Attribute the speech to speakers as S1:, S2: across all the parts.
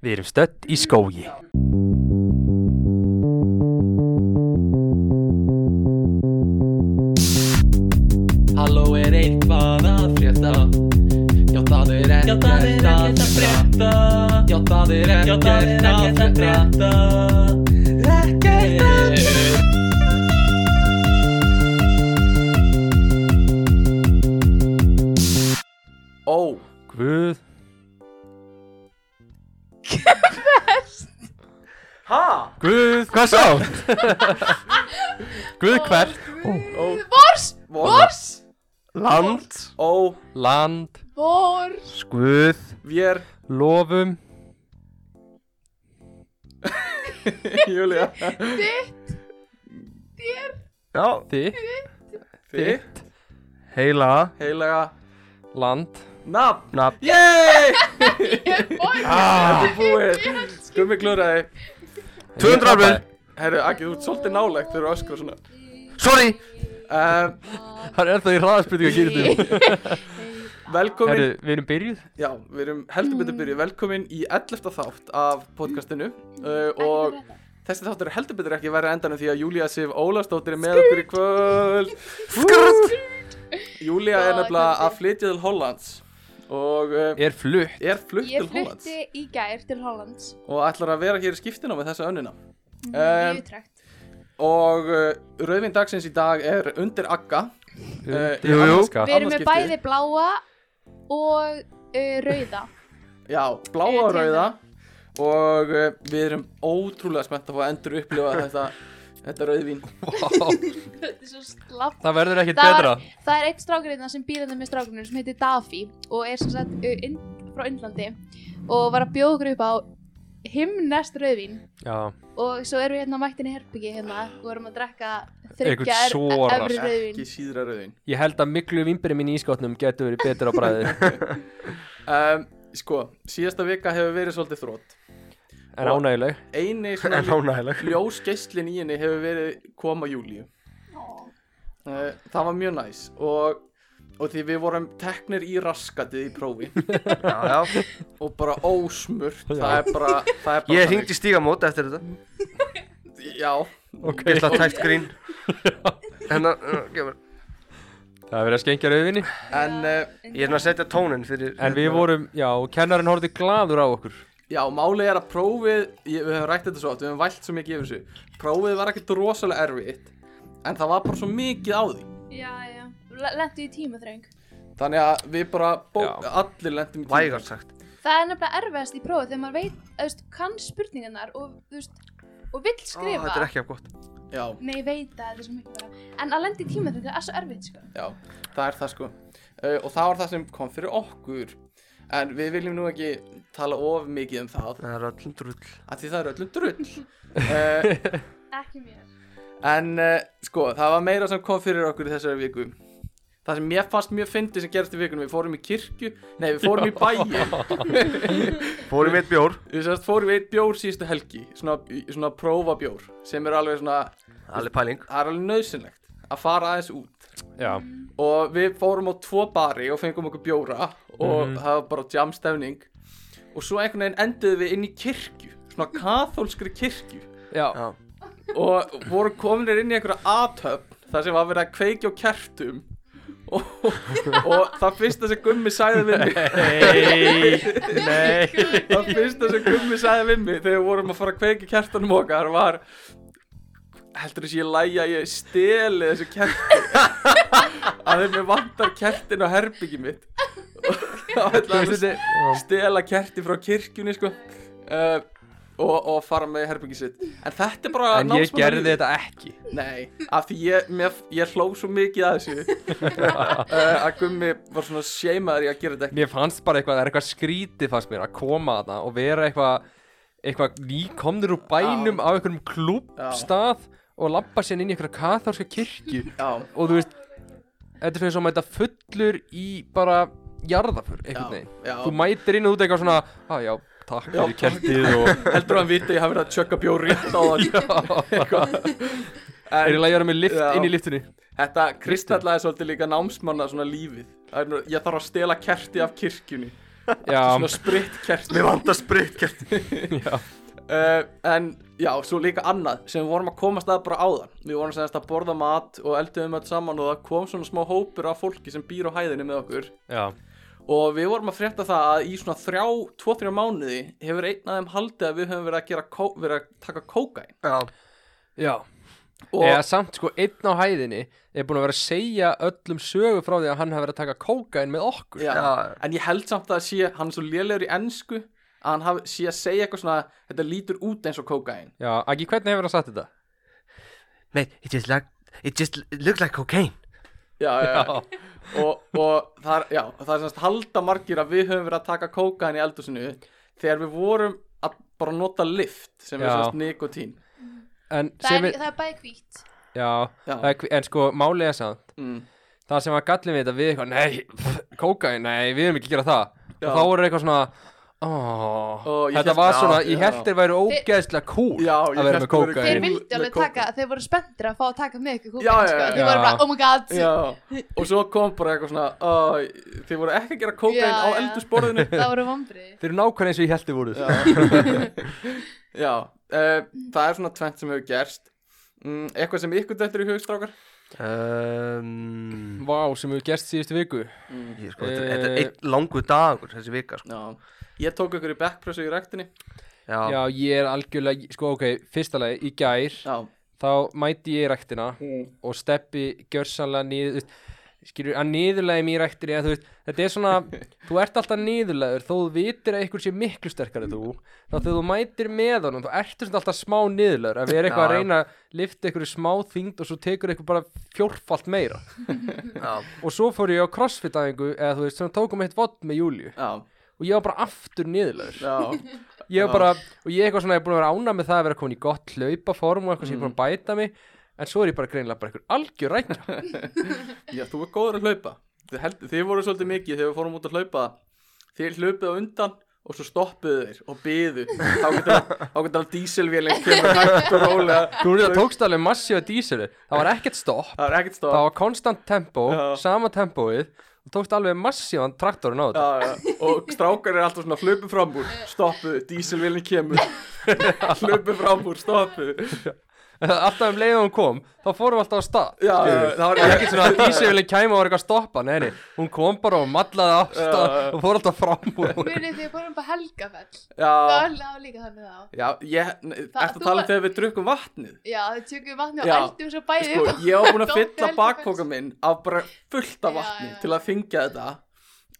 S1: Við erum stödd í skógi.
S2: Halló er eitthvað að frétta Já það er ekkert að frétta Já það er ekkert að frétta Ekkert að
S3: Eh.
S2: frétta Ó,
S1: Guð.
S2: hæ?
S1: Guð, hvað sá? Guð hvert?
S4: Vors, vors,
S1: Land,
S2: Ó,
S1: land,
S4: vors
S1: skuð,
S2: vér,
S1: lofum,
S2: Júlia
S4: Þitt, þér,
S2: Já,
S1: þitt,
S2: þitt,
S1: heila,
S2: heilaga
S1: land,
S2: Nafn
S1: nafn.
S2: Yey!
S4: ég vors
S2: Þetta
S1: Ah,
S2: er búið Skummi glúraði
S1: 200 árbjörn,
S2: Herru, Akki, þú ert svolítið nálægt þegar þú öskur svona
S1: sorry,
S2: uh,
S1: hann er alltaf í hraðaspurningu að gera þetta.
S2: Velkomin,
S1: Herru, við erum byrjuð.
S2: já, við erum heldur betur byrjuð Velkomin í 11. þátt af podcastinu uh, Og þessi þáttur er heldur betur ekki verið að endanum Því að Júlía Sif Ólafsdóttir er með okkur í kvöld Skrrt Júlía er
S4: Góða
S2: nefnilega
S4: kvöldið.
S2: að flytja til Hollands Og uh,
S1: Er flutt.
S2: er flutt til
S4: Ég
S2: Hollands
S4: flutti í gær til Hollands
S2: Og ætlar að vera hér í skiptinu með þessa önnina
S4: Í
S2: um,
S4: Utrecht
S2: Og uh, rauðvin dagsins í dag er undir agga Eh,
S1: Jú, jú.
S2: Alaska.
S4: Við
S2: annað
S4: erum með
S2: skipti.
S4: bæði bláa og uh, rauða
S2: Já,
S4: Eh,
S2: bláa og
S4: tegunda.
S2: rauða og uh, við erum ótrúlega spennt að fá að endur upplifa þetta, þetta rauðvín
S1: Vá,
S4: Þetta er svo slapp
S1: Það verður ekkert
S4: Það var-
S1: betra.
S4: Það er eitt strákurinn sem býr þetta með strákurinn sem heitir Dafi og er sem sagt uh, inn, frá Indlandi og var að bjóða okkur upp á himnest rauðvín
S1: Já,
S4: og svo erum við hérna mættin í herbyggi hérna og erum að drekka
S1: Einhvern
S4: þryggja er-
S1: sorar.
S4: efri rauðvín
S2: ekki síðra rauðvín
S1: ég held að miklu vimbri mín í ískotnum getur verið betur á bræðið.
S2: um, Sko, síðasta vika hefur verið svolítið þrótt
S1: En ánægileg.
S2: Einu svona
S1: ánægileg.
S2: ljósgeislin í henni hefur verið koma júlíu uh, Það var mjög næs og, og því við vorum teknir í raskatið í prófi
S5: já, já.
S2: og bara ósmurt
S1: Já.
S2: Það er bara, það er bara
S5: Ég
S2: þannig.
S5: hringdi í stígamót eftir þetta
S2: Já,
S1: Ok.
S5: Gæsla tækt grín Hennar, uh,
S1: Það er verið að skengja rauðvinni.
S2: en uh,
S5: Ég er svona að setja tónin fyrir hérna,
S1: En við vorum, já, kennarinn horfði gladur á okkur.
S2: Já, málið er að prófið, ég, við höfum rætt þetta svo oft, við höfum vælt svo mikið yfir þessu Prófið var ekkert rosalega erfitt, en það var bara svo mikið á því
S4: Já, já, lendu í tímaþröng
S2: Þannig að við bara, bó,
S1: Já.
S2: allir lendum í tíma
S5: Vægast sagt
S4: Það er nefnilega erfiðast í prófið þegar maður veit, þú veist, kann spurningarnar og, þú veist, og vill
S5: Ó,
S4: skrifa
S5: Þetta er ekki af gott
S2: Já,
S4: Nei, ég veit að þetta er svo mikið bara En að lenda í tímaþröng er svo erfitt, sko
S2: já, það er það sko uh, Og það var það sem kom fyrir okkur En við viljum nú ekki tala of mikið um það,
S5: Það er öllum drull
S2: af því það er öllum drull uh,
S4: Ekki mér
S2: En uh, sko, það var meira sem kom fyrir okkur í þessari viku Það sem mér fannst mjög fyndið sem gerist í vikunum, við fórum í kirkju, nei við fórum í bæin
S5: Fórum eitt bjór
S2: Við sérst fórum við eitt bjór síðustu helgi, svona, svona prófa bjór, sem er alveg svona,
S5: Allir pæling
S2: það er alveg nöðsynlegt að fara aðeins út.
S1: Já,
S2: Og við fórum á tvo bari og fengum okkur bjóra og það var bara jamstefning. Og svo einhvern veginn enduðum við inn í kirkju, svona kathólskri kirkju.
S1: já,
S5: Já
S2: Og vorum kominir inn í einhverja aðtöfn, þar sem var verið að kveikja á kertum. Og, og það fyrsta sem Gummi sagði við mig
S1: Nei, nei
S2: Það fyrsta sem Gummi sagði við mig þegar við vorum að fara að kveiki kertanum okkar var heldur þess að ég lægi að ég steli þessu kerti að þeim ég vantar kertin á herbyggi mitt og ætla að stela kerti frá kirkjunni sko uh, og, og fara með herbyggi sitt en þetta er bara
S1: En ég
S2: námsmannalífið.
S1: gerði þetta ekki
S2: Nei, af því ég, mér, ég hló svo mikið að þessu uh, að Gummi var svona seimaður í að gera þetta ekki
S1: Mér fannst bara eitthvað, það er eitthvað skrítið fannst mér að koma að það og vera eitthvað eitthvað nýkomnir úr bænum á einhverjum klúbstað og labba sér inn í einhverja kathálska kirkju
S2: Já,
S1: og þú veist þetta er svona sem að mæta fullur í bara jarðafur einhvern
S2: Já,
S1: veginn
S2: já.
S1: Þú mætir inn og út eitthvað svona að já, takk
S2: Já,
S1: fyrir kertið og
S2: heldur að hann viti að ég hafi verið að tjökka bjór rétt á sko. hann
S1: er í lagi að vera með lift
S2: Já.
S1: inn í liftinu
S2: Þetta kristallaði svolítið líka námsmanna svona lífið Það er nú- Ég þarf að stela kerti af kirkjunni
S1: já,
S2: svona spritkert
S5: Mér vantar spritkert
S1: já,
S2: uh, en já, svo líka annað sem við vorum að komast að bara áðan við vorum semst að borða mat og elduðum öll saman og það kom svona smá hópur af fólki sem býr á hæðinni með okkur
S1: já,
S2: og við vorum að frétta það að í svona þrjá, tvo-þrjá mánuði hefur einn af þeim haldið að við höfum verið að, gera, kó- verið að taka kókain
S5: Já,
S1: já.
S2: og
S1: eða samt sko einn á hæðinni er búin að vera að segja öllum sögu frá því að hann hafi verið að taka kókain með okkur
S2: já,
S5: Já.
S2: en ég held samt að sé, hann er svo lélegur í ensku að hann haf, sé að segja eitthvað svona þetta lítur út eins og kókain
S1: já, Aggi, hvernig hefur hann sagt þetta?
S5: mate, it just, like, it just looks like cocaine
S2: já, já, já.
S1: já,
S2: og, og það, er- já, það er semst halda margir að við höfum verið að taka kókain í eldhúsinu þegar við vorum að bara nota lift sem er
S1: Já.
S2: semst nikotín
S1: en
S4: það, er,
S1: sem við
S4: það er bæði hvítt
S1: já,
S2: Já.
S1: það er hví- en sko málið er samt
S2: mm.
S1: það sem að gallin við þetta við eitthvað, nei, pff, kókain, nei, við erum ekki að gera það
S2: Já.
S1: og þá voru eitthvað svona oh,
S2: Ó, ég
S1: þetta
S2: hélt-
S1: var
S2: já,
S1: svona, ég
S2: já.
S1: held þeir væri ógeðslega cool
S2: Já, ég
S1: að vera með
S2: hélt þeir væru
S4: þeir
S1: kókain
S2: cool.
S4: vildi alveg
S2: Með
S4: taka, þeir voru spenntir að fá að taka með ykkur
S2: Já, já,
S4: kúkan sko.
S2: já.
S4: þeir voru bara,
S1: Já.
S4: oh my god
S2: Já, og svo kom bara eitthvað svona uh, Þið voru ekki að gera kókain
S4: Já,
S2: á
S4: já.
S2: eldusborðinu
S4: það voru vombrið
S1: þeir eru nákvæmlega eins og ég held þeir voru já,
S2: Já, uh, það er svona tvent sem hefur gerst mm, Eitthvað sem ykkur dættur í hugstrákar
S5: um,
S1: Vá, sem hefur gerst síðustu viku
S5: ég, sko, Þetta þetta er
S1: Eh.
S5: einn langur dagur þessi vika sko.
S2: Já, ég tók ykkur í backpressu í rektinni
S5: Já,
S1: Já, ég er algjörlega, sko ok, fyrsta lagi, í gær
S2: Já,
S1: Þá mæti ég í ræktina og steppi gjörsanlega niður, þú veist, skilur, að niðurlega mér ræktir ég, þú veist, þetta er svona, þú ert alltaf niðurlegaður, þó þú vitir að ykkur sé miklu sterkari en þú, þá þegar þú mætir með honum, þú ertu svona alltaf smá niðurlegaður, að vera eitthvað
S5: Já,
S1: að
S5: já.
S1: reyna að lifta ykkur smá þyngd og svo tekur ykkur bara fjórfalt meira.
S5: já,
S1: Og svo fór ég á crossfit-æfingu, eða þú veist, sem tókum eitt vott með Júliu
S2: já,
S1: og ég var bara aftur niðurlegaður.
S2: já
S1: ég
S2: Já.
S1: var bara, og ég er eitthvað svona, ég er búin að vera ána með það að vera komin í gott hlaupaform og eitthvað sem ég er
S2: Mm.
S1: búin að bæta mig en svo er ég bara greinilega bara einhver algjör rækja
S2: Já, þú er góður að hlaupa Þið, held, þið voru svolítið mikið þegar við fórum út að hlaupa Þið hlaupið á undan og svo stoppuðu þeir og byðu Þá getur þá getur alveg dísilvélinn kemur hægt og rólega
S1: þú veist það tókst alveg massífa dísilu það var ekkert stopp,
S2: Það er ekkert stopp
S1: það var konstant tempo
S2: Já.
S1: sama tempóið og tókst alveg massífan traktorinn á þetta
S2: já, já. og strákar er alltaf svona hlöpu fram úr, stoppuðu, dísilvilni kemur hlöpu fram úr, stoppuðu
S1: alltaf um leiðum hún kom, þá fórum við alltaf á stað
S2: já, já,
S1: skilurðu.
S2: það var
S1: Það var ekkert svona að dísilvillin kæma og var eitthvað að stoppa neini, hún kom bara og mallaði á stað
S2: Já.
S1: og fór alltaf fram úr honum.
S4: munið þið fórum bara helgafell það
S2: já,
S4: var- það var líka þannig þá
S2: já, ég eftir
S4: Það-
S2: að
S4: þú
S2: tala
S4: var-
S2: um þegar við drukkum vatnið
S4: já, þau tjökum vatni og
S2: Já.
S4: eldum svo bæði
S2: sko, ég var búin að
S4: Dóttir
S2: fylla
S4: Helga
S2: bakpoka
S4: Bergs.
S2: minn af bara fullt af
S4: Já,
S2: vatni
S4: já.
S2: til að þingja þetta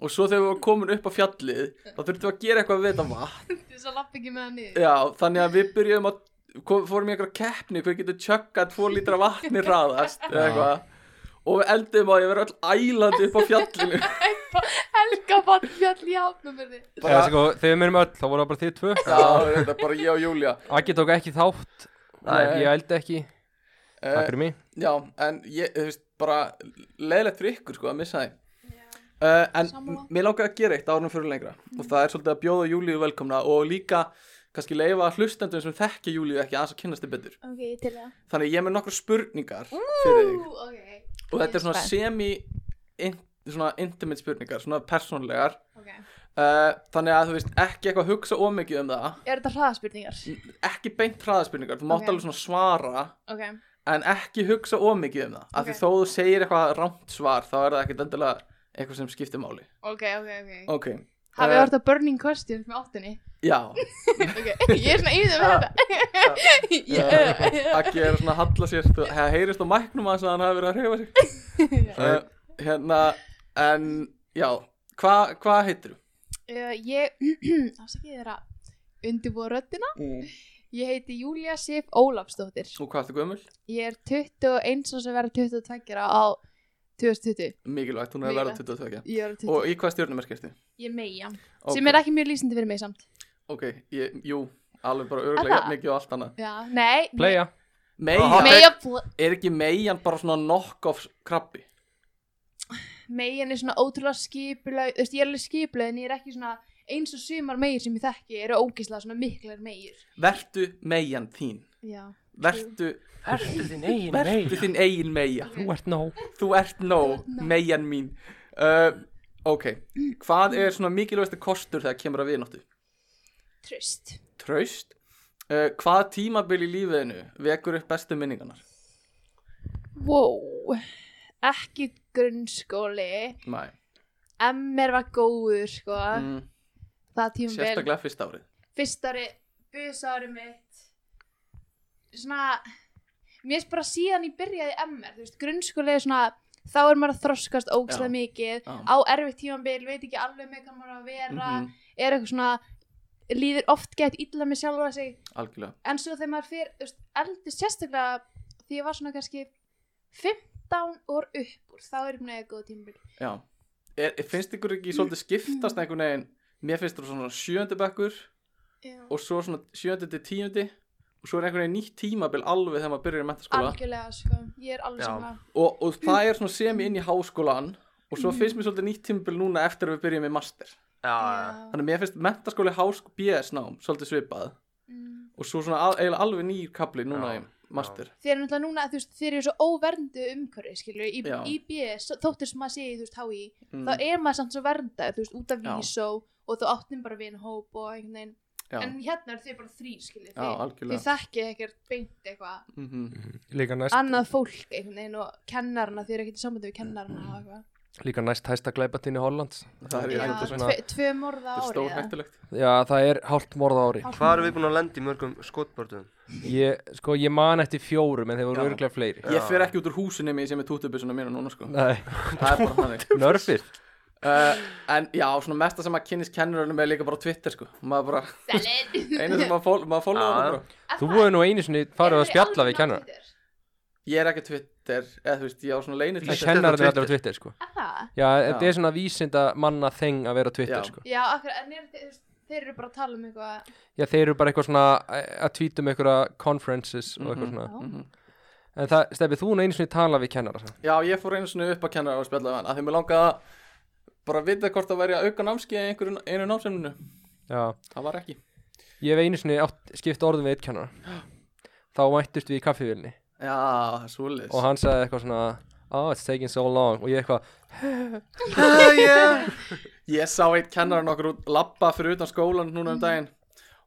S2: og svo þegar við varum komin upp á fjallið þá þurftum við að gera eitthvað við þetta vatn
S4: til þess að lappa ekki með það niður
S2: já, þannig að við byrjum að kom, fórum í einhverja keppni hver getur tjökkað tvo lítra vatni hraðast eða eitthvað og við eldum á að ég vera öll ælandi upp á fjallinu
S4: helgafell fjall í hafnumurði
S1: Eða, sko, þegar við myndum öll, þá voru það bara þið tvö
S2: Já, þetta er bara ég og Júlia
S1: Akki tók ekki þátt
S2: Nei.
S1: Ég ældi ekki, takk
S2: uh,
S1: fyrir mig
S2: Já, en ég, þú veist, bara leiðilegt fyrir ykkur, sko, að missa þið uh, En
S4: Sammála. Mhm.
S2: mér langar að gera eitt árunum fyrir lengra Og það er svolítið að bjóða Júliu velkomna Og líka, kannski leifa hlustendum sem þekkja Júliu ekki aðeins að kynnast þið betur
S4: ok, til það
S2: Þannig ég er með nokkra spurningar fyrir þig
S4: ok,
S2: Og þetta er svona
S4: Spennt.
S2: semi in, Svona intimate spurningar, svona persónlegar
S4: ok
S2: uh, Þannig að þú veist, ekki eitthvað að hugsa ómikið um það
S4: er þetta hraðaspurningar?
S2: Ekki beint hraðaspurningar, þú mátt
S4: Ok.
S2: alveg svona svara
S4: ok,
S2: en ekki hugsa ómikið um það af því
S4: Ok.
S2: þó þú segir eitthvað rámt svar þá er það ekkert endilega eitthvað sem skiptir máli
S4: ok, ok, ok
S2: ok, Eh,
S4: hafið þið hort að Burning Questions með áttinni?
S2: já
S4: ok, ég er svona yfir með þetta
S2: Eh,
S4: Já.
S2: Aggi er svona að halla sér þú- það heyrist á mæknum að hann hafi verið að hreyfa sig
S1: Eh.
S2: uh,
S5: Eh,
S2: hérna en já, hvað hva heitir
S4: Eh, ég afsakið þeirra undirbúa röddina
S2: þú?
S4: ég heiti Júlia Sif Ólafsdóttir
S2: og hvað ertu gömul?
S4: ég er 21 og sem verða 22 ára á 2020
S2: mikilvægt, hún er að verða 22
S4: ég er, 20.
S2: og í hvað stjórnumerk ertu?
S4: ég er meia
S2: Okay.
S4: sem er ekki mjög lýsandi fyrir mig samt
S2: ok, ég, jú, alveg bara
S4: Er
S2: örgulega
S4: það?
S2: jafn mikið og allt annað
S4: já, nei
S1: Playa
S5: Aha.
S2: Meijan,
S4: meia,
S2: er ekki meijan bara svona knock-off krabbi?
S4: megin er svona ótrúlega skipuleg þú veist, ég er alveg skipuleg en ég er ekki svona eins og sumar meir sem ég þekki eru ógislega svona miklar meir
S2: vertu meijan þín
S4: já,
S2: vertu
S1: Ertu þinn eigin
S2: Vertu þinn eigin meia
S1: Þú ert nóg
S2: Þú ert nóg,
S4: Þú ert nóg.
S2: meian mín uh, Ok, hvað er svona mikilvægsta kostur þegar kemur að vináttu?
S4: Tröst.
S2: Traust uh, Hvað tímabil í lífiðinu vekur upp bestu minningarnar?
S4: Wow. Ekki grunnskóli.
S2: Nei,
S4: MR var góður, sko.
S2: mm,
S4: Það tímabil.
S2: sérstaklega fyrst árið
S4: Fyrstari, busári mitt. Svona, mér finnst bara síðan ég byrjaði í MR, þú veist, grunnskóli er svona, þá er maður að þroskast ógstlega
S2: Já.
S4: mikið.
S2: Já.
S4: Á erfitt tímabil, veit ekki alveg með hvað maður á að vera.
S2: Mhm,
S4: Er eitthvað svona, líður oft gett illa með sjálfa sig.
S2: Algjörlega
S4: en svo þegar maður fyrir, þú veist, eldur sérstaklega því ég var svona kannski 15 og upp úr, þá erum við góð tímabil.
S2: Já er, er- Finnst ykkur ekki svolítið skiptast einhvern veginn Mér finnst það svona sjöndi bekkur og svo svona sjöndi til tíundi og svo er einhvern veginn nýtt tímabil alveg þegar maður byrjar í mentaskóla
S4: Algjörlega, sko, ég er alveg
S5: Já.
S4: saman.
S2: og, og það er svona sem inn í háskólan og svo finnst mér svolítið nýtt tímabil núna eftir að við byrjum í master
S5: Já, já.
S4: Já.
S2: Þannig að mér finnst mentaskóli háskóla BS nám svolítið svipað
S4: Mm.
S2: og svo svona al, eiginlega alveg nýr kapli núna
S5: Já,
S2: í master
S4: Þeir eru náttúrulega núna, þú veist, þeir eru svo óverndu umhverfi, skilju, í,
S2: Já.
S4: í BS, þóttir sem maður sé í, þú veist, HÍ,
S2: Mm,
S4: þá er maður samt svo verndar, þú veist, út af
S2: Já.
S4: vísó og þú áttum bara við einn hóp og einhvern veginn,
S2: já.
S4: en hérna eru þau bara þrý,
S2: Já,
S4: skilju, þau,
S2: algjörlega
S4: þau þekkið ekkert beint eitthvað,
S2: mm
S1: Líka næst,
S4: annað fólk einhvern veginn og kennarana, þau eru ekkert í sambandi við kennarana og eitthvað.
S1: líka næst hæsta glæpatíni Hollands
S2: Það er,
S4: Já,
S2: þetta er svona,
S4: tve, tvö
S2: þetta er
S4: morða árið
S2: stór hættulegt
S1: Já, það er hálft morð á ári
S5: Hvað erum við búin að lenda í mörgum skotbörðum?
S1: ég, Sko, ég man eftir fjórum en þeir voru
S2: Já.
S1: örglega fleiri
S2: Ég fer ekki út úr húsinni mér sem er tútubissuna mína núna sko
S1: Nei,
S2: Það er bara þannig
S1: nörfið
S2: uh, En já, svona mesta sem maður kynnist kennurunum er líka bara á Twitter sko Maður bara,
S4: Salin
S2: einu sem maður, fól, maður fólóður
S5: Já,
S2: ah.
S5: já.
S2: bara
S1: Þú hefur nú einu sinni farið að spjalla við kennar
S2: Ég er ekki á Twitter, eða þú veist, ég á svona leynir
S5: Ég-
S1: Kennar er
S5: Twitter.
S1: allir á Twitter, sko
S4: Það?
S1: Já, þetta er svona vísinda manna þeng að vera á Twitter,
S2: Já.
S1: sko
S4: Já, akkur, en er, þeir, þeir eru bara að tala um eitthvað
S1: Já, þeir eru bara eitthvað svona eh, að tvítum einhverja conferences og eitthvað
S2: Mhm.
S1: svona
S4: Já.
S2: Mhm.
S1: En það, Steffi, þú nú einu sinni tala við kennara sagði.
S2: Já, ég fór einu svona upp að kennara og spjallaði við hann Af því mér langaði að bara vita hvort það væri að auka námskeið í einhverju einu námsefninu
S1: Já,
S2: Það var ekki
S1: ég hef einu sinni átt, skipt orðum við eitt kennara Þá mættust við í kaffivilni
S2: Já, það er svoleiðis
S1: og hann sagði eitthvað svona Oh, it's taking so long og ég eitthvað
S5: Ah, yeah.
S2: Ég sá eitt kennaran okkur út labba fyrir utan skólan núna um daginn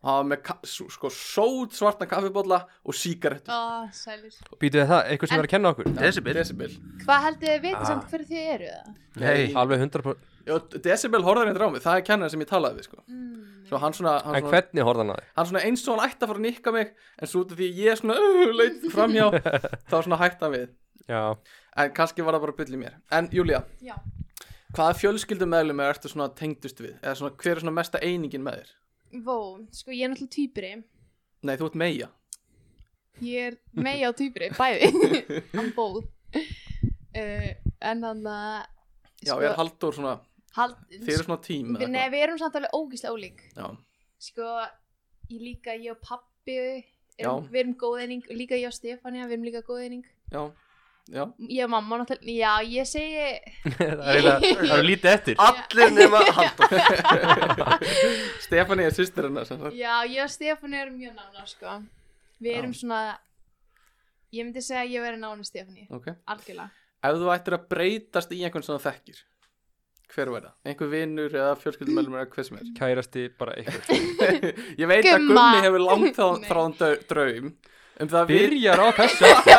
S2: og hann var með ka- s- sko sót svartan kaffibólla og sígarettu
S4: Ó, sælir
S1: Býtu þið það, eitthvað sem er að kenna okkur
S5: Decibel
S2: Decibel
S4: Hvað heldur þið viti
S5: Ah.
S4: samt hverju þið eru það?
S5: Nei,
S1: Alveg 100%
S2: Jó, Decibel horfður hérna á mig, það er kennaran sem ég talaði við sko
S4: Mm.
S2: Svo hann svona, hann
S1: En
S2: svona,
S1: hvernig horfði hann að þig?
S2: hann svona eins og hann ætti að fara að nikka mig en svo út af því ég er svona uh, leit framhjá þá svona hætti hann við
S1: Já,
S2: En kannski var það bara byll í mér En Júlia,
S4: Já,
S2: hvaða fjölskyldum meðlum er ertu svona tengdust við? Eða svona hver er svona mesta einingin með þér?
S4: vó, sko ég er náttúrulega týpuri
S2: Nei, þú ert meia
S4: Ég er megi á týpuri, bæði Hann bóð uh, En hann að
S2: Já, sko, er Halldór svona,
S4: hald,
S2: þið eru svona tím eða
S4: Nei,
S2: eitthvað?
S4: við erum samt alveg ógíslega ólík
S2: Já,
S4: sko, ég líka ég og pappi
S2: Já.
S4: erum, við erum góðeining og líka ég og Stefania, við erum líka góðeining
S2: já, já
S4: ég og mamma náttúrulega, já ég segi
S1: það er eiginlega- það eru lítið eftir
S5: allir nema Halldór
S2: Stefani er sýstir hennar sem sagt.
S4: já ég og Stefania erum mjög nána sko. við
S2: Já.
S4: erum svona ég myndi segja að ég veri nána Stefania
S2: Ok.
S4: algjörlega,
S2: Ef þú ættir að breytast í einhvern sem þú þekkir, hver verða? Einhver vinnur eða fjölskyldumölum eða hver sem er?
S1: Kærasti, bara eitthvað
S2: Ég veit að
S4: Gumma.
S2: Gummi hefur langt þá
S4: Nei.
S2: þráðan dau- draum um það að, vi,
S1: Byrjar á þessu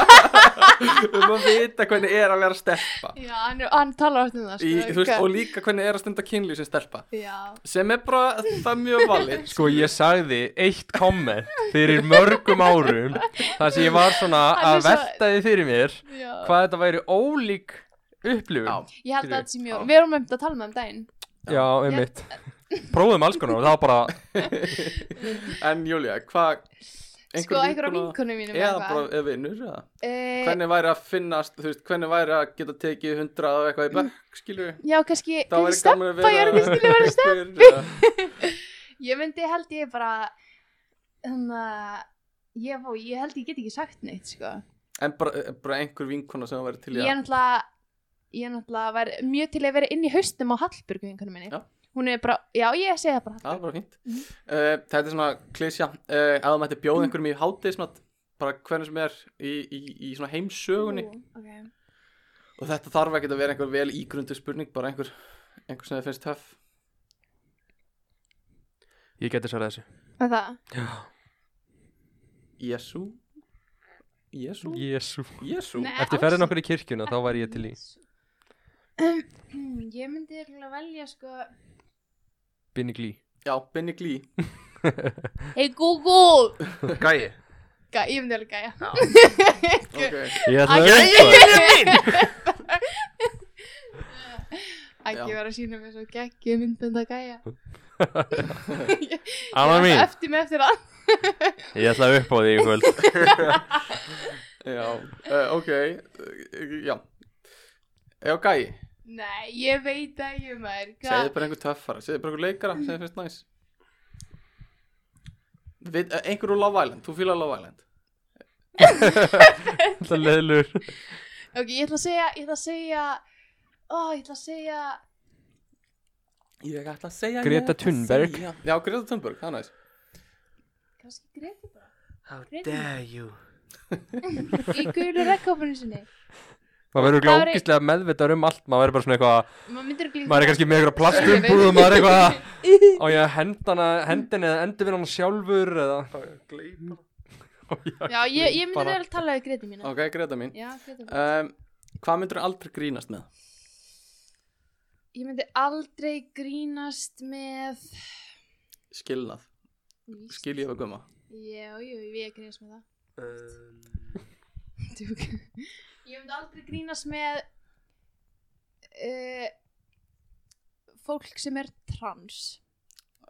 S2: um að vita hvernig er að vera stelpa.
S4: já hann, er- hann talar oft um það
S2: Í,
S4: sko,
S2: þú veist,
S4: hvað-
S2: og líka hvernig er að stunda kynlíf sem stelpa.
S4: já,
S2: Sem er bara, það er mjög valið.
S1: Sko ég sagði eitt komment fyrir mörgum árum þar sem ég var svona
S4: Hann er
S1: að
S4: svo-
S1: velta þið fyrir mér
S4: já.
S1: hvað þetta væri ólík upplifun
S2: Já,
S4: ég held að
S1: skilur.
S4: þetta sé mjög við erum um þetta að tala með um daginn
S1: Já, einmitt Prófum alls konar og það var bara
S2: en Júlia, hvað...
S4: sko einhverja vinkunum mínum
S2: Eða bara eða vinnur, eða?
S4: e,
S2: Hvernig væri að finnast, þú veist, hvernig væri að geta tekið hundrað og
S4: Mm.
S2: eitthvað í bekk, skilur við?
S4: já kannski,
S2: Það
S4: kannski
S2: væri gaman að vera...
S4: steppa ég er ekki skilja verið
S2: steppi
S4: Ég myndi held ég bara þannig að ég, vó, ég held ég get ekki sagt neitt sko.
S2: En bara, eh, bara einhver vinkona sem var til í
S4: ég er
S2: að
S4: náttúrulega ég er náttúrulega var mjög til að vera inn í haustum á Hallbjörg vinkunum minni
S2: Já.
S4: hún er bara, já ég segi það bara
S2: Það var
S4: Hallbjörg
S2: bara fínt uh,
S4: Mm.
S2: Þetta er svona klísja uh, Ef þú mætti bjóða einhverjum í hátíðismat Bara hvernig sem er í, í, í svona heimsögunni
S4: Ú, ok.
S2: Og þetta þarf ekki að vera einhver vel ígrundu spurning Bara einhver, einhvers sem þið finnst töff
S1: Ég geti svarað þessu
S4: Er það?
S2: Jésu Jésu
S1: Jésu
S2: Jésu
S4: Nei.
S1: Eftir ferðin okkur í kirkjuna þá væri ég til í
S4: Um, Ég myndi örugglega velja sko
S1: Binni glí
S2: Já, Benny Glee
S4: Hey Google
S5: Gæi
S4: Gæ, Ég myndi alveg gæja
S2: Ok
S1: Ég
S4: Æ,
S1: ætla
S4: æ,
S1: að
S5: Gæi er minn
S4: Ekki
S2: Já.
S4: vera að sína mér svo geggju myndbönd að gæja
S1: Amma
S4: Ég er
S1: mín
S4: alltaf Eftir mig eftir að
S1: Ég ætla upp á því í kvöld
S2: Já, uh, ok uh, Já Eh, Já, gæi
S4: Nei, ég veit að ég maður
S2: Segðu
S4: Hvað?
S2: bara einhver töffara, segðu bara einhver leikara sem þið finnst næs Við, eh, einhver úr Love Island, þú fílar Love Island
S1: Það leðlur
S4: Ok, ég ætla að segja Ég ætla að segja Ó, ég ætla að segja
S2: Ég ætla að segja
S1: Greta
S2: ég ætla að
S1: Thunberg.
S2: segja. Já, Greta Thunberg, það er næs
S4: Kannski Greti bara
S5: How dare you
S4: Í gulu rekkofinu sinni
S1: Maður verður
S4: Það væri-
S1: glókislega meðvitaður um allt Maður verður bara svona eitthvað
S4: Maður myndir ekki
S1: Maður er kannski með eitthvað plastumbúð og Maður er eitthvað Á ég að henda hana Hendin eða endur við hana sjálfur eða
S2: Gleipa
S1: Á ég að
S4: Já, ég, ég myndi
S1: bara-
S4: vel tala við Greti mína
S2: Ok, Greta mín
S4: Já, Greti mína
S2: um, Hvað myndur aldrei grínast með?
S4: Ég myndi aldrei grínast með
S2: Skilnað, skil ég um við gumma
S4: Já, jú, ég grínast með það
S5: Um,
S4: Djúk. Ég myndi aldrei grínast með uh, fólk sem er trans.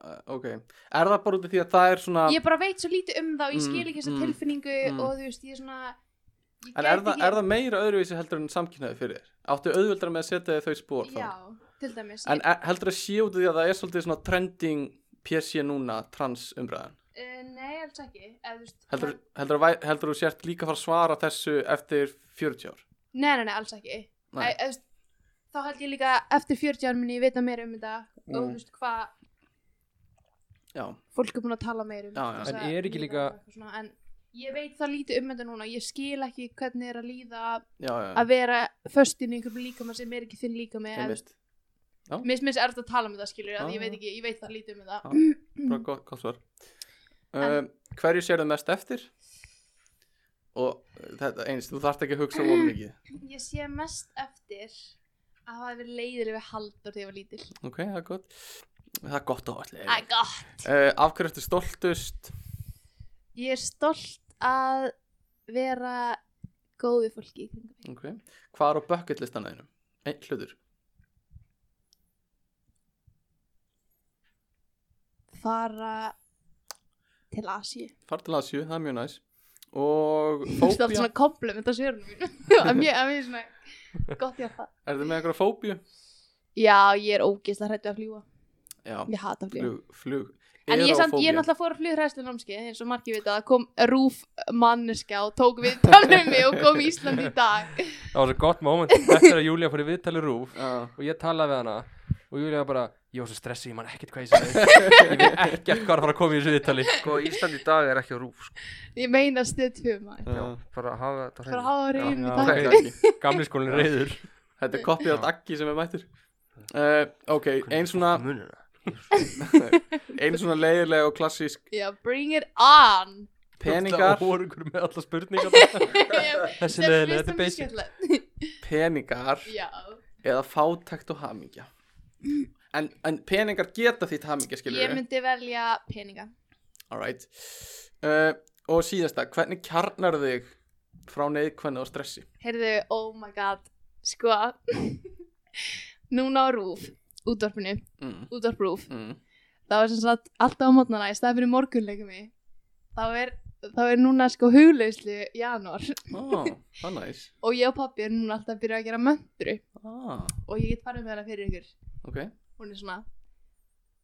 S2: uh, Ok, er það bara út af því að það er svona
S4: Ég bara veit svo lítið um það og ég
S2: Ah. Mm,
S4: skil ekki þessa
S2: mm,
S4: tilfinningu
S2: mm.
S4: og þú veist, ég er svona... Ég
S2: En
S4: gæti
S2: er það,
S4: ekki-
S2: er það meira öðruvísi heldur en samkynnaði fyrir þér? Áttu auðveldra með að setja þau í spór þá?
S4: Já, til dæmis.
S2: En er, heldur að sé út af því að það er svolítið svona trending PC núna, trans umræðan
S4: Eh, nei, alls ekki. Eð, veist,
S2: heldur, heldur, að, væ- heldur að þú sért líka að fara að svara þessu eftir 40 ár
S4: Nei, nei, nei, alls ekki. Nei.
S2: Nei.
S4: Eð, veist, þá held ég líka eftir 40 árum minni ég vita meira um þetta
S2: Mm.
S4: og þú veist hvað
S2: Já,
S4: fólk er búin að tala meira um
S2: Já, já.
S4: þessa
S1: En er ekki
S4: líðan og
S1: líka-
S4: eitthvað svona, en ég veit það lítið um þetta núna ég skil ekki hvernig er að líða
S2: já, já, já.
S4: að vera föstin í einhverjum líkama sem er ekki þinn líkama eða,
S2: Einmitt.
S4: þú veist, mér finnst erft að tala um þetta skilur
S2: Já,
S4: að
S2: já.
S4: ég veit ekki, ég veit það lítið um
S2: Já.
S4: þetta
S2: Bara gott, gott svar um, Hverju sérðu mest eftir? Og uh, þetta eins, þú þarft ekki að hugsa of mikið
S4: ég sé mest eftir að það hafi verið leiðileg við haldur þegar ég var lítil
S2: Ok, það er gott Það er gott áalli
S4: Æ,
S2: uh,
S4: gott.
S2: Af hverju ertu stoltust?
S4: ég er stolt að vera góð við fólki í kringum mig.
S2: Ok, hvað er á bucket listan þínum? Einn hlutur
S4: fara til Asi
S2: Far til Asju, það er mjög næs Og
S4: Þú veist alltaf
S2: fóbía,
S4: svona kompliment að svörunum mínu að mér að mér er svona gott ég að það
S2: er þið með einhverja fóbíu?
S4: já ég er ógeðslega hrættu að fljúa
S2: Já,
S4: ég hata að fljúa
S2: flug, flug
S4: en ég, samt, ég
S2: Aerofóbía.
S4: náttúrulega fór að fljú hræðslu námskeið eins og margir vita það kom rúf manneska og tók við talum mig og kom í Ísland í dag
S1: Það var svo gott moment Eftir að Júlia fór í viðtali rúf
S2: Já,
S1: og ég talaði við hana og Júlia var bara ég var svo stressuð, ég man ekkert hvað ég sagði ég veit ekkert hvað er að fara að koma í þessu viðtali
S5: Sko Ísland í dag er ekki á rúf sko.
S4: ég meina stuð tvö maður
S5: Já,
S2: já,
S5: Bara að hafa þetta á
S4: bara
S5: hreinu.
S4: hafa reyðin í
S1: Já, ok.
S2: þetta er
S4: dag
S2: ekki
S1: gamli skólinn er reyður
S2: Þetta er koppið á daggi sem er mættur uh, Ok, ein svona
S5: Munur það?
S2: ein svona leiðilega og klassísk
S4: já bring it on
S2: peningar,
S1: það voru ykkur með alla spurningar Þessi
S4: Sem
S1: leiðilega, þetta er
S4: finnst það mjög
S1: basic.
S4: skemmtilegt.
S2: peningar
S4: já
S2: eða fátækt og hamingja en, en peningar geta þitt hamingja skilur
S4: ég myndi velja peninga
S2: Alright uh, Og síðasta, hvernig kjarnar þig frá neðkvenna og stressi?
S4: Heyrðu, oh my god, sko, núna á rúf, útvarpinu,
S2: Mm,
S4: útvarp rúf,
S2: mm.
S4: það var sem sagt alltaf á mótnana í staði fyrir morgunleikum í, þá er, þá er núna sko hugleyslu janúar
S2: Ó, það er næs
S4: og ég og pappi er núna alltaf að byrja að gera möndru
S2: ah,
S4: og ég get farið með hana fyrir ykkur,
S2: Ok,
S4: hún er svona,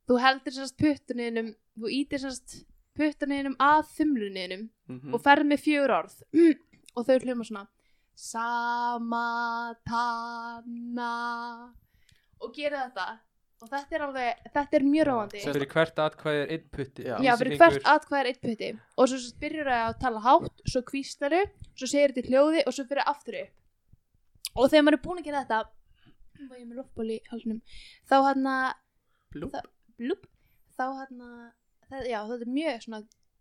S4: þú heldur sem sagt puttuninum, þú ítir sem sagt puttuninum að þumluninum
S2: mm
S4: og ferð með fjögur orð og þau hljóma svona Samatana og gera þetta og þetta er alveg, þetta er mjög ráðandi
S2: Sem-
S1: fyrir hvert atkvæði er einn putti
S2: Já.
S4: já, fyrir hvert atkvæð er eitt putti og svo svo byrjar það að tala hátt svo kvístaru, svo segir þetta í hljóði og svo fyrir aftur upp og þegar maður er búin að gera þetta var ég með loftból í hálfnum þá hann að
S2: Blúp.
S4: Það- blúp, þá hann að það, já, þetta er mjög svona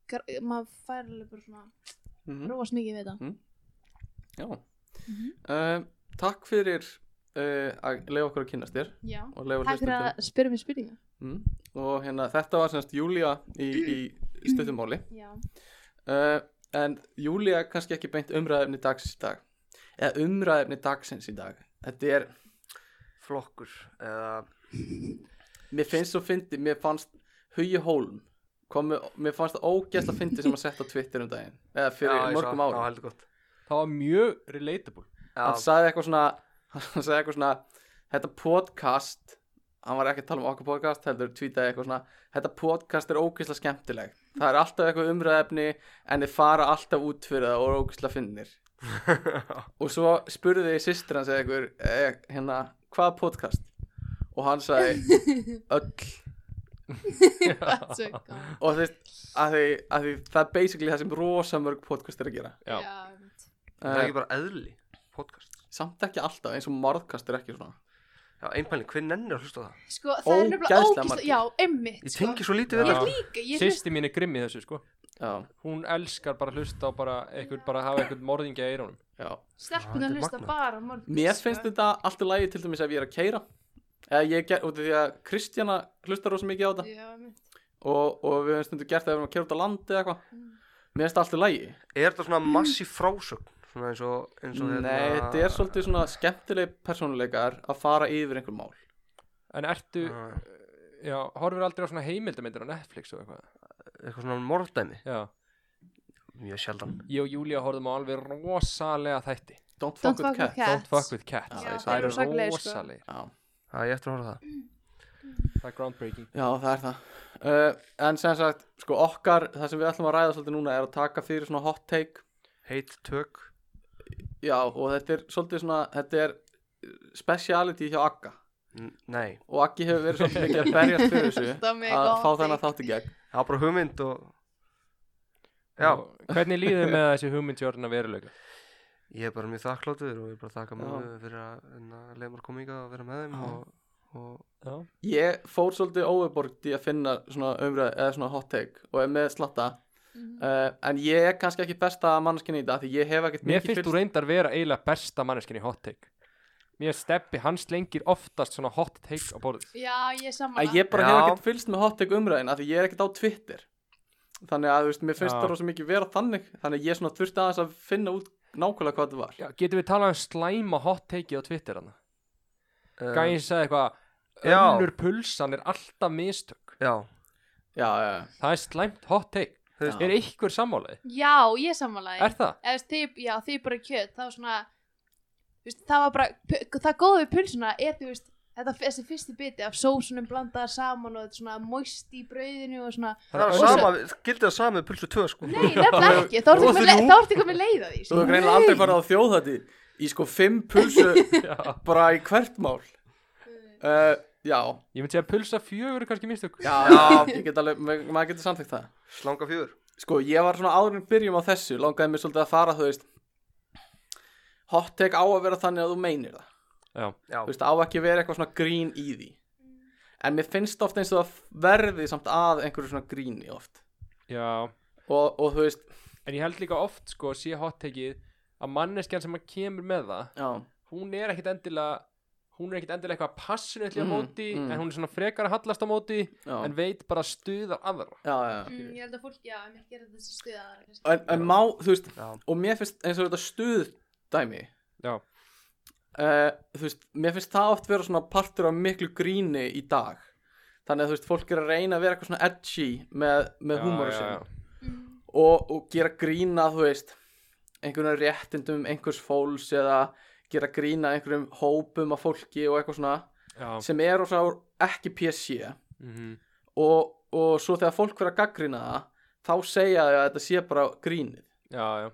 S4: gr- maður fær alveg bara svona
S2: Mhm.
S4: róast mikið við það
S2: Já.
S4: Mhm.
S2: Uh, takk fyrir uh, að leiða okkur að kynast þér
S4: já,
S2: og leiða
S4: takk fyrir að spyrja mér spurninga
S2: Mm. Og hérna, þetta var semst Júlia í, í stuttumáli
S4: já,
S2: uh, En Júlia er kannski ekki beint umræðefni dagsins í dag Eða umræðefni dagsins í dag Þetta er,
S5: flokkur eða
S2: mér finnst svo fyndi, mér fannst Hugi Hólm komu, Mér fannst það ógæst að fyndi sem að setja á Twitter um daginn Eða fyrir
S5: Já, ég sá,
S2: mörgum árum
S5: já, heldur gott
S1: Það var mjög relatable
S2: Hann
S5: já,
S2: sagði eitthvað svona Hann sagði eitthvað svona Þetta podcast Hann var ekki að tala um okkur podcast Heldur tweetaði eitthvað svona Þetta podcast er ógeðslega skemmtileg Það er alltaf eitthvað umræðefni En þið fara alltaf út fyrir það og eru ógeðslega finnir Og svo spurði ég sýstir hans eða eitthvað eh, Hérna, hvaða podcast? Og hann sagði öll
S4: that's so cool
S2: Og þú veist að því, að því, það er basically það sem rosa mörg podcast er að gera
S1: Já.
S4: já, einmitt.
S5: það er
S2: uh,
S5: ekki bara eðli podcast
S2: Samt ekki alltaf eins og morðkast er ekki svona
S5: já, einpæling, hver nennir að hlusta á það
S4: sko, það er
S2: Ógeðslega
S4: nefnilega ógist
S2: margir.
S4: já, einmitt
S5: ég
S4: sko.
S5: tengi svo
S1: Já.
S5: lítið við
S4: ég
S5: þetta
S4: líka, ég hlust
S1: Sýsti mín er grimm í þessu sko
S2: Já,
S1: Hún elskar bara að hlusta á bara eitthvað bara að hafa eitthvað morðingja í eirónum
S2: já
S4: stelpun
S5: Þetta
S4: að
S5: er
S4: hlusta
S5: magnað.
S4: bara á morgun sko.
S2: Mér finnst þetta allt í lagi til dæmis ef ég er að keira eða ég ger, út af því að Kristjana hlustar rosa mikið á þetta
S4: já, einmitt
S2: og, og við höfum stundum gert það ef við erum að keira út á landi eða eitthvað
S4: Mm.
S2: Mér finnst það allt í lagi
S5: er þetta svona massi frásögn svona eins og, eins og hérna-
S2: Nei, þetta er svolítið svona skemmtileg persónuleikar að fara yfir einhver mál
S1: En ertu,
S5: Ah,
S1: já, horfir aldrei á svona heimildamindir á Netflix og eitthvað
S5: eitthvað svona morðdæmi
S1: Já,
S5: mjög sjaldan
S1: ég og Júlía horfum á alveg rosalega þætti
S2: Don't
S4: Don't
S2: fuck with cats
S1: Don't fuck with cats
S4: Já,
S1: Það
S4: þeir
S1: eru
S4: eru rosalegir, sko.
S1: rosalegir
S2: Já,
S5: það er ég eftir að horfa á það
S1: Það er groundbreaking
S2: já, það er það uh, En sem sagt, sko okkar það sem við ætlum að ræða svolítið núna er að taka fyrir svona hot take
S5: heit tök
S2: Já, og þetta er svolítið svona þetta er eh, speciality hjá Agga
S5: N- nei
S2: og Aggi hefur verið svolítið mikið að berjast fyrir þessu
S4: Alltaf með
S2: að
S4: góðan
S2: fá þennan
S4: take.
S2: þátt í gegn
S5: það var bara hugmynd og já
S1: Og Hvernig líður þér með að þessi hugmyndjörn að veruleika?
S5: ég er bara mjög þakkláttur og ég er bara þakka
S2: Já.
S5: mjög fyrir að hérna, leiða mér að koma hingað og vera með þeim
S2: Já.
S5: og, og
S1: Já,
S2: Ég fór svolítið óverborgt í að finna svona umræð eða svona hot take og er með slatta
S4: Mhm.
S2: uh, en ég er kannski ekki besta mannskinni í þetta því ég hef ekkert
S1: Mér finnst þú reyndar vera eiginlega besta manneskin í hot take Mér steppi, hann slengir oftast svona hot take á borðið
S4: já, ég
S2: að
S4: saman
S2: ég bara
S5: Já.
S2: hef ekkert fylst með hot take umræðin af því ég er ekkert á Twitter þannig að þú veist, mér finnst
S1: Já.
S2: það rosa mikið vera þannig þannig að ég svona þurfti aðeins að finna út nákvæmlega hvað þetta var
S1: Já, getum við talað um slæma hot take á Twitter hann?
S2: Eh,
S5: uh,
S1: Gæin sagði eitthvað
S5: Já.
S1: Önnur pulsan er alltaf mistök
S5: já
S2: Já, já, já.
S1: Það er slæmt hot take
S5: Þú
S2: veist-
S1: Er einhver sammálaði?
S4: já, ég samanlega
S1: Er það?
S4: eða þú veist, þið, já, þið bara kjöt þá svona, þú veist, það var bara pu- það góða við pulsuna er, þú veist þetta, þessi fyrsti biti af sósunum blandaðar saman og þetta svona moist í brauðinu og svona,
S5: það er
S4: Og svo-
S5: sama gildi það sama með pulsu 2 sko
S4: nei, nefnilega ekki þá ertu
S5: Og þrjú.
S4: komin þá ertu komin leið að því
S2: Þú
S4: sko.
S2: hefur greinlega aldrei farið á þjóðhætti í sko fimm pulsu bara í hvert mál uh, Já,
S1: Ég myndi segja að pulsa fjögur er kannski mistök
S2: já,
S5: Já.
S2: ég get alveg, ma- maður getur samþygt það
S5: slanga fjör
S2: Sko, ég var svona áður en byrjum á þessu langaði mér svolítið að fara, þú veist hot take á að vera þannig að þú meinir það
S1: Já,
S5: já
S2: þú veist, á ekki að vera eitthvað svona grín í því en mér finnst oft eins og það verði samt að einhverju svona gríni oft
S1: já
S2: og, og þú veist,
S1: En ég held líka oft sko sé hot takeið að manneskjan sem að kemur með það
S2: já,
S1: hún er ekkit endilega hún er ekkit endilega eitthvað passunutlega
S2: Mm,
S1: mm, móti
S2: mm.
S1: en hún er svona frekar að hallast á móti
S2: já,
S1: en veit bara að stuða aðra
S2: já, já.
S4: Mm, ég held að fólk, já, en ekki er þetta stuðaðar
S2: En, en má, þú veist,
S5: já
S2: og mér finnst eins og þetta stuðdæmi
S1: Já,
S2: uh, þú veist, mér finnst það oft vera svona partur af miklu gríni í dag þannig að þú veist, fólk er að reyna að vera eitthvað svona edgy með, með húmóru sinni
S4: Mm,
S2: og, og gera grína þú veist einhvern réttindum einhvers fólks eða gera grína einhverjum hópum af fólki og eitthvað svona
S1: já,
S2: sem er og ekki PC
S1: mm
S2: og, og svo þegar fólk verður að gaggrina það þá segja þau að þetta sé bara grínið
S1: já, já,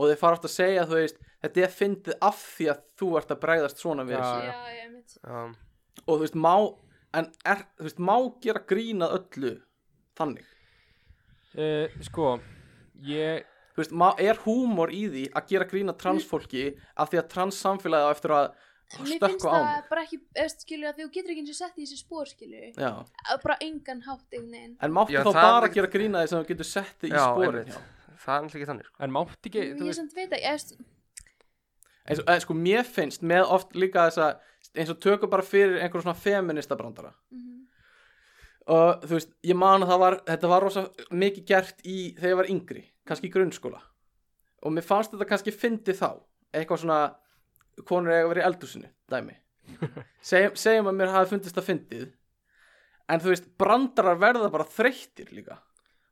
S2: og þeir fara oft að segja þú veist þetta er fyndið af því að þú ert að bregðast svona við
S1: Já,
S2: þessu
S4: já, ég mitt
S5: já
S2: og þú veist má en er, þú veist má gera grínað öllu þannig
S1: Uh, sko ég,
S2: þú veist, ma- er húmor í því að gera grín að transfólki af því að trans samfélagi á eftir að
S4: Mm. mér
S2: stökkva á
S4: finnst það
S2: mig.
S4: bara ekki, eða skilur að þú getur ekki eins og sett í þessi spór skilur
S2: já.
S4: bara engan hátt einhvern veginn
S2: En máttu
S5: Já,
S2: þá
S5: það er
S2: bara
S5: ekkert-
S2: gera grína því sem þú getur sett þig í
S5: Já,
S2: spórin
S5: einmitt. það er alltaf ekki þannig sko.
S1: En mátti ekki,
S4: Jú,
S1: þú
S4: Mm, ég
S1: veist
S4: samt veit að, ég,
S2: eins og, eða, sko, mér finnst með oft líka þess að eins og tökum bara fyrir einhver svona feminista brandara
S4: mm,
S2: og þú veist, ég man að það var þetta var rosa mikið gert í þegar ég var yngri, kannski í grunnskóla og mér fannst þetta kannski fyndi þá eitthvað svona konur eiga að vera í eldhúsinu, dæmi Seg, segjum að mér hafi fundist það fyndið en þú veist, brandarar verða bara þreyttir líka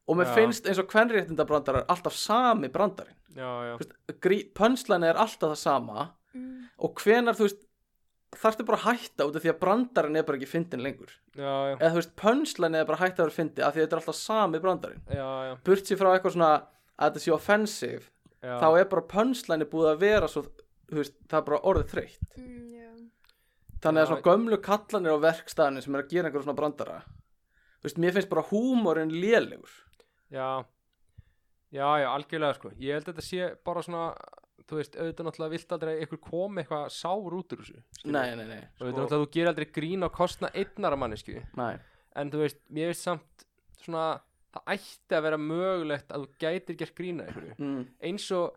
S2: og mér
S1: Já.
S2: finnst eins og kvenréttinda brandarar alltaf sami brandarinn
S1: Já, já,
S2: pönslan er alltaf það sama
S4: mm,
S2: og hvenar þú veist þarftu bara að hætta út af því að brandarinn er bara ekki fyndin lengur
S1: já, já,
S2: eða þú veist pönslan er bara að hætta að vera fyndi af því þetta er alltaf sami brandarinn
S1: já, já,
S2: burt sér frá eitthvað svona að þetta sé offensive
S1: já.
S2: þá er bara pönslan er búið að vera svo þú veist það er bara orðið þreytt
S4: mm, já.
S2: þannig að
S1: Já.
S2: svona gömlu kallanir á verkstæðinu sem er að gera einhverjum svona brandara þú veist mér finnst bara húmorinn lélegur
S1: Já, já, já, algjörlega sko Ég held að þetta sé bara svona Þú veist, auðvitað náttúrulega vilt aldrei ykkur kom eitthvað sár út úr þessu skilur.
S2: nei sko. nei nei
S1: Og auðvitað náttúrulega þú gerir aldrei grín á kostna einnara mannesku
S2: nei
S1: En þú veist, mér veist samt svona Það ætti að vera mögulegt að þú gætir gert grína ykkur
S2: mm,
S1: Eins og,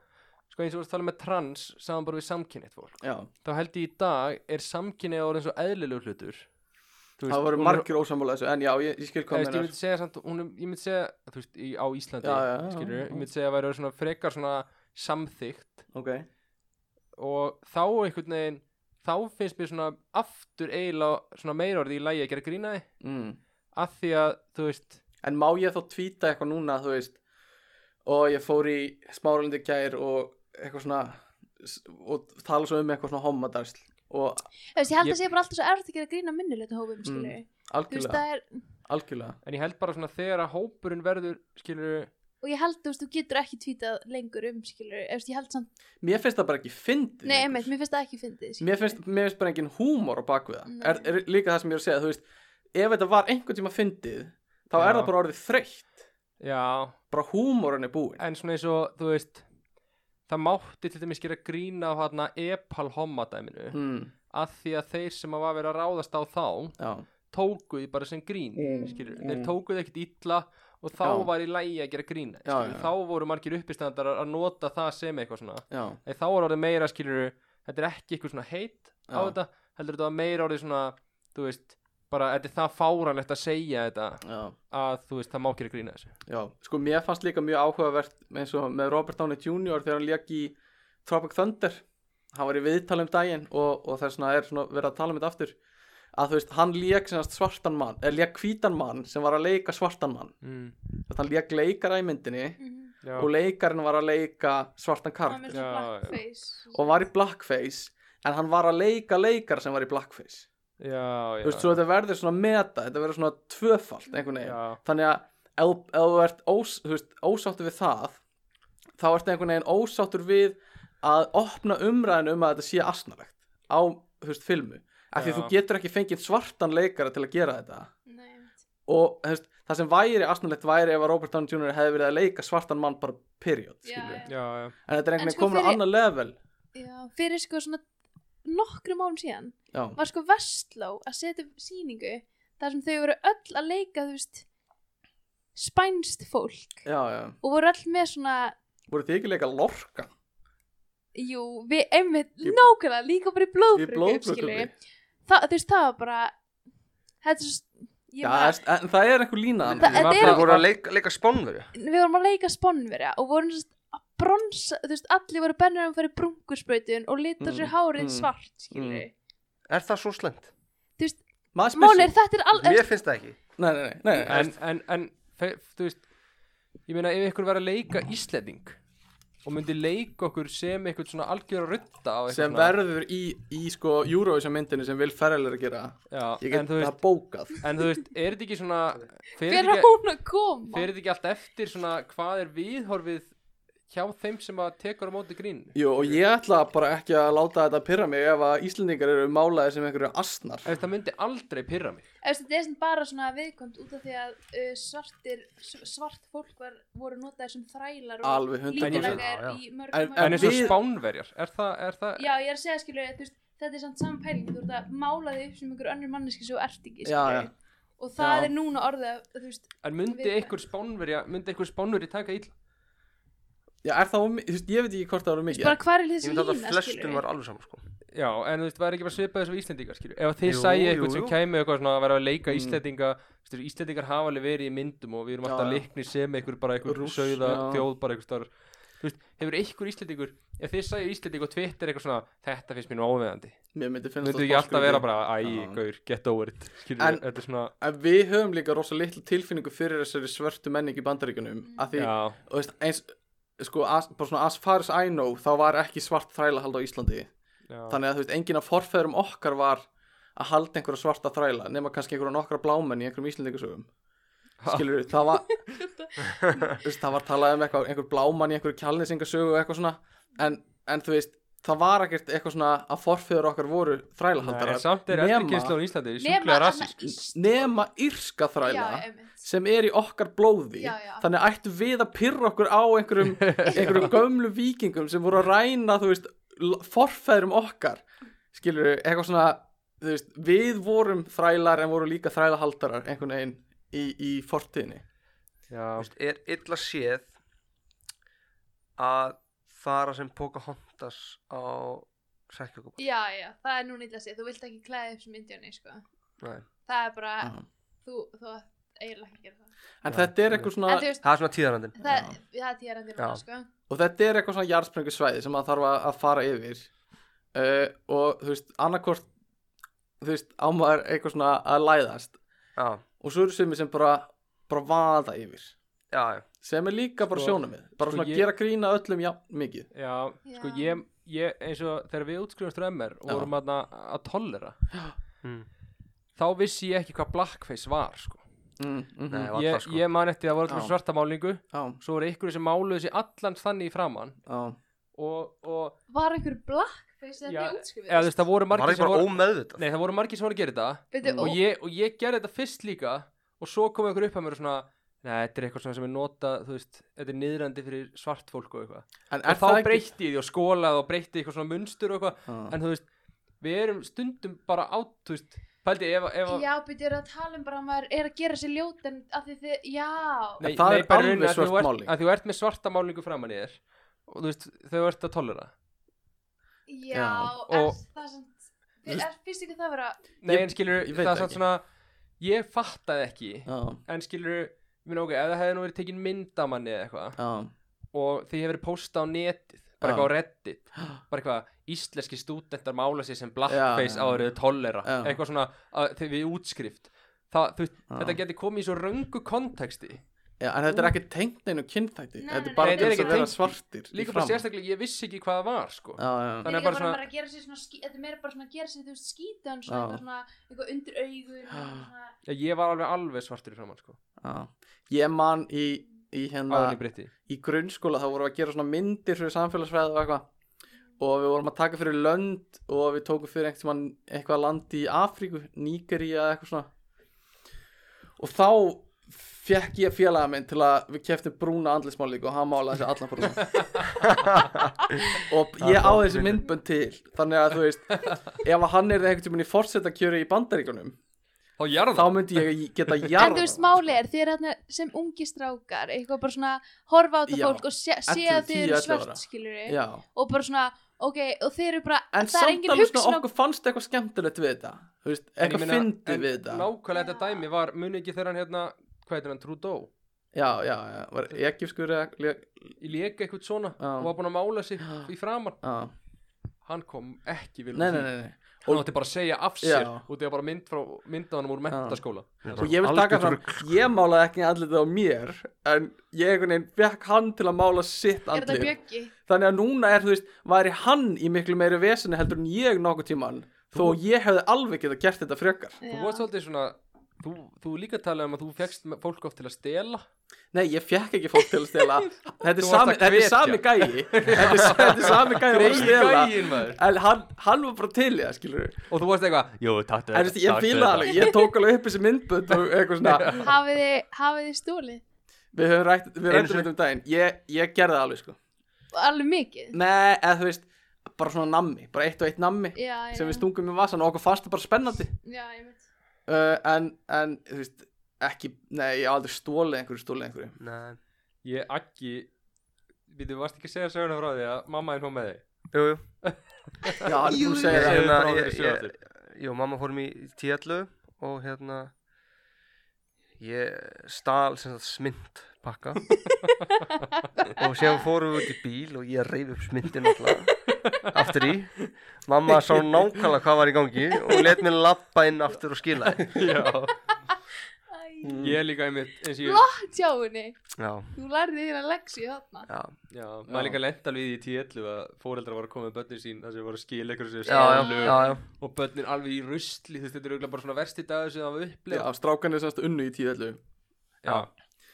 S1: sko eins og voru að tala með trans Saman bara við samkynnið fólk
S2: já
S1: Þá held ég í dag er samkynnið orðin svo eðlilegur hlutur Þú veist,
S2: það voru
S1: hún er-
S2: margir ósammála þessu en já ég, ég skil
S1: Eða,
S2: hvað
S1: veist, ég
S2: mér
S1: myndi segja samt, hún, er- ég myndi segja þú veist, í, á Íslandi
S2: Já, já, já,
S1: skilurðu,
S2: já.
S1: ég myndi segja að væri svona frekar svona samþygt
S2: ok
S1: og þá einhvern veginn þá finnst mér svona aftur eiginlega svona meira orðið í lægi að gera grínaði
S2: mm.
S1: af því að þú veist
S2: En má ég þá tvíta eitthvað núna, þú veist og ég fór í smáralindi gær og eitthvað svona s- og tala svo um eitthvað svona homadarsl og
S4: Þú veist, ég held
S1: Ég-
S4: að sé bara alltaf svo erfitt að gera grína minnilegta hópum, skilur þú veist,
S2: algjörlega,
S4: það er,
S2: algjörlega
S1: en ég held bara svona þegar að hópurinn verður skilur
S4: og ég held, þú veist, þú getur ekki tvítað lengur um, skilur, þú veist, ég held samt
S2: Mér finnst það bara ekki fyndið
S4: nei,
S2: lengur.
S4: einmitt, mér finnst það ekki fyndið skilurðu.
S2: mér, finnst, mér finnst bara engin húmor á bakvið það
S4: Nei.
S2: er, er líka það sem ég er að segja, þú veist ef þetta var einhvern tíma fyndið þá
S1: Já.
S2: er það bara orðið þreytt
S1: já,
S2: bara húmorinn er búinn
S1: en svona eins og þú veist það mátti til dæmis gera grína á hana epal homadæminu
S2: mm,
S1: af því að þeir sem að var verið að ráðast á þá
S2: Já,
S1: tóku því bara sem grín
S2: Mm,
S1: skilur,
S2: mm.
S1: þeir tóku því ekkert illa og þá
S2: Já.
S1: var í lægi að gera grín
S2: Já,
S1: skilur,
S2: já, já.
S1: þá voru margir uppistandar að nota það sem eitthvað svona
S2: já,
S1: Þegar þá var orðið meira skilur þetta er ekki eitthvað svona heit á
S2: Já.
S1: þetta heldur þetta var meira orðið svona þú veist, bara þetta er það fáranlegt að segja þetta
S2: já
S1: að þú veist, það má gera grína þessu
S2: Já, sko mér fannst líka mjög áhugavert eins og með Robert Downey Jr. þegar hann lék í Tropic Thunder hann var í viðtali um daginn og, og þess vegna er svona verið að tala um þetta aftur að þú veist, hann lék sem sagt svartan mann eða lék hvítan mann sem var að leika svartan mann
S1: mm.
S2: þannig að hann lék leikara í myndinni
S4: Mhm.
S1: já,
S2: og leikarinn var að leika svartan
S4: það er
S2: kart
S4: mér
S1: Já,
S4: svo
S1: já.
S4: blackface
S2: og var í blackface en hann var að leika leikara sem var í blackface
S1: já, já,
S2: þú veist, svo þetta verður svona meta þetta verður svona tvöfalt einhvern veginn
S1: já,
S2: þannig að ef, ef þú ert ós, þú veist, ósáttur við það þá ert einhvern veginn ósáttur við að opna umræðinu um að þetta sé asnalegt á þú veist, filmu af því
S1: Já.
S2: þú getur ekki fengið svartan leikara til að gera þetta
S4: Nei, einmitt.
S2: og þú veist, það sem væri asnalegt væri ef að Robert Downey Jr. hefði verið að leika svartan mann bara period
S4: Já,
S2: skilurðu.
S4: já.
S1: já, já.
S2: en þetta er
S4: En
S2: einhvern veginn
S4: sko
S2: komin á
S4: fyrir-
S2: annar level
S4: Já, fyrir sko svona nokkrum án síðan
S2: já,
S4: var sko Vestló að setja upp sýningu þar sem þau voru öll að leika, þú veist spænst fólk
S2: já, já,
S4: og voru öll með svona
S2: voru þið ekki að leika lorka
S4: Jú, við einmitt,
S2: Í-
S4: nákvæmlega, líka bara í
S2: í
S4: blóðbrökum, skilju.
S2: blóðblökkunni
S4: Það, þú veist, það var bara, þetta er svo, ég
S2: Já,
S4: bara,
S2: en það er einhver lína
S4: Þa- þetta
S5: Þeir
S4: er,
S5: voru að leika, leika spónverju
S4: við vorum að leika sponnverja og vorum svo að bronsa, þú veist, allir voru bennir um að fara í brungurspröytun og lita
S2: Mm,
S4: sér hárið
S2: mm,
S4: svart, skilju.
S2: mm.
S5: Er það svo slemt?
S2: Maður spyr
S4: Mál er,
S2: sig-
S4: þetta er alveg,
S5: Mér finnst það ekki
S2: Nei, nei, nei, nei,
S1: en, en, en fe- þú veist ég meina ef ykkur verið að leika Íslanding og myndi leika okkur sem eitthvað svona algjör að rutta á eitthvað
S2: sem
S1: svona-
S2: verður í, í sko Eurovision myndinni sem Will Ferrell er að gera
S1: Já,
S2: ég get
S1: en þú veist,
S2: það bókað
S1: en þú veist, er þetta ekki svona fer
S4: hver
S1: þetta
S4: er
S1: ekki,
S4: hún að koma?
S1: fer þetta ekki allt eftir svona hvað er viðhorfið hjá þeim sem að tekur á móti grín
S2: Jú, og ég ætla bara ekki að láta þetta pyrra mig ef að Íslendingar eru málaðir sem einhverju asnar
S1: ef það myndi aldrei pyrra mig
S4: Þú veist, þetta er sem bara svona viðkvæmt út af því að uh, svartir, s- svart fólk var, voru notaðir sem þrælar og
S2: Alveg 100%.
S4: lítilægar
S5: Já, já.
S4: í mörgum
S2: En-
S4: mörgum.
S1: en eins og
S2: við-
S1: spánverjar, er það, er það
S4: Já, ég er að segja, skilur, þú veist, þetta er samt saman pæling þú ert að mála þig upp sem einhver önnur manneski sem þú ert
S2: Já,
S4: ekki
S2: já.
S4: skilurðu. og það
S2: Já.
S4: er núna orðið að, þú veist,
S1: En myndi
S4: Við-
S1: einhver spánverja, myndi einhver spánverja taka illa?
S2: Já, er það, of mi- þú veist, ég veit ekki hvort það eru mikið
S4: bara hvað er
S5: Ég
S4: þessi
S5: myndi að
S4: lína
S5: flestum
S4: skilur
S5: var alveg saman sko
S1: Já, en þú veist, væri ekki bara svipað þessu Íslendingar, skilju Ef að þið
S5: Jú,
S1: sæi
S5: jú,
S1: eitthvað sem
S5: jú.
S1: kæmi eitthvað svona að vera að leika
S2: Mm.
S1: Íslendinga þú veist, Íslendingar hafa alveg verið í myndum og við erum
S2: Já,
S1: alltaf
S2: já.
S1: leikni sem einhver bara einhver
S2: Rúss,
S1: sögða
S2: já.
S1: þjóð bara einhver starf Þú veist, hefur einhver Íslendingur Ef þið sæi Íslending og Twitter eitthvað svona Þetta finnst mér nú óveðandi
S2: Mér myndi finnst
S1: Myndu
S2: það
S1: ekki alltaf vera
S2: skrítið.
S1: bara, æ,
S2: Já.
S1: gaur, get over it Skilju,
S2: En-
S1: þetta er svona
S2: En við höfum líka rosa litlu tilfinningu fyrir þessari svörtu menning í bandaríkunum mm. Því,
S1: Já,
S2: og veist, eins, sko, as, bara svona as far as I know Þá var ekki svart þræla hald á Íslandi
S1: já,
S2: Þannig að þú veist, enginn af forfeðurum okkar var að halda einhverja svarta þræla Nema kannski einhverja nokkra blámenn í einhverjum íslendingasögum
S1: Ha.
S2: Skilur við, það var þú veist, Það var talað um eitthvað, einhver blámann í einhverju kjalnesingasögu og eitthvað svona en, en þú veist, það var ekkert eitthvað svona að forfeður okkar voru
S1: Nei, en
S2: þrælahaldarar
S1: samt er eldri
S2: nema-
S1: kynslu á Íslandi
S4: nema
S1: sjúklega
S4: annað
S1: rasist
S4: ís-
S2: Nema írska
S4: Já,
S2: þræla
S4: einmitt.
S2: sem er í okkar blóði
S4: Já, já.
S2: þannig ættu við að pyrra okkur á einhverjum, einhverjum gömlu vikingum sem voru að ræna þú veist, l- forfeðrum okkar skilur við, eitthvað svona þú veist, við vorum þrælar en voru líka þrælahaldarar einhvern veginn í, í fortíðinni
S1: Já,
S5: Þú veist, Er illa séð að fara sem Pocahontas á sækjökubar
S4: já, já, það er núna illa að segja þú vilt ekki klæða upp sem indjóni sko.
S1: Nei.
S4: það er bara,
S2: Já.
S4: þú, þú átt eiginlega ekki að gera það
S2: en
S1: Já,
S2: þetta er eitthvað svona
S4: en þú veist,
S5: Það er svona tíðarandinn
S4: það, það er tíðarandi núna
S5: Já.
S4: sko.
S2: og þetta er eitthvað svona jarðsprengjusvæði sem maður þarf að, að fara yfir uh, og þú veist, annarkort þú veist, á maður eitthvað svona að læðast
S5: Já,
S2: og svo eru sumi sem bara, bara vaða yfir
S5: já, já
S2: sem er líka bara
S1: Sko-
S2: sjónamið bara
S1: sko
S2: svona
S1: ég-
S2: gera grína öllum já, mikið
S1: Já, sko
S4: Já.
S1: ég, ég eins og þegar við útskrifumst frá MR og
S2: Já.
S1: vorum að, að tollera
S5: Mm.
S1: þá vissi ég ekki hvað blackface var sko.
S2: mm, mm
S5: Nei, varla,
S1: ég,
S5: sko.
S1: ég man eftir að það voru
S2: Já.
S1: eitthvað svarta málingu
S2: já,
S1: svo voru ykkur sem máluðu sér allan þannig í framann
S2: já,
S1: og, og
S4: var einhver blackface
S1: Já,
S4: þetta er útskrifið
S1: eða, þú veist, það voru
S5: Var
S1: margir
S5: ekki
S1: sem
S5: bara
S1: voru
S5: ómeðvitað
S1: nei, það voru margir sem voru að gera þetta
S4: Beidu,
S2: Mm.
S4: ó,
S1: og ég, og ég gerði þetta fyrst líka og svo kom einhver upp að mér og svona Nei, þetta er eitthvað svona sem er nota, þú veist, þetta er niðrandi fyrir svart fólk og eitthvað.
S2: en
S1: Og
S2: er
S1: þá
S2: það ekki
S1: breytti ég því og skólaði og breytti eitthvað svona munstur og eitthvað
S2: já,
S1: en þú veist, við erum stundum bara át, þú veist, pældi ef, ef
S4: já, byrju, er að tala um bara að maður er að gera sér ljót en að því þið, já
S2: En það er
S1: bara
S2: alveg
S1: raunin að þú
S2: svört
S1: ert-
S2: máling.
S1: að þú ert með svarta málingu framan í þér og þú veist, þau ert að tollera
S4: já,
S2: Já,
S1: og-
S4: er það samt
S2: Þú veist-
S4: er fyrst ekki það vera
S1: nei,
S2: Ég-
S1: en skilur,
S2: ég veit
S1: það er
S2: það
S1: satt
S2: ekki.
S1: svona ég fattaði ekki,
S2: já,
S1: en skilur minn ok, ef það hefði nú verið tekin mynd af manni eða eitthvað
S2: já,
S1: og því hefur verið postað á netið bara
S2: Já.
S1: eitthvað á reddit bara eitthvað, íslenski stúdentar mála sér sem blackface
S2: Já.
S1: árið tollera
S2: Já.
S1: eitthvað svona, að, þegar við útskrift það, þú, veist,
S2: Já.
S1: þetta geti komið í svo röngu konteksti
S2: já, en þetta er ekki tengt neinu kynþætti
S4: Nei, nei,
S2: þetta
S4: nei.
S2: er bara
S1: Nei, þetta er
S2: til þess
S1: ekki
S2: að vera
S1: tengt-
S2: svartir
S1: líka bara sérstaklega, ég vissi ekki hvað það var sko.
S2: sérstaklega já, já,
S1: Þannig
S4: Þannig
S1: að
S4: bara,
S1: bara
S4: bara,
S1: svona-
S4: að gera sér svona, skí- þetta er meira bara svona að gera sér, þú veist, skítan
S2: Já.
S4: svona, eitthvað svona, eitthvað undir augun,
S2: Já.
S4: eitthvað svona,
S1: Já, ég var alveg alveg svartur í framann sko.
S2: já. ég man í, í hérna
S1: áðurinn í Britti
S2: í grunnskóla þá vorum við að gera svona myndir fyrir samfélagsfræði og eitthvað og við vorum að taka fyrir lönd og við tókum fyrir einhvern tímann eitthvað land í Afríku, Nígeríu eða eitthvað svona og þá fekk ég félaga minn til að við keftum brúna andlismálík og hann málaði sér allan brúna og
S5: Það er
S2: ég á
S5: flott
S2: þessi
S5: vinur.
S2: myndbönd til þannig að þú veist ef að hann er einhvern tímann í forsetakjöri í bandaríkunum
S1: Þá jarða
S2: þá myndi ég geta jarða
S4: En þú veist, máli er, þið er hérna sem ungi strákar, eitthvað bara svona, horfa á þetta
S2: Já.
S4: fólk og sé, sé
S2: 11,
S4: að þið
S2: 10,
S4: eru
S2: 11 ára.
S4: svört, skilur
S2: já
S4: og bara svona, ok, og þið eru bara,
S2: en
S4: það er
S2: samt
S4: engin
S2: alveg svona
S4: hugsun á,
S2: okkur fannst eitthvað skemmtilegt við þetta þú veist, eitthvað fyndið við þetta
S1: Nákvæmlega þetta
S4: Já.
S1: dæmi var muni ekki þegar hann hérna hvað heitir hann, Trudeau
S2: já, já, já, var egypskur eða lé-
S1: í leka eitthvað svona
S2: Já.
S1: og var búin að mála sig
S2: Já.
S1: í framann
S2: já,
S1: hann kom ekki vil
S2: nei, nei, nei, nei
S1: hann átti bara að segja af sér
S2: Já.
S1: og þetta var bara mynd frá myndaðanum úr mentaskóla
S2: og ég vil taka fram, ég málaði ekki andlitið á mér en ég einhvern veginn fekk hann til að mála sitt
S4: er þetta
S2: andlið
S4: bjöggi?
S2: þannig að núna er, þú veist, væri hann í miklu meiri veseni heldur en ég nokkuð tíman þó ég hefði alveg getað gert þetta frekar
S1: þú varst svolítið svona þú, þú líka talaði um að þú fegst fólk oft til að stela
S2: nei, ég fekk ekki fólk til að stela þetta er
S1: Þú varst
S2: sami,
S1: að
S2: þetta er
S1: hvetja.
S2: sami gæi þetta er, þetta er sami gæi að fara að stela
S1: gæinn, maður.
S2: en hann, hann var bara til í það, skilur
S1: og þú varst eitthvað jú, takk
S2: En þú veist, ég fílaði alveg, ég tók alveg upp þessi myndbönd og eitthvað svona,
S4: Hafið þið, hafið þið stúlið?
S2: við höfum rætt, um við
S5: Einu
S2: rættum
S5: sinni.
S2: þetta um daginn, ég, ég gerði það alveg sko.
S4: Alveg mikið?
S2: Nei, eða þú veist, bara svona nammi, bara eitt og eitt nammi
S4: já, já,
S2: sem við stungum í vasan og okkur fannst það bara spennandi
S4: já, ég veit
S2: uh, en, en, þú veist, ekki nei, ég hef aldrei stólið einhverju, stólið einhverju
S5: Nei,
S1: Ég ekki Við þú varst ekki að segja söguna frá því að mamma þín kom með þig
S5: jú, jú
S2: já, hann þú
S5: Jú, jú.
S2: segir
S5: Ég-
S2: það
S1: Segðu
S5: hérna,
S1: frá
S5: ég-
S1: þeirri sögu
S5: ég-
S1: aftur.
S5: Jú, mamma fórum í tíallu og hérna ég stal sem sagt smynd pakka og séðan fórum við út í bíl og ég reyf upp smyndin alltaf aftur í mamma sá nákvæmlega hvað var í gangi og let mér lappa inn aftur og skila þeim.
S4: Æ,
S1: Ég er líka einmitt eins og ég
S4: Tjá henni,
S5: já,
S4: þú lærði þín að leggsi þarna
S5: já,
S1: Já, maður líka lent alveg í því í 10 að fóreldrar voru að koma með börnin sín þar sem voru að skila ykkur sem
S5: já, já, já, já.
S1: og börnin alveg í rusli þú veist, þetta er auðvitað bara svona versti dagur sem það var
S2: já,
S1: upplega
S2: strákan er semst unnu í tíðallu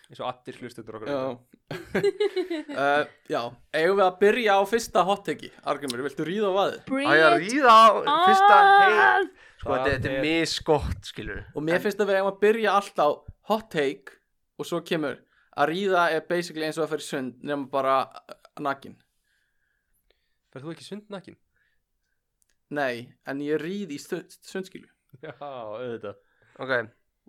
S1: eins og allir hlustendur okkur
S2: já uh, já, eigum við að byrja á fyrsta hotteki Argrimur, viltu ríða á vaði?
S5: Á ég að ríða á fyrsta
S1: Ah!
S5: heim
S4: on!
S5: sko, þetta þetta
S1: Það er-
S5: er misgott, skilur
S2: og mér finnst að við eigum að byrja alltaf hot take og svo kemur að ríða er basically eins og að fyrir sund nema bara uh, nakin
S1: Verð þú ekki sundnakin?
S2: nei, en ég ríð í stund, sundskilu
S1: Já, auðvitað
S5: ok,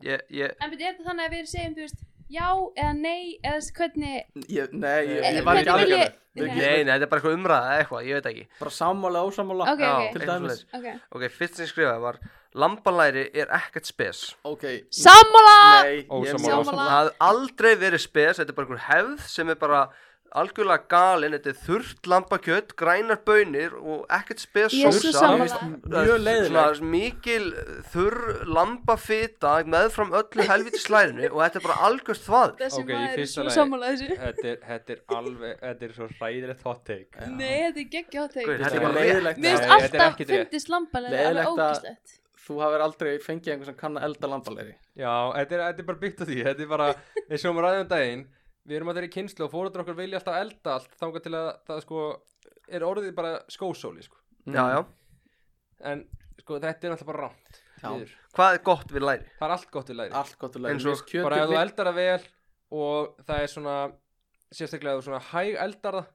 S5: ég, ég
S4: En betur þetta þannig að við segjum, þú veist, já eða nei eða s- hvernig
S2: ég, nei, ég,
S1: Nei,
S2: ég var
S1: hvernig
S2: ekki alveg
S4: vil ég-
S2: Við
S4: Nei.
S2: getum-
S5: nei, nei, þetta er bara eitthvað umræða eða eitthvað, ég veit ekki
S2: bara sammála og ósammála
S4: Ok,
S5: Já,
S4: ok.
S2: til
S5: eitthvað
S2: dæmis
S5: svoleiðis.
S4: Ok
S5: Ok, fyrst sem ég skrifaði var Lambalæri er ekkert spes
S2: ok,
S4: Sammála!
S2: nei, ég er
S1: Ósammála.
S2: mjög
S4: Sammála.
S2: ósammála
S5: Það hafði aldrei verið spes, þetta er bara einhver hefð sem er bara algjörlega galin Þetta er þurrt lambakjött, grænar bönir og ekkert spes
S4: Ég er svo
S5: sósa.
S4: sammála.
S5: Það er
S2: mjög leiðilegt
S5: Svona mikil þurr lambafita meðfram öllu helviti slærinu og þetta er bara algjörst þvað
S4: Þessi
S1: Ok, í
S4: maður er
S1: fyrsta
S4: svo
S1: lagi-
S4: sammála þessu
S1: þetta, er- þetta er alveg, þetta er svo hræðilegt hot take
S4: Nei, þetta er geggja
S5: Guð,
S4: átæk
S5: þetta
S1: er
S5: er
S1: bara
S5: bara
S2: leiðilegt.
S4: Mér
S1: Nei,
S4: finnst
S1: þetta er
S4: alltaf
S1: ekkert rétt.
S4: fundist lambalæri alveg
S2: Leiðilegt að-
S4: ógislegt
S2: þú hafur aldrei fengið einhver sem kann að elda lambalegri
S1: Já, þetta er, þetta er bara byggt á því Þetta er bara, eins og um ræðum daginn Við erum að þeirri kynslu og fóruður okkur vilja alltaf elda allt þangað til að það sko er orðið bara skósóli sko.
S5: Já, já,
S1: en sko þetta er alltaf bara rámt
S2: Já.
S1: það
S5: hvað er gott við læri?
S1: er allt gott við læri
S2: allt gott að læri
S5: Eins og-
S1: bara ef þú
S2: eld
S1: eldar það vel og það er svona sérstaklega ef þú svona hæg eldar það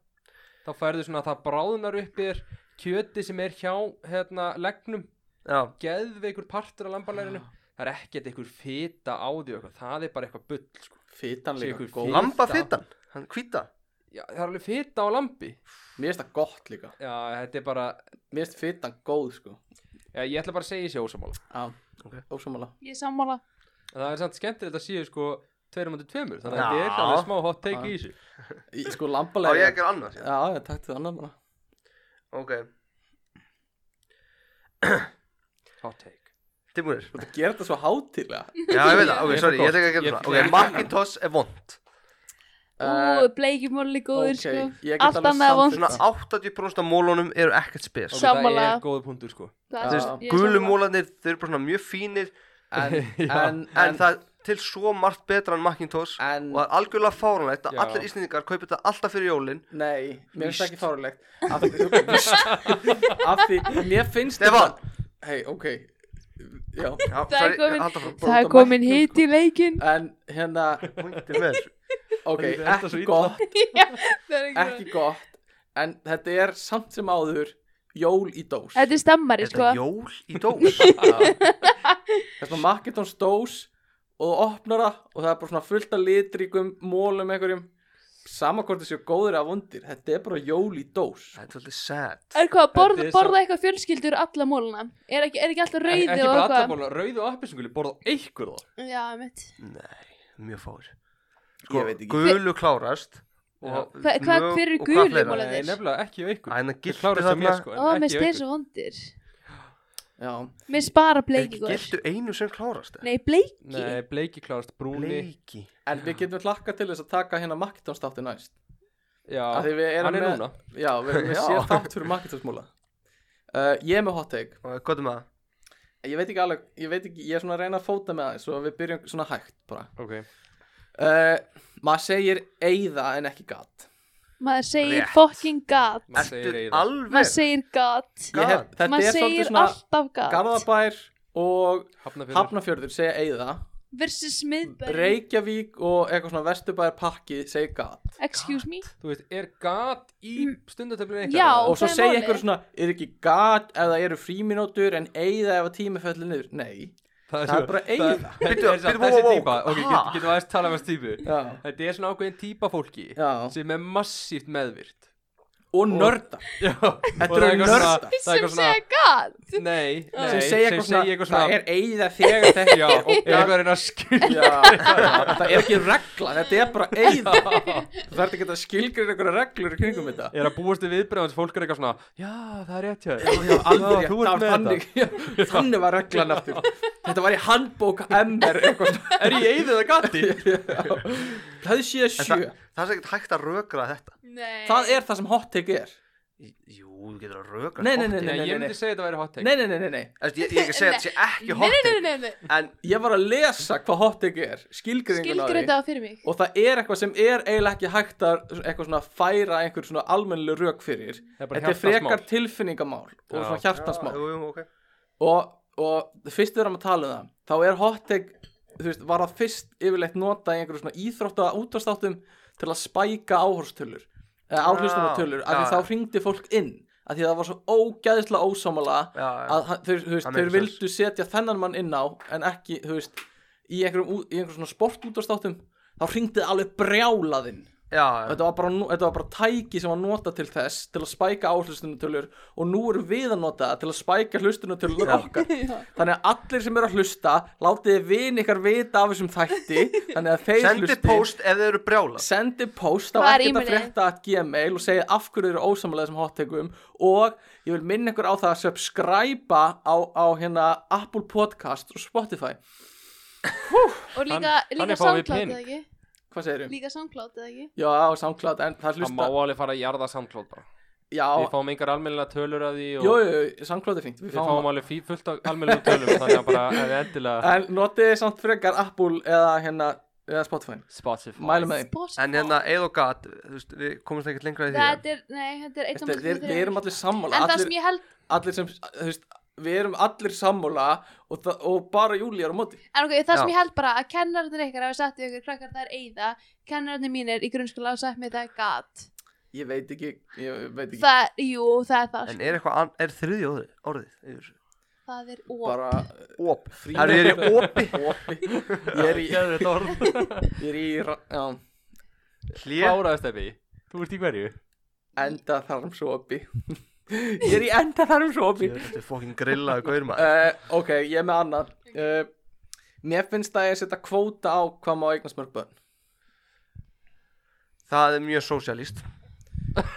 S1: þá færðu svona að það bráðnar upp yfir kjöti sem er hjá hérna leggnum
S5: Já,
S1: geðveikur partur af lambalærinu það er ekkert einhver fita á því og eitthvað. það er bara eitthvað bull sko.
S2: fitan
S1: Sé
S2: líka
S1: ykkur
S2: góð
S5: lambafitan, hann hvita
S1: Já, það er alveg fita á lambi
S2: mér finnst það gott líka
S1: Já, þetta er bara
S2: mér finnst fitan góð sko
S1: Já, ég ætla bara að segja þessi ósamála
S2: já,
S5: Ok.
S2: ósammála
S4: Ég er sammála
S1: það er samt skemmtilegt að séu sko 2.2 þannig að
S5: Já.
S1: þetta er alveg smá hot take í þessu
S2: Í- sko
S5: Á ég
S2: lambalegri
S5: ekki annars?
S2: já, já, takk til annan bara
S5: Ok,
S1: hot take
S5: tilbúinir
S2: Þú ert að gera þetta svo hátilega
S5: Já, ég veit það, ok,
S1: Ég er
S5: sorry,
S1: fyrir
S5: ég tek
S1: gott.
S5: ekki
S1: Ég
S5: eftir
S1: er
S5: það Ok, Macintosh er vond
S2: Eh,
S4: Ú, bleikimóli góður sko Allt annað vond
S5: Svona 80% af mólunum eru ekkert spes
S1: Ok,
S4: Sammála.
S1: Það er góð punktur sko
S4: Það
S2: Þú
S4: er-
S2: veist,
S4: ég er
S5: Gulu
S4: sammála.
S5: mólarnir, þeir eru bara svona mjög fínir
S2: En,
S1: Já.
S2: en,
S5: En, það er til svo margt betra en Macintosh
S2: En,
S5: Og það er algjörlega fárunlegt að
S1: Já.
S5: allir íslendingar kaupi þetta alltaf fyrir jólin
S2: nei, mér finnst það ekki
S5: Víst.
S2: fárulegt Af því, af því, mér finnst
S5: Stefán!
S2: Hei, ok Já,
S5: Já,
S4: Það er komin-
S5: halda frá
S2: út
S4: Það er
S2: af
S4: komin
S2: mæknum,
S4: hit í leikin
S2: en hérna
S5: Pointir með þessu
S2: Ok,
S1: Þetta er svo
S2: ekki
S1: illa.
S2: gott
S4: Það er ekki
S2: Ekki gott En þetta er samt sem áður Jól í dós
S4: Þetta er stemmari
S5: Er
S4: sko
S5: þetta jól í dós?
S2: Þess að Makedons dós Og þú opnar það Og það er bara svona fullt af litríkum Mólum einhverjum Sama hvort þessi góður að vondir Þetta er bara jól í dós
S5: Það er svolítið sad
S4: Er hvað, borða,
S1: Þetta er
S4: borða eitthvað fjölskyldur alla móluna? Er ekki, er ekki
S1: Ekki
S4: alltaf rauði og
S1: bara allar
S4: eitthvað?
S1: bóla, rauðu og appisunguli borða eitthvað það
S4: Já, mitt.
S5: Nei, mjög fáir
S2: Ég veit ekki.
S5: Gulu klárast og
S4: Hva- hvað-
S5: mjög-
S4: hver eru
S5: og hvað
S4: gulu
S5: fleira?
S4: mólarnir?
S1: Nei,
S4: Svoleiðis.
S1: nefnilega ekki á ykkur
S5: Æ, en það
S1: Þeir
S5: giltu
S1: klárast hjá mér,
S5: þarna-
S1: sko,
S4: Ó,
S1: en ekki
S4: mér
S1: á
S4: stið
S1: ykkur.
S4: svo vondir.
S2: Já,
S4: Mér spara
S5: Er
S4: bleiki
S5: ekki
S4: góður.
S5: giltu einu sem klárast eða?
S4: Nei, bleiki?
S1: Nei, bleiki klárast brúni
S5: Leiki
S2: en við getum hlakka til þess að taka hérna Makedons þáttu næst
S1: Já,
S2: Af því
S1: hann
S2: við
S1: er
S2: erum með-
S1: núna
S2: Já, við erum með
S5: Já.
S2: sér þátt fyrir marketersmóla uh, Ég er með hot take
S5: Og Hvað er maður?
S2: Ég veit ekki alveg, ég veit ekki, ég er svona að reyna að fóta með það Svo við byrjum svona hægt bara
S1: Ok,
S2: uh, Maður segir eyða en ekki gatt
S4: Maður segir
S5: Rétt.
S4: fucking gat.
S1: maður segir
S5: Ertu
S1: eiginlega
S5: alveg?
S4: Maður segir gat.
S2: Ég hef, Þetta
S4: Maður
S2: er svolítið
S4: segir
S2: svona
S4: alltaf gat.
S2: Garðabær og
S1: Hafnafjörður
S2: Hafnafjörður segja eyða
S4: versus miðbæri
S2: Reykjavík og eitthvað svona vesturbæðar pakki segi gat
S4: excuse me
S1: Þú veist, er gat í stundatöflinu
S4: Mm. Já.
S2: og svo
S4: það er
S2: segja
S4: málið.
S2: eitthvað svona er ekki gat ef það eru fríminútur en eigða ef að tími fellur niður nei,
S1: Það
S2: það er bara eigða
S1: Þetta
S5: Bíddu,
S1: er samt
S5: bíddu,
S1: þessi
S5: wow, wow.
S1: típa Ok,
S5: Ha?
S1: get- getum við aðeins tala um þessi típu
S2: Já.
S1: Þetta er svona ákveðin típa fólki
S2: Já.
S1: sem er massíft meðvirt
S2: og nörda
S1: Já,
S2: Þetta
S1: þetta
S2: eru nördar.
S1: Það er
S4: sem
S1: eitthvað svona
S4: segja
S1: Nei,
S4: gat
S1: nei
S2: sem segja eitthvað svona, það er eigða þegar þetta
S1: Já, eitthvað er að skilja
S2: Já, það er ekki regla, þetta er bara eigða þú þarf ekki að skilgreina einhverja reglur í kringum þetta
S1: Ég er að búast við viðbröðans, fólk er eitthvað svona Já, það er rétt hjá
S2: Já,
S1: þér
S2: já, alveg rétt,
S1: þú ert
S2: það var
S1: með
S2: þannig þannig var reglan aftur þetta var í handbók MR eitthvað svona.
S1: Er ég eigðið að gati?
S2: það sé
S5: En
S2: sjö
S5: það, það er ekkert hægt að rökra þetta
S4: Nei.
S2: það er það sem hot take er
S5: Jú, þú getur að rökra
S2: nei, nei, nei,
S1: Nei,
S2: nei,
S1: ég
S2: nei,
S1: myndi
S2: nei.
S1: segja þetta væri hot take
S2: nei, nei, nei, nei, nei.
S5: Ég, ég er ekki að segja þetta sé ekki
S4: nei,
S5: hot
S4: nei,
S5: take
S4: nei, nei, nei.
S5: En
S2: ég var að lesa hvað hot take er skilgreifinguna
S4: skilgreinda það fyrir mig
S2: og það er eitthvað sem er eiginlega ekki hægt að eitthvað svona færa einhver svona almennileg rök fyrir
S1: Það er bara
S2: þetta er
S1: hjartans
S2: frekar
S1: mál.
S2: tilfinningamál og
S1: Já.
S2: svona hjartansmál
S5: Jú, jú, ok
S2: og, og fyrst við erum að tala um það þá er hot take, þú veist, var það fyrst yfirleitt nota í einhverju svona íþrótta útastáttum til að spæka áhorstölur eða áhlustunartölur, af
S5: já,
S2: því
S5: já.
S2: þá hringdi fólk inn af því það var svo ógæðislega ósámála
S5: Já, já.
S2: að hann- þeir, þú veist,
S5: Það
S2: þeir
S5: makes sense.
S2: vildu setja þennan mann inn á en ekki, þú veist, í einhverjum, ú- í einhverjum svona sportútastáttum þá hringdið alveg brjálaðinn
S5: Já, já.
S2: Þetta var, bara, þetta var bara tæki sem var nota til þess til að spæka áhlustunatölur og nú erum við að nota það til að spæka hlustunatölur okkar. Þannig að allir sem eru að hlusta, látið þið vin ykkar vita af þessum þætti, þannig að þeir
S5: Sendi
S2: hlusti.
S5: post ef þið eru brjála
S2: Sendi post á
S4: Hvað
S2: ekkert
S4: er
S2: að
S4: e-mailið?
S2: frétta að gmail og segja af hverju þið eru ósamlega þessum hottegum og ég vil minna ykkur á það að subscriba á, á hérna Apple Podcast og Spotify.
S4: og
S1: Þann-
S4: líka, líka
S1: þannig fáum við
S4: samklátt
S1: pening.
S4: eða ekki
S2: Hvað segir þið?
S4: líka samklátt eða ekki
S2: Já, á SoundCloud, en það
S1: Það má
S2: hlusta.
S1: alveg fara að jarða samklót bara
S2: Já,
S1: Við fáum engar almennilega tölur að því og
S2: jú, jú, jú, SoundCloud er fínt.
S1: Við fáum alveg fí- fullt af almennilega tölum Þannig að bara ef við endilega
S2: En notiði samt frekar Apple eða hérna eða Spotify
S1: Spotify
S2: Mælum með því
S4: Spotify.
S5: En hérna, eða og gat, þú veist, við komumst ekkert lengra í því
S4: þetta er, nei, þetta er eitt á
S2: Þetta-
S4: móti
S2: Við við
S4: þremur.
S2: erum allir sammála
S4: en það sem
S2: allir,
S4: ég held
S2: allir sem, þú veist, Við erum allir sammála og, það- og bara Júli er á móti
S4: En ok, það sem
S5: Já.
S4: ég held bara að kennararnir ykkar hafa sagt í ykkur krakkar það er eigða, kennararnir mínir í grunnskóla hafa sagt mér það er gat.
S2: Ég veit ekki, ég veit ekki
S4: Það, jú, það er það. sko.
S5: En er eitthvað, an- er þriðja orðið, orðið yfir þessu?
S4: það er ó.
S2: Bara
S5: Op
S2: frí
S5: Það er í opi
S2: Opi. Ég er í,
S1: þetta orð
S2: ég er í ra- já,
S5: Hlið
S1: Kláraðist eppi Þú ert í hverju?
S2: enda þarm svo opi Ég er í enda þarm svo opi
S5: Þetta er fokkin grillaðu
S1: Eh.
S5: gaur maður
S2: uh, Ok, ég er með annað uh, Mér finnst að ég setja kvóta á hvað má eignast mörg börn
S5: Það er mjög sósialist
S2: uh,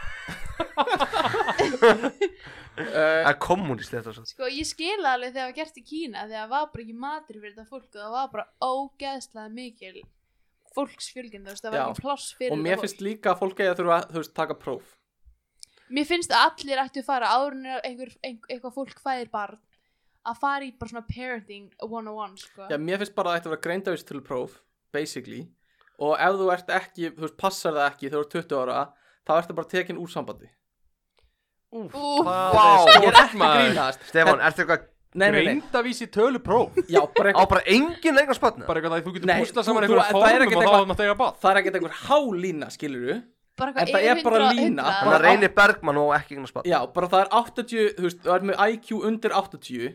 S2: Eh,
S5: Það er kommunist þetta svo
S4: Sko, ég skil það alveg þegar það var gert í Kína þegar það var bara ekki matur fyrir þetta fólk og það var bara ógeðslega mikil fólksfjölgin, þú veist, það var
S2: Já.
S4: ekki pláss fyrir
S2: Og mér
S4: þetta
S2: finnst líka að fólk eigi að þurfa að þú veist, taka próf
S4: fólk. Mér finnst að allir ættu að fara árun er einhver, einhver, eitthvað fólk fæðir barn að fara í bara svona parenting 101, sko.
S2: Já, mér finnst bara að þetta vera greindavísi til próf basically, og ef þú ert ekki þú veist, passar það ekki þegar þú ert 20 ára þá ertu bara tekin úr sambandi
S1: Úf,
S4: Úf.
S5: Vá.
S1: það
S2: Ég er
S1: er
S2: ekki að
S1: stort
S2: grínast
S5: Stefan, ertu eitthvað,
S2: Nei, nei, nei,
S1: Greindavísi tölupróf
S2: já, bara
S5: á
S2: eitthvað
S5: bara engin lengur spötna
S1: Bara eitthvað að þú getur
S2: Nei,
S1: púslað
S2: þú-
S1: saman
S2: þú-
S1: einhverja
S2: það er
S1: formum og
S2: ekkert
S1: þá
S2: eitthvað-
S1: að maður tegja bátt
S2: Það er ekkert einhver hálína, skilur þú
S4: Bara
S2: En
S4: eitthvað
S2: það er
S4: yfir
S2: bara
S4: 100,
S2: lína.
S4: 100.
S5: Þannig að reyni Bergmann má ekki eignast barn
S2: Já, bara það er 80, þú veist, þú ert með IQ undir 80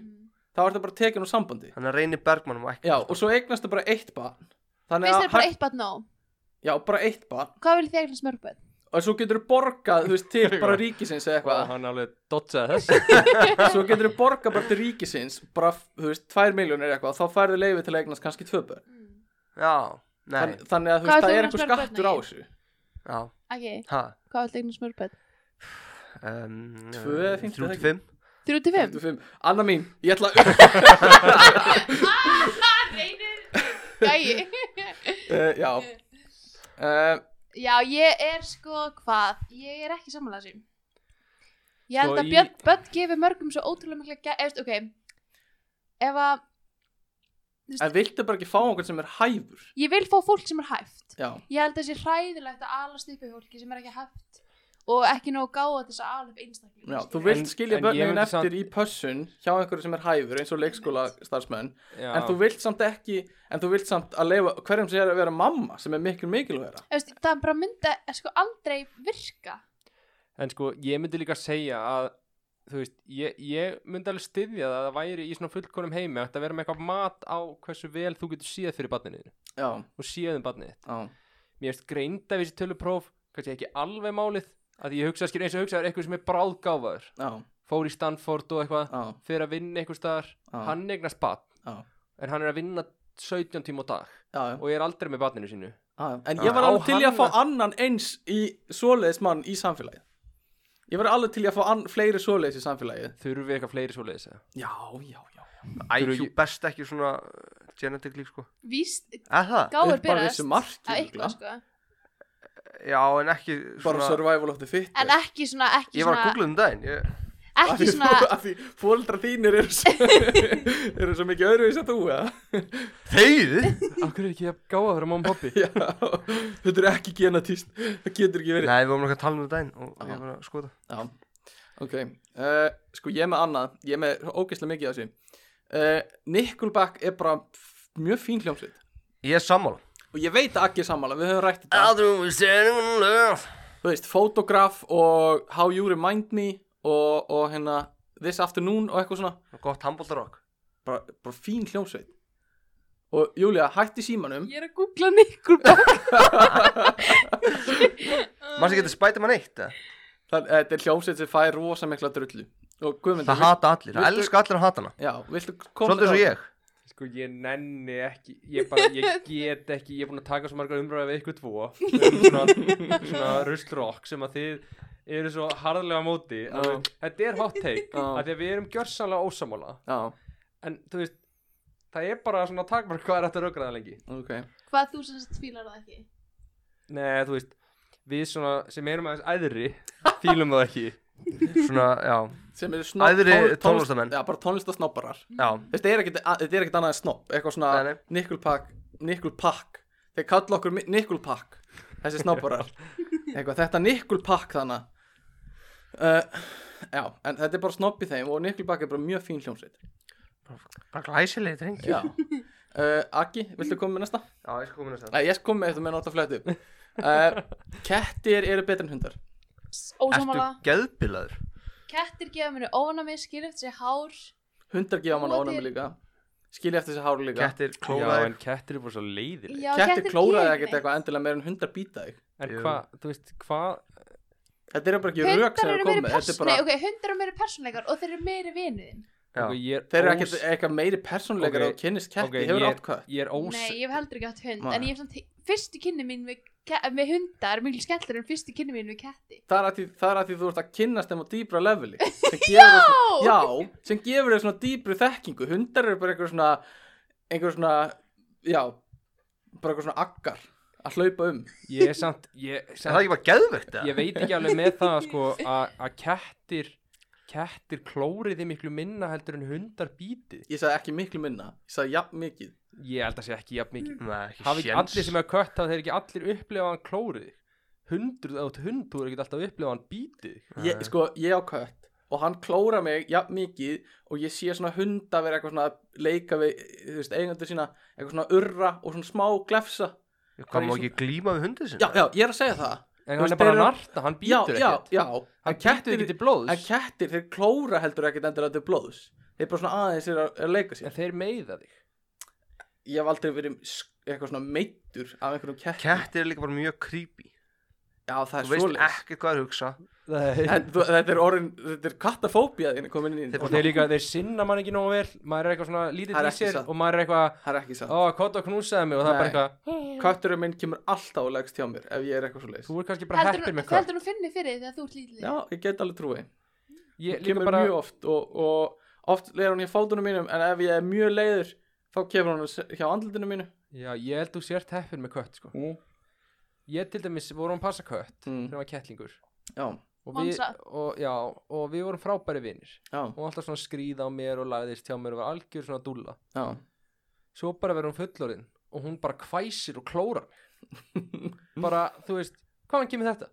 S4: Mm.
S2: þá ertu bara tekin úr sambandi
S5: Þannig að reyni Bergmann má ekki
S2: Já, og svo eignastu bara eitt barn Þannig
S4: Finnst
S2: að,
S4: þér bara
S2: hægt-
S4: eitt barn nóg?
S2: já, bara eitt barn
S4: Hvað vil þið eignast mörg börn?
S2: og svo getur þú borgað, þú veist, til bara ríkisins eða eitthvað
S1: Hann alveg dodgeði þess
S2: svo getur þú borga bara til ríkisins bara, þú veist, 2 miljónir eitthvað þá færðu leiði til að eignast kannski 2 börn
S5: Já, nei,
S2: Þann, þannig að þú
S4: Hvað
S2: veist,
S4: ert þú
S2: það er
S4: annars
S2: einhver
S4: mörg börn,
S2: skattur á
S4: Egill?
S2: þessu
S5: já,
S4: Ok,
S5: ha
S4: hvað vil þið eignast mörg börn?
S5: um,
S2: Tvö eða fimm,
S5: Þrjú
S2: er það
S5: til fimm
S4: 35?
S2: 25. Anna mín, ég ætla að uh,
S4: Gæi
S2: Eh, já uh,
S4: Já, ég er sko hvað Ég er ekki samanlega sím Ég held
S1: Sko,
S4: að
S1: í-
S4: Björn Bött gefur mörgum svo ótrúlega mikla gæ... Eftir, ok Ef að
S2: en viltu bara ekki fá einhvern sem er hæfur
S4: Ég vil fá fólk sem er hæft
S2: já,
S4: Ég held að það sé hræðilegt að alast upp í fólki sem er ekki hæft og ekki nóg gáða til þess að alveg einstakling
S2: Já, þú vilt
S1: En-
S2: skilja
S1: en ég
S2: börnin
S1: myndi
S2: eftir
S1: samt-
S2: í pössun hjá einhverju sem er hæfur eins og leikskóla starfsmenn
S1: Já.
S2: en þú vilt samt ekki en þú vilt samt að leifa hverjum sem er að vera mamma sem er mikil mikilværa
S4: Eftir, það bara myndi eh, sko aldrei virka
S1: En sko, ég myndi líka segja að þú veist, ég, ég myndi alveg styðja það að það væri í svona fullkonum heimi ætti að vera með eitthvað mat á hversu vel þú getur séð fyrir barninu þínu
S2: Já,
S1: og séð um barnið þitt.
S2: já,
S1: Mér finnst greinda við þessi tölupróf kannski ekki alveg málið að ég hugsa, skil eins og hugsa er eitthvað sem er bráðgáfaður
S2: já,
S1: fór í Stanford og eitthvað
S2: já,
S1: fyrir að vinna eitthvað staðar
S2: Já.
S1: hann eignast barn
S2: já,
S1: en hann er að vinna 17 tíma á dag
S2: já, já.
S1: og er aldrei með barninu sínu
S2: Já, já. En ég
S1: Á
S2: var alveg til í að
S1: hann
S2: fá annan eins í svoleiðis mann í samfélagið Ég var alveg til í að fá ann, fleiri svoleiðis í samfélagið
S1: þurfi eitthvað fleiri svoleiðis eða?
S2: Já, já, já
S5: IQ
S1: Þurfi-
S5: best ekki svona uh, genetically sko
S4: víst
S5: Er það?
S4: gáður
S2: Upp að
S4: byrjast
S2: vissu marki,
S4: að
S2: örugglega.
S4: eitthvað sko
S5: Já en ekki
S2: Bara
S5: svona
S2: survival of the fit
S4: en ekki svona ekki
S5: Ég var að
S4: svona,
S5: googla um daginn ég...
S4: ekki svona
S2: Af því fóldra þínir eru svo, eru svo mikið öðruvís að þú eða?
S5: Þeir?
S1: Af hverju er ekki að gáða fyrir mamma og pappi
S2: Já, þetta er ekki genatist Það getur ekki verið
S5: Nei við vorum ekki að tala um þetta daginn og
S2: Já.
S5: ég var að skoða
S2: Já, ok uh, Sko ég er með annað, ég er með ógeðslega mikið af þessu uh, Nickelback er bara f- mjög fín hljómsveit
S5: Ég er sammála
S2: Og ég veit að Aggi er sammála, við höfum rætt þetta
S5: Aðrum við sérum hún lög
S2: Þú veist, Photograph og How You Remind Me og, og hérna This Afternoon og eitthvað svona
S5: Gott handbóltarokk
S2: bara, bara fín hljómsveit Og Júlia, hætti símanum
S4: ég er að googla Nickelback
S5: Manstu getur spæta mann eitt eða?
S2: Það, eh, Þetta er hljómsveit sem fær rosa mikla drullu Og Guðmundur
S5: Það hata allir, það
S2: Viltu-
S5: elska allir að hata hana
S2: Já, viltu koma
S5: Svolítið svo ég
S1: Sko ég nenni ekki, ég bara, ég get ekki, ég er búin að taka svo margar umræði við ykkur tvo um svona, svona ruslrokk sem að þið eru svo harðlega á móti að
S2: Já.
S1: þú veist, þetta er hot take
S2: Já.
S1: að því að við erum gjörsanlega ósamála
S2: Já,
S1: en þú veist, það er bara svona takmark hvað er þetta raukraða lengi
S2: ok
S4: hvað þú sem sagt fílar það ekki
S1: Nei, þú veist, við svona sem erum aðeins æðri, fílum það ekki
S5: Svona, já,
S2: Sem eru snopp
S5: Æðri
S2: tón- tónlist-
S5: tónlistamenn.
S2: Já, bara tónlistasnopparar
S5: já
S2: Þetta er ekkit, að- þetta er ekkit annað en snopp Eitthvað
S5: Nei,
S2: svona
S5: nei.
S2: Nickelback Nickelpack Þeir kalla okkur mi- Nickelpack Þessi snopparar Eitthvað, þetta Nickelpack þannig uh, Já, en þetta er bara snopp í þeim Og Nickelback er bara mjög fín hljómsveit
S5: Bara glæsilegi drengi
S2: Já uh, Aggi, viltu koma með næsta?
S5: Já, ég skal koma næst
S2: Nei, ég skal koma með þetta með nátt að flættu uh, Kettir eru betri en hundar
S4: ósamála
S5: Ertu geðbilaður?
S4: kettir gefa mér ónami skilja eftir sér hár
S2: Hundar gefa mann
S4: Og
S2: ánæmi
S4: þeir-
S2: líka Skilja eftir þessi háru líka
S5: Kettir
S1: Já,
S5: klóðaður
S1: en kettir eru bara svo leiðileg
S4: já
S2: Kettir klóraði
S4: gera
S2: ekkert
S4: neitt.
S2: eitthvað endilega meira en hundar býta þig
S1: En
S5: Jú.
S1: hvað, þú veist, hvað,
S2: Þetta eru bara ekki
S4: hundar
S2: rauk sem
S4: eru
S2: er
S4: meiri
S2: komið Þetta er
S4: persónleikar
S2: bara,
S4: bara... okay, hundar eru meiri persónleikar og þeir eru meiri vinuðin
S1: ok,
S5: Já,
S1: ég er
S2: þeir eru
S1: ós-
S2: ekkert eitthvað meiri
S1: Ok,
S2: persónleikar okay. og kynnist ketti,
S1: ok,
S2: okay, hefur
S1: ég-
S2: átt kött
S1: Ég er ós...
S4: nei ég hef heldur ekki átt hund
S2: Nei.
S4: en ég hef samt fyrstu kynni mín við, ke- með hundar er miklu skellur en fyrstu kynni mín við ketti
S2: Það er að því, það er að því þú ert að kynnast þeim á dýbra leveli sem gefur,
S4: Já!
S2: já, sem gefur þér svona dýbru þekkingu Hundar eru bara einhver svona einhver svona, já bara einhver svona aggar að hlaupa um
S1: Ég er samt, ég,
S5: er það
S1: samt
S5: ekki bara geðvegt eða?
S1: ég veit ekki alveg með það sko, að að kettir kettir klórið er miklu minna heldur en hundar bítið
S2: Ég sagði ekki miklu minna, ég sagði jafn mikið
S1: ég held að sé ekki jafn
S2: Mm.
S1: mikið
S5: Nei, ekki
S1: hafi ekki
S5: séns.
S1: allir sem er kött hafa þeir ekki allir upplifað hann klórið hundur, þú ert hund, þú er ekki alltaf upplifað hann bítið
S2: ég, Sko, ég á kött og hann klóra mig jafn mikið og ég sé svona hunda vera eitthvað svona að leika við, þú veist, eigendur sína eitthvað svona urra og svona smá glefsa
S5: Hvað má ekki glíma við hundið
S2: Já,
S5: sinni?
S2: já, ég er að segja það
S1: en
S2: Þú
S1: hann
S2: veist,
S1: er bara
S2: þeir eru-
S1: narta, hann
S2: Já,
S1: bítur
S2: já,
S1: ekkert
S2: já
S1: hann bítur ekkert í blóðs
S2: En kettir, þeir klóra heldur ekkert endilega til blóðs Þeir bara svona aðeins er að, er að leika sér
S1: en þeir meiða þig
S2: Ég hef aldrei verið sk- eitthvað svona meittur af einhverjum kettir
S5: Kettir er líka bara mjög creepy
S2: Já, það er
S5: Þú veist
S2: svoleiðis
S5: ekki hvað er að hugsa
S2: En þú- Þetta er orðin, þetta er kattafóbía þín komin inn í
S1: og þeir líka, þeir sinna mann ekki nógu vel maður er eitthvað svona
S2: Það
S1: lítið
S2: er
S1: í
S2: ekki
S1: sér
S2: satt.
S1: og maður er eitthvað
S2: Það er ekki satt
S1: ó, kott og knúsaði mig og það er bara
S2: Nei.
S1: eitthvað
S2: Kötturinn minn kemur alltaf og leggst hjá mér ef ég er eitthvað svo leiðis
S1: þú er kannski bara heppir með kött
S4: heldur hún finni fyrir því þegar þú ert lítil
S2: Já, ég get alveg trúi
S1: ég líka
S2: Kemur
S1: bara
S2: mjög oft og, og oft leiður hún í fátunum mínum en ef ég er mjög leiður þá kemur hún s- hjá andlutinu mínu
S1: Já, ég held þú sért heppin með kött sko.
S2: mm.
S1: Ég til dæmis vorum að passa kött
S2: Mm.
S1: þegar hann var kettlingur
S2: Já,
S1: og
S4: Og hann
S1: við,
S4: sa-
S1: og, já, og við vorum frábæri vinnir
S2: já,
S1: og alltaf svona skríða á mér og lagðist hjá mér og var algjör svona dúlla
S2: já
S1: Svo bara verður hún fullorinn og hún bara hvæsir og klórar mig Bara, þú veist, hvaðan kemur þetta?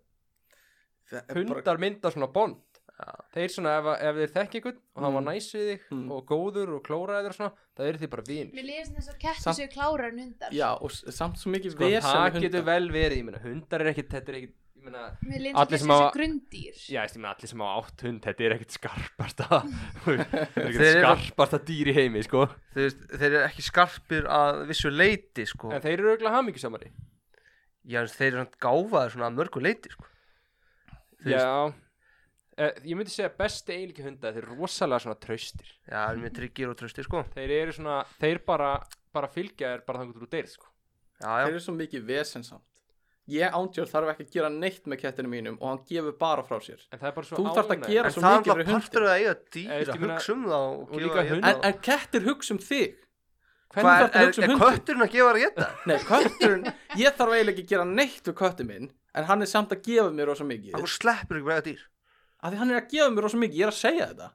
S2: Það er bara-
S1: hundar mynda svona bond
S5: Já.
S1: þeir svona ef, að- ef þeir þekki ykkur og hann var
S2: Mm.
S1: næs við þig
S2: Mm. Sko,
S1: og góður og klóraðið og svona það eru þið bara vinir
S4: Mér lýðist þess að kettir
S2: Samt-
S4: séu klárar en hundar
S2: Já, og s- samt svo mikið
S1: sko,
S2: vesen
S1: það
S2: með
S1: getur
S2: hunda.
S1: vel verið, ég meina hundar er ekkit þetta er ekkit, ég meina
S4: Mér lýðist
S1: Allir
S4: að
S1: sem
S4: kettir séu
S1: hafa-
S4: grundýr
S1: já, ég meina allir sem á átt hund, þetta er ekkit skarparsta þetta er
S5: Þeir
S1: ekkit
S5: eru-
S1: skarparsta dýr í heimi, sko
S5: Þú veist, þeir eru ekki skarpir að vissu leiti sko.
S1: en þeir eru auðvitað hamingisamari
S5: já, en þeir eru samt gáfaðir svona að mörgu leiti sko. Þú veist-
S1: já, eh, ég myndi segja besti eiginleiki hunda, þeir eru rosalega svona traustir
S5: já, þeir eru mjög tryggir og tröstir sko.
S1: þeir eru svona, þeir bara bara fylgja þér bara þangur úr deyr, sko
S5: já, já,
S2: Þeir eru svo mikið vesen samt Ég ándjörn þarf ekki að gera neitt með kettinu mínum og hann gefur bara frá sér
S1: en það er bara svo
S2: Þú þarft að
S1: ánægð-
S2: gera
S5: en
S2: svo
S5: það er
S2: mikið
S5: alltaf
S2: fyrir
S5: partur
S2: hundin.
S5: að eiga
S1: Ég veist, ég
S5: dýr að
S1: meina-
S5: hugsa um það og,
S1: og líka hund-
S2: En, en kettir hugsa um þig
S1: Hvernig
S5: Hvað,
S2: þarftu að
S5: er,
S2: hugsa um
S5: er
S2: hundinn?
S5: kötturinn að gefa þér að geta?
S2: Nei, kötturinn, ég þarf eiginlega ekki að gera neitt við köttin minn En hann er samt að gefa mér rosa mikið
S5: Akkur sleppur ekki bara að eiga dýr
S2: Af því hann er að gefa mér rosa mikið, ég er að segja þetta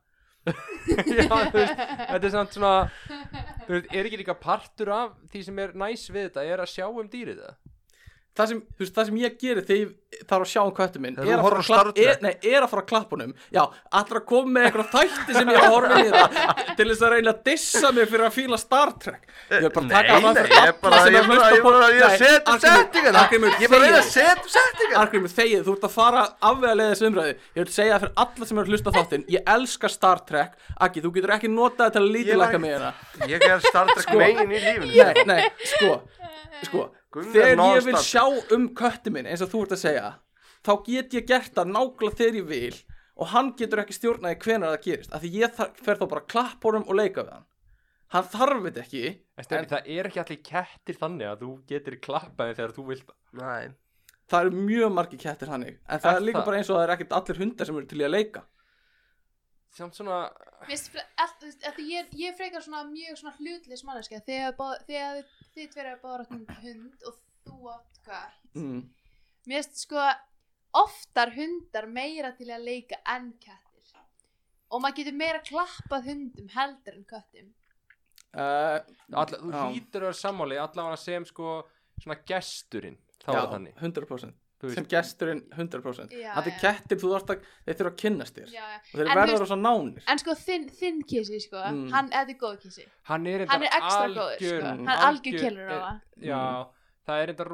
S1: já, þú veist, þetta er samt svona þú veist, er ekki líka partur af því sem er næs við þetta, er að sjá um dýrið það
S2: Það sem, þú veist, það sem ég gerir þegar ég þarf að sjá um köttin minn
S5: Þegar
S2: er
S5: þú
S2: að, fara
S5: horfir
S2: að
S5: á
S2: klapp,
S5: Star
S2: er,
S5: Trek.
S2: nei, er að fara að klappunum Já, allra að koma með einhverja þætti sem ég er að horfa niður Til þess að reyna að dissa mig fyrir að fíla Star Trek Ég er bara að taka það
S5: Eh, Nei, nei,
S2: fyrir
S5: ég er
S2: alla
S5: bara,
S2: sem er
S5: ég er bara,
S2: hlusta
S5: ég er bara, ég er
S2: Nei, Arngrímur,
S5: að setja upp settingana
S2: Arngrímur,
S5: Ég er bara að reyna
S2: þegiðu.
S5: að setja upp settingana
S2: Argrímur, þegið, þú ert að fara afvega leið þessu umræðu Ég vil segja það fyrir alla sem eru að hlusta á þáttinn Ég elska Star Trek Akki, þú getur ekki notað þetta til að lítilækka mig hérna Sko-
S5: Ég er Star Trek megin í
S2: Nei,
S5: lífinu
S2: nei, sko, sko
S5: Gunnar
S2: Þegar ég
S5: non-stop.
S2: vil sjá um kötti minn eins og þú ert að segja Þá get ég gert það nákvæmlega þegar ég vil Og hann getur ekki stjórnaði hvenær það gerist Af því ég þar- fer þá bara að klappa honum og leika við hann Hann þarf þetta ekki
S1: En Stefi, það er ekki allir kettir þannig að þú getur klappaði þegar þú vilt
S5: Nei,
S2: Það eru mjög margir kettir hannig En það
S1: Er
S2: er líka
S1: það?
S2: bara eins og það er ekkert allir hundar sem eru til í að leika
S1: samt svona,
S4: Mér finnst fre- allt- þú veist, þetta- Ég ég er frekar svona mjög svona hlutlis manneska þegar bá- þegar þið tverja báður um hund og þú átt hvað
S2: mm.
S4: Mér finnst sko oftar hundar meira til að leika enn kettir og maður getur meira klappað hundum heldur en köttum
S2: uh,
S1: alla, þú
S2: Já.
S1: hlýtur að vera sammáli allavega sem sko, svona gesturinn þá
S2: Já,
S1: er það þannig
S2: 100%
S1: Þú veist.
S2: sem gesturinn 100%
S4: Já,
S2: það er
S4: já.
S2: kettir, þú þarft að þeir þurfa að kynnast þér
S4: já, já.
S2: og þeir
S4: En þú
S2: verða
S4: veist-
S2: rosa nánir
S4: en sko þinn, þinn kissi sko
S2: Mm.
S4: hann, þetta er góð kissi
S1: hann er,
S4: hann er
S1: reyndar
S4: ekstra góður sko.
S2: Mm.
S4: hann er algjör killur á
S1: er-
S4: það
S1: já, það er enda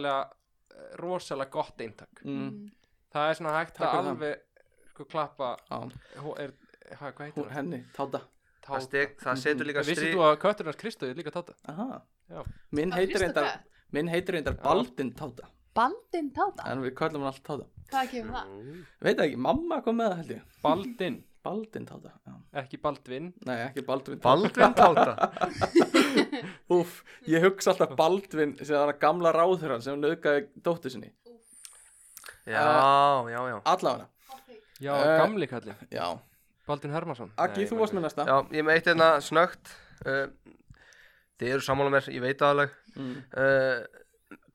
S1: rosalega rosalega gott eintak
S2: mm.
S4: Mm.
S1: það er svona hægt
S2: Takk
S1: að
S2: fyrir það.
S1: alveg sko, klappa
S2: Já,
S1: hó- er, hva, hvað heitir
S2: hún,
S1: hún?
S2: henni, táta
S5: það, steg, það setur líka
S1: vissið
S5: strík
S1: þú að kötturinn hans Kristóð er líka tátta
S2: Aha.
S1: Já.
S2: minn
S4: Á
S2: heitir
S4: fyrsta
S2: reyndar
S4: dag.
S2: minn heitir reyndar
S1: Já.
S2: Baldin táta
S4: bandin táta,
S2: en við köllum hann alltaf táta
S4: hvað kemur það
S2: veit það ekki, mamma kom með það held ég
S1: Baldin,
S2: Baldin táta já.
S1: ekki Baldvin
S2: nei, ekki Baldvin táta
S5: Baldvin táta
S2: Úf, ég hugsa alltaf Baldvin sem það er gamla ráðhöran sem nöðgæði dóttu sinni
S5: Já, já, já
S2: allavega,
S1: já,
S2: Eh,
S1: gamli kallin,
S2: já
S1: Baldvin Hermansson
S2: Aggi,
S1: Nei,
S2: þú
S1: ég
S2: varst
S1: man
S2: með næsta
S5: Já, ég meit hérna snögt uh, Þið eru sammála mér, ég veit það alveg
S2: Mm.
S5: uh,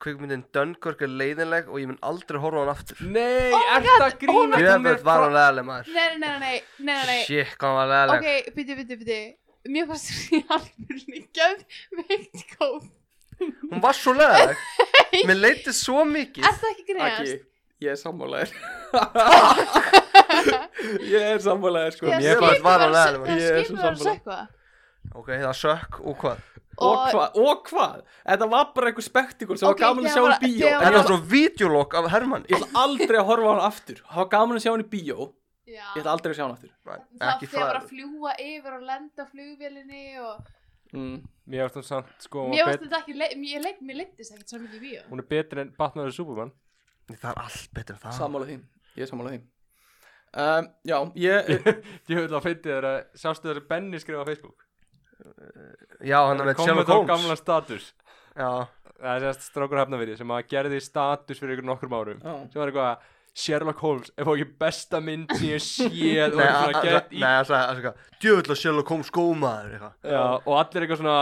S5: Kvikmyndin Dunkirk er leiðinleg og ég mun aldrei horfa á hann aftur
S1: ekki. nei, oh ert að grína
S5: Jöfnveld var hann leiðileg maður
S4: nei, nei, nei, nei, nei, nei, nei.
S5: Shit, hvað hann var leiðileg
S4: ok, byrju, byrju, byrju mér fannst því alveg geðveikt góð
S5: Hún var svo leiðileg Mér leitið svo mikið
S4: er það ekki
S2: Aggi,
S4: greiðast?
S2: ég er sammálaðir Ég er sammálaðir sko
S5: Ég Mér fannst varan aðeins.
S2: Ég er svo
S4: skipur var að
S2: sammála.
S4: sökva
S5: Ok, það sökk og hvað
S2: Og hvað, og hvað Þetta var bara einhver spektikul sem
S4: Ok,
S2: var gaman að
S4: þegar
S2: sjá hann
S4: bara-
S2: í bíó En
S4: þegar
S5: Þetta
S2: ég
S5: var
S2: ætla,
S5: svo videolokk af Hermann
S2: ég ætla aldrei að horfa á hann aftur Það var gaman að sjá hann í bíó Ég ætla
S4: Já,
S2: aldrei að sjá hann aftur
S4: það
S5: Ekki
S4: fyrir bara að
S5: fræður
S4: fljúa yfir og lenda á flugvélinni og
S2: mm.
S1: mér varst hún samt sko, hún,
S4: mér
S1: var
S4: varst
S1: bet,
S4: þetta ekki, le- mér leik- mér leiktist ekkert svo mikið í bíó
S1: hún er betri en Batman og Superman
S5: Það er allt betur en það
S2: Sammála því, ég er sammála því um, Já, ég
S1: ég vil að fyndi þér að eh, sástu þér að Benny skrifa á Facebook
S5: Já, hann er með
S1: Kom
S5: Sherlock
S1: þá
S5: Holmes
S1: gamla status
S5: Já,
S1: það er sérst strákur hafnafyrir sem að gerði status fyrir ykkur nokkrum árum
S2: Já.
S1: sem var eitthvað að Sherlock Holmes er fór ekki besta mynd sem ég séð og
S5: nei,
S1: eitthvað svona
S5: að-
S1: gett
S5: að-
S1: í
S5: nei, það sagði eitthvað Djöfull að Sherlock Holmes gómaður eitthvað
S1: Já, og allir eitthvað svona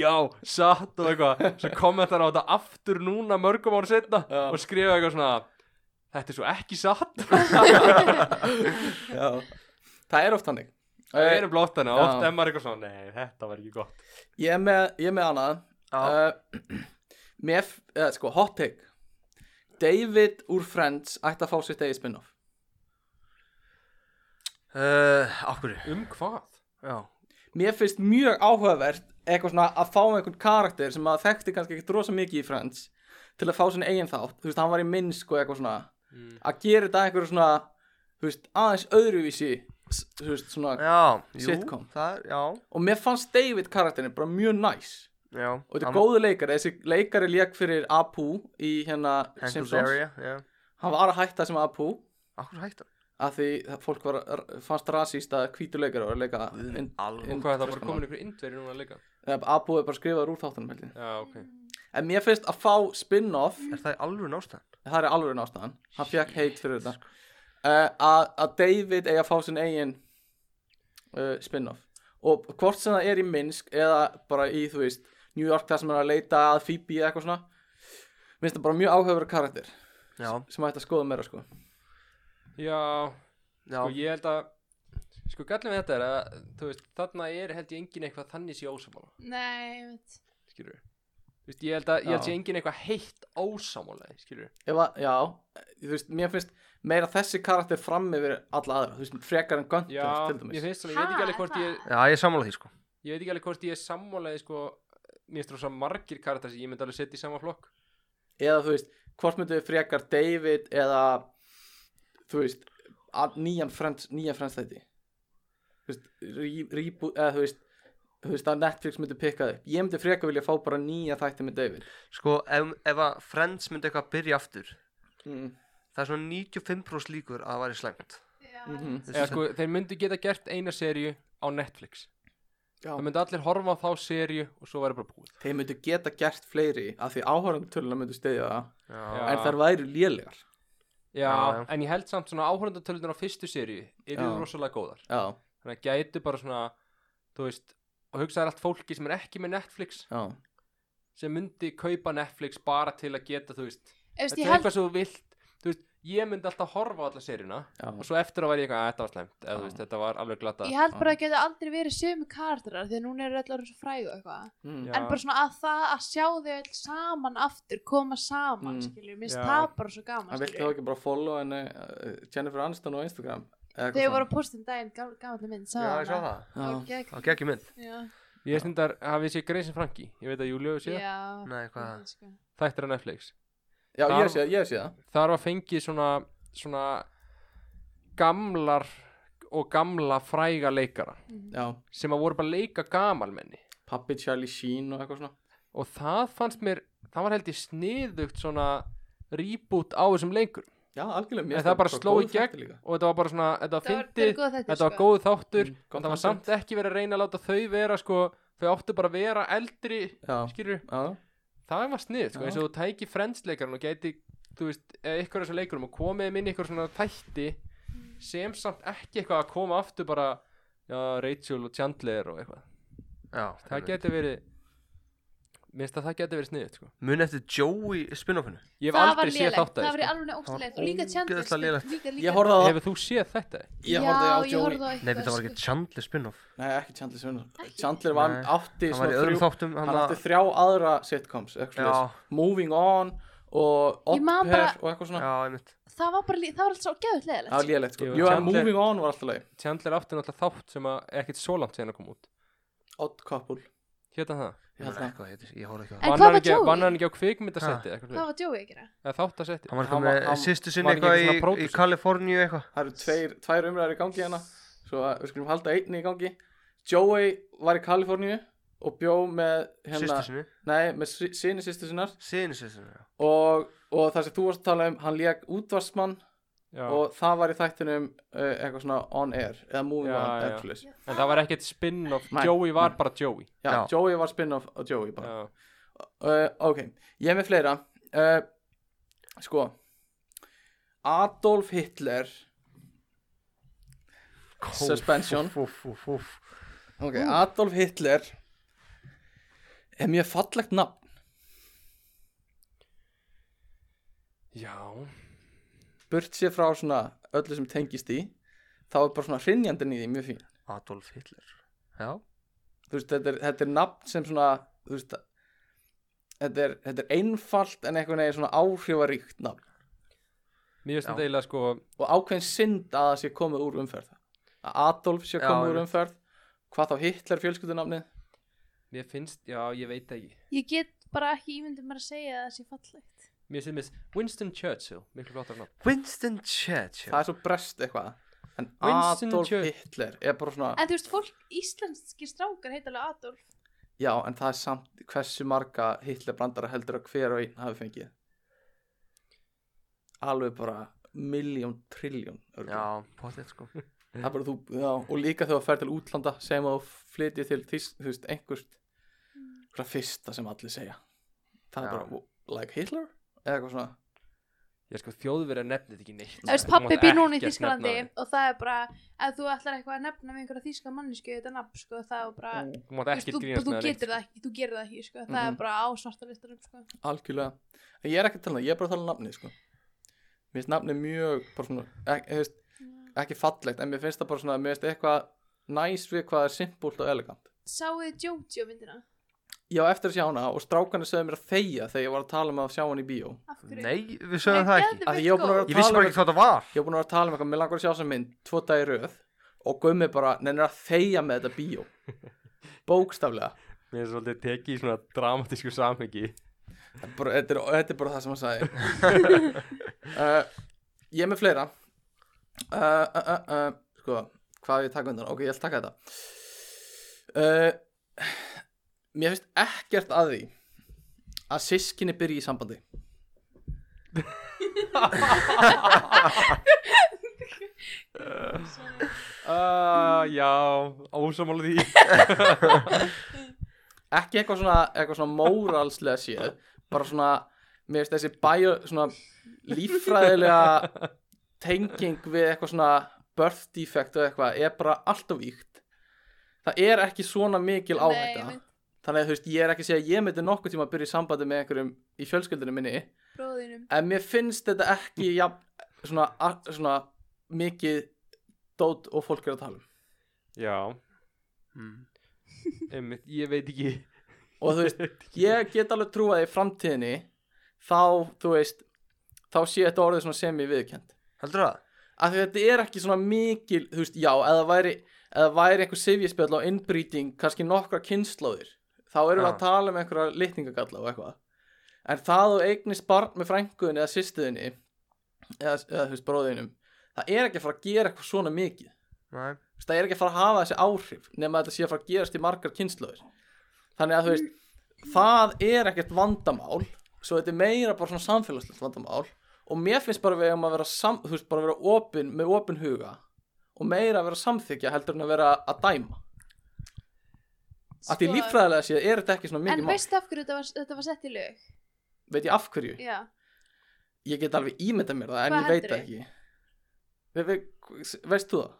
S1: Já, satt og eitthvað Svo kommentar á þetta aftur núna mörgum ára setna
S2: Já.
S1: Og skrifa eitthvað svona Þetta er svo ekki satt
S2: já. Það er oft Uh, hannig
S1: Það eru blótt hana,
S2: Já.
S1: oft er maður eitthvað svona Nei, þetta var ekki gott
S2: Ég er með, ég er með annað
S5: Já.
S2: uh, Mér, f- eða sko, hot take David úr Friends ætti að fá sitt eigið spin-off
S5: uh, Akkur
S1: Um hvað?
S5: Já,
S2: Mér finnst mjög áhugavert eitthvað svona að fá einhvern karakter sem að þekkti kannski ekkert rosa mikið í Friends til að fá sinni eigin þátt, þú veist, hann var í minnsk og eitthvað svona, að gera þetta einhverju svona, þú veist, aðeins öðruvísi s- þú veist, svona
S5: já jú,
S2: Sitcom.
S5: það, er- Já,
S2: og mér fannst David karakterin bara mjög næs
S5: já
S2: og þetta
S5: hann-
S2: er góðu leikari, þessi leikari leik fyrir Apu í hérna
S5: Hank
S2: Simpsons,
S5: Azaria, já
S2: hann var að hætta sem Apu
S5: Akkur hættu
S2: að því að fólk var, fannst rasíst að hvítu leikari og leika in,
S5: Alveg
S1: Og Um hvað það bara komin ykkur indveri núna líka?
S2: Apu er bara skrifaður úr þáttunum heldur
S1: Já, ok.
S2: En mér finnst að fá spin-off
S5: Er það alveg nástæðan?
S2: Það er alveg nástaðan Hann fekk heit fyrir þetta
S1: sko.
S2: uh, að, að David eigi að fá sinn eigin uh, spin-off Og hvort sem það er í Minsk Eða bara í, þú veist, New York Það sem er að leita að Phoebe eða eitthvað svona Mér finnst það bara mjög áhöfur karakter
S5: Já,
S2: Sem ætti að skoða meira sko
S1: Já,
S5: já
S1: og ég held að, sko gallið með þetta er að, þú veist, þarna er held ég engin eitthvað þannig sé ósamála,
S4: Nei, ég veit
S1: skilur við. Þú veist, ég held að, ég held
S2: Já.
S1: sé engin eitthvað heitt ósamála, skilur við.
S2: Ef að, já, þú veist, mér finnst meira þessi karakter fram yfir alla aðra Þú veist, frekar en Gunther
S1: Já,
S2: til
S1: ég
S2: dæmis
S1: finnst svona, ég veit ekki
S4: Ha,
S1: alveg hvort
S4: er
S1: ég,
S5: Já, ég er sammála því sko
S1: ég veit ekki alveg hvort ég er sammálaði, sko, mér finnst svona margir karakter sem ég myndi alveg setja í sama flokk.
S2: Eða þú veist, hvort myndu við frekar David eða Þú veist, að- nýjan frends, nýjan frends þætti Þú veist, rí- reboot, eða þú veist Þú veist, að Netflix myndi pikka þau Ég myndi frekar vilja fá bara nýja þætti með David
S5: Sko, ef, ef að Friends myndi eitthvað að byrja aftur
S2: mm.
S5: Það er svona 95% líkur að það væri slæmt
S4: Já,
S2: Mm -hmm.
S1: Eða sko, þeir myndu geta gert eina serju á Netflix.
S2: Já,
S1: Það myndu allir horfa á þá serju og svo væri bara búið.
S2: þeir myndu geta gert fleiri af því áhorfandtöluna myndu stiðja það
S5: Já,
S1: Já.
S2: en þær væri lélegar
S1: Já,
S5: Já, já.
S1: en ég held samt svona áhörðantölunar á fyrstu serju eru
S2: Já.
S1: rosalega góðar.
S2: Já,
S1: þannig að gætu bara svona þú veist, og hugsaðar allt fólki sem er ekki með Netflix
S2: já,
S1: sem myndi kaupa Netflix bara til að geta þú veist,
S4: Ég veist,
S1: þetta
S4: ég
S1: er
S4: held
S1: eitthvað sem þú vilt þú veist, ég myndi alltaf horfa á alla seríuna
S2: já
S1: og svo eftir að væri ég eitthvað, að þetta var slæmt eða þú
S2: Já.
S1: veist, þetta var alveg glata
S4: Ég held bara að geta aldrei verið sömu karakterar því að núna eru öll orðin svo fræg og eitthvað
S2: mm.
S1: Já.
S2: já.
S4: en bara svona að það að sjá þau öll saman aftur, koma saman
S2: Mm.
S4: mm. skiljum, minnst
S1: Já.
S4: það bara svo gaman
S2: En viltu
S4: skilurðu.
S2: þá ekki bara follow henni uh, Jennifer Aniston á Instagram? Eða eitthvað
S4: Þegar ég voru
S2: svona?
S4: að posta um daginn, gamla mynd, sá
S5: ég sá það
S2: Já,
S4: Já,
S5: Það gekk í mynd
S4: já,
S1: ég er stundar, hafið sé Greysin Franki ég veit að Júlíu sé, yeah.
S4: já
S5: Nei, hvað er það?
S4: sko.
S1: þættir á Netflix
S2: já
S1: Þar-
S2: ég sé það, ég sé það
S1: þar var fengið svona svona gamlar og gamla fræga leikara
S4: Mhm.
S2: Já,
S1: sem að voru bara að leika gamalmenni
S2: pappi Charlie Sheen og eitthvað svona
S1: og það fannst mér það var held ég sniðugt svona reboot á þessum lengur
S2: Já, algjörlega mér
S1: en
S2: finnst
S1: það bara
S2: bara
S1: sló í
S2: góð þættir
S1: gegn
S2: líka.
S1: og þetta var bara svona, þetta var
S4: Það var- þetta er
S1: fyndið
S4: góð þættir,
S1: þetta var
S4: sko.
S1: góð þáttur
S2: Mm,
S1: en
S2: gott
S1: það var
S2: content.
S1: samt ekki verið að reyna að láta þau vera sko, þau áttu bara að vera eldri
S2: Já,
S1: skýrur,
S2: já,
S1: það var snið sko,
S2: Já.
S1: eins og þú tæki frensleikarinn og gæti þú veist, eða ykkur þessu leikurum og komið minn ykkur svona þætti sem samt ekki eitthvað að koma aftur bara já, Rachel og Chandler og eitthvað
S5: Já,
S1: það geti verið minnst að það geti verið sniðugt sko.
S5: Mun eftir Joey spin-offinu
S1: ég hef
S4: Það var
S1: aldrei séð
S4: lélegt,
S1: þátt
S4: það
S1: af sko.
S4: var í alveg ógstilegt og líka Chandler
S5: ógeðslega lélegt.
S4: líka, líka,
S2: ég horfði á það
S1: Hefur þú séð þetta?
S2: Ég horfði á
S4: Já, ég
S2: Joey
S4: horfði á
S5: Nei, það var
S4: sko.
S5: ekki Chandler spin-off
S2: Nei, ekki Chandler Sheen Chandler var,
S5: Nei.
S2: átti
S5: Hann var
S2: svona
S5: í öðrum
S2: þrjú
S5: þáttum
S2: Hann
S5: að-
S2: átti þrjá aðra sitcoms eitthvað
S5: Já,
S2: svoleiðis. Moving On og
S4: Ég
S2: Odd
S4: man
S2: Pair
S4: bara-
S2: og eitthvað svona
S5: já, einmitt
S4: það var bara, lí- það var alltaf svo gæðut
S2: Það var
S4: leðilegt
S2: lélegt sko
S1: Jú,
S2: Jú, en
S1: Chandler-
S2: Moving On var alltaf leið
S1: Chandler átti náttúrulega þátt sem að ekkert svo langt síðan að koma út
S2: Odd Couple
S1: Hérna það
S5: Ég
S2: Ég held
S5: man
S2: það.
S5: ekki hvað það heitir, ég horfði ekki á
S4: En
S5: það
S1: Vann
S4: hvað
S1: hann
S4: var
S1: ekki-
S4: Joey?
S1: Vann hann ekki á kvikmyndasetti
S4: hvað
S1: Eða
S4: var Joey að gera?
S1: þáttasetti
S5: Hann
S2: Hann
S5: var eitthvað
S2: var-
S5: með
S2: hann-
S5: sýstu
S1: var
S5: sinni
S1: ekki svona
S5: eitthvað í, í
S1: pródúsör?
S5: Kaliforníu eitthvað
S2: Það eru tveir, tvær umræðar í gangi hérna Svo að við skulum halda einni í gangi Joey var í Kaliforníu Og bjó með hérna
S5: Sýstu sinni
S2: Nei, með si- sinni sýstu sinnar
S5: Sinni sýstu sinni, já
S2: og, og það sem þú varst að tala um Hann lék útvarsmann
S1: Já.
S2: Og það var í þættinum uh, Eitthvað svona on air Eða moving
S1: Já, já.
S2: on eða eitthvað svoleiðis.
S1: En það var ekkert spin-off
S2: Nei.
S1: Joey var
S2: Nei.
S1: bara Joey
S2: já,
S5: Já.
S2: Joey var spin-off á Joey bara
S1: Já.
S2: uh, Ok, ég er með fleira uh, Sko Adolf Hitler Suspension.
S5: Úff, úff, úff, úff.
S2: Ok, Adolf Hitler Er mjög fallegt nafn
S1: Já
S2: burt sér frá svona öllu sem tengist í þá er bara svona hrinjandin í því mjög fín
S5: Adolf Hitler Já,
S2: þú veist, þetta er, þetta er nafn sem svona þú veist, þetta er, þetta er einfalt en einhvern veginn svona áhrifaríkt nafn
S1: Mér finnst
S5: Já.
S1: þetta eiginlega sko
S2: og ákveðin synd að það sé komið úr umferð að Adolf sé
S5: Já,
S2: komið úr
S5: einmitt.
S2: umferð hvað þá Hitler fjölskyldunafnið
S1: Mér finnst, já ég veit það ekki
S4: Ég get bara ekki ímyndum bara að segja að það sé fallegt.
S1: Mér finnst þetta Winston Churchill Miklu flottar nafn
S5: Winston Churchill
S2: það er svo brest eitthvað en
S1: Winston
S2: Adolf
S1: Churchill.
S2: Hitler er bara svona
S4: En þú veist, fólk, íslenski strákar heit alveg Adolf.
S2: já en það er samt hversu marga Hitler brandara heldur að hver og einn hafi fengið alveg bara miljón, trilljón örugglega.
S5: Já, potið sko
S2: Það er bara þú, já, og líka þegar þú fer til útlanda sem að þú flytið til þýs, þú veist, einhvert hvað fyrsta sem allir segja það
S5: Já.
S2: er bara, like Hitler eða eitthvað svona
S1: Ég sko þjóðverið nefnir ekki neitt
S4: Það veist,
S1: Þú
S4: pappi
S1: mátt
S4: býr núna í
S1: ekkert
S4: Þísklandi
S1: nefna það.
S4: og það er bara, ef þú ætlar eitthvað að nefna með einhverja þíska mannisku þetta nafn, sko, það er bara,
S2: Mm.
S1: Þú mátt
S4: þú, veist,
S1: ekkert
S4: þú,
S1: grínast
S4: þú
S1: með neitt,
S4: getur það ekki, þú gerir það ekki, sko, það
S2: Mhm.
S4: er bara á svarta listanum, sko.
S2: algjörlega, en ég er ekki að tala um það, ég er bara að tala um nafnið sko. mér finnst nafnið mjög bara svona, ek, þú veist, ekki fallegt en mér finnst það bara svona, mér finnst eitthvað næs við hvað er simpult og elegant
S4: Sáuð þið Jojo myndina?
S2: ég á eftir að sjá hana og strákanu sögðu mér að þegja þegar ég var að tala um að sjá hana í bíó
S4: Af hverju? sko.
S5: Nei, við sögum það ekki
S2: Af því ég var búin að vera
S5: Ég vissi bara ekki hvað það var
S2: ég var búin að vera að tala um eitthvað, mér langar að sjá þessa mynd tvo dagi í röð og gummi bara nennir að þegja með þetta bíó bókstaflega
S1: Mér finnst svolítið tekið í svona dramatísku samhengi
S2: Það er bara, þetta, er, þetta er bara það sem hann sagði uh, ég er með fleira uh, uh, uh, uh, sko hvað er ég að taka undan, ok ég ætla að taka þetta uh, mér finnst ekkert að því að sískinni byrji í sambandi
S1: Ah, já, ósamála því
S2: ekki eitthvað svona, eitthvað svona móralslega séð bara svona, mér finnst þessi bæja svona líffræðilega tenging við eitthvað svona birth defect og eitthvað er bara alltaf víkt það er ekki svona mikil áhætta
S4: Nei,
S2: þannig að þú veist, ég er ekki að segja að ég myndi nokkuð tíma að byrja í sambandi með einhverjum í fjölskyldunum minni
S4: bróðinum.
S2: en mér finnst þetta ekki jafn, svona, a- svona mikið dót og fólk er að tala um
S1: Já,
S5: Hmm.
S1: einmitt, ég veit ekki
S2: og þú veist, ég get alveg trú að í framtíðinni þá, þú veist þá sé þetta orðið svona sem ég viðkend
S5: Heldur það?
S2: af því þetta er ekki svona mikil þú veist, já, eða væri eða væri einhver sifjaspjall á innbrýting kannski nokkra kynnslóðir þá erum við
S5: Já.
S2: að tala um einhverja litningagalla og eitthvað en það þú eignist barn með frænguðinni eða sýstuðinni eða, eða þú veist, bróðinum það er ekki að fara að gera eitthvað svona mikið
S5: Nei
S2: Þú veist, það er ekki að fara að hafa þessi áhrif nema að þetta sé að fara að gerast í margar kynslöður þannig að þú veist það er ekkert vandamál svo þetta er meira bara svona samfélagslegt vandamál og mér finnst bara við um að vera sam, þú veist, bara að vera opin með opin huga og meira að vera að samþykja heldur en að vera að dæma að því líffræðilega séð er þetta ekki svona
S4: Sko- En
S2: mikið mál
S4: veistu af hverju þetta var, þetta var sett í lög?
S2: veit ég af hverju,
S4: Já.
S2: ég get alveg ímynda mér það en
S4: Hvað
S2: ég veit það
S4: heldurðu?
S2: ekki Ve- ve- veist þú það?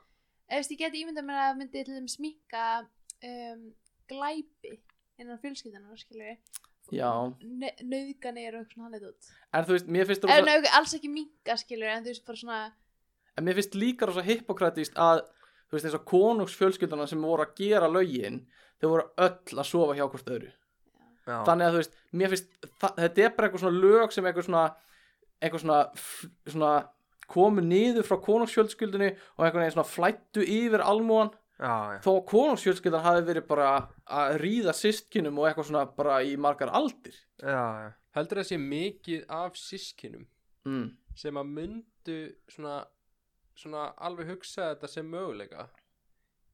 S4: Eða, veist, ég geti ímyndað mér að það myndi til þeim smíka um, glæpi innan fjölskyldunar, skilur við.
S2: Já.
S4: Nauðganir og svona hann eitt út.
S2: en þú veist, mér finnst
S4: Eða
S2: rosa-
S4: nauðg, alls ekki minka, skilur við, en þú veist bara svona,
S2: en mér finnst líka rosa hippokratist að þú veist eins og konungsfjölskylduna sem voru að gera lögin þau voru öll að sofa hjá hvort öðru
S5: Já,
S2: þannig að þú veist, mér finnst þa- þetta er bara eitthvað svona lög sem eitthvað svona eitthvað svona, f- svona komu niður frá konungsfjölskyldunni og einhvern veginn svona flættu yfir almúan
S5: já, já
S2: þó að konungsfjölskyldan hafi verið bara að ríða systkinum og eitthvað svona bara í margar aldir
S5: Já, já
S1: Heldur það sé mikið af sískinum
S2: mm.
S1: sem að myndu svona, svona alveg hugsa þetta sem möguleika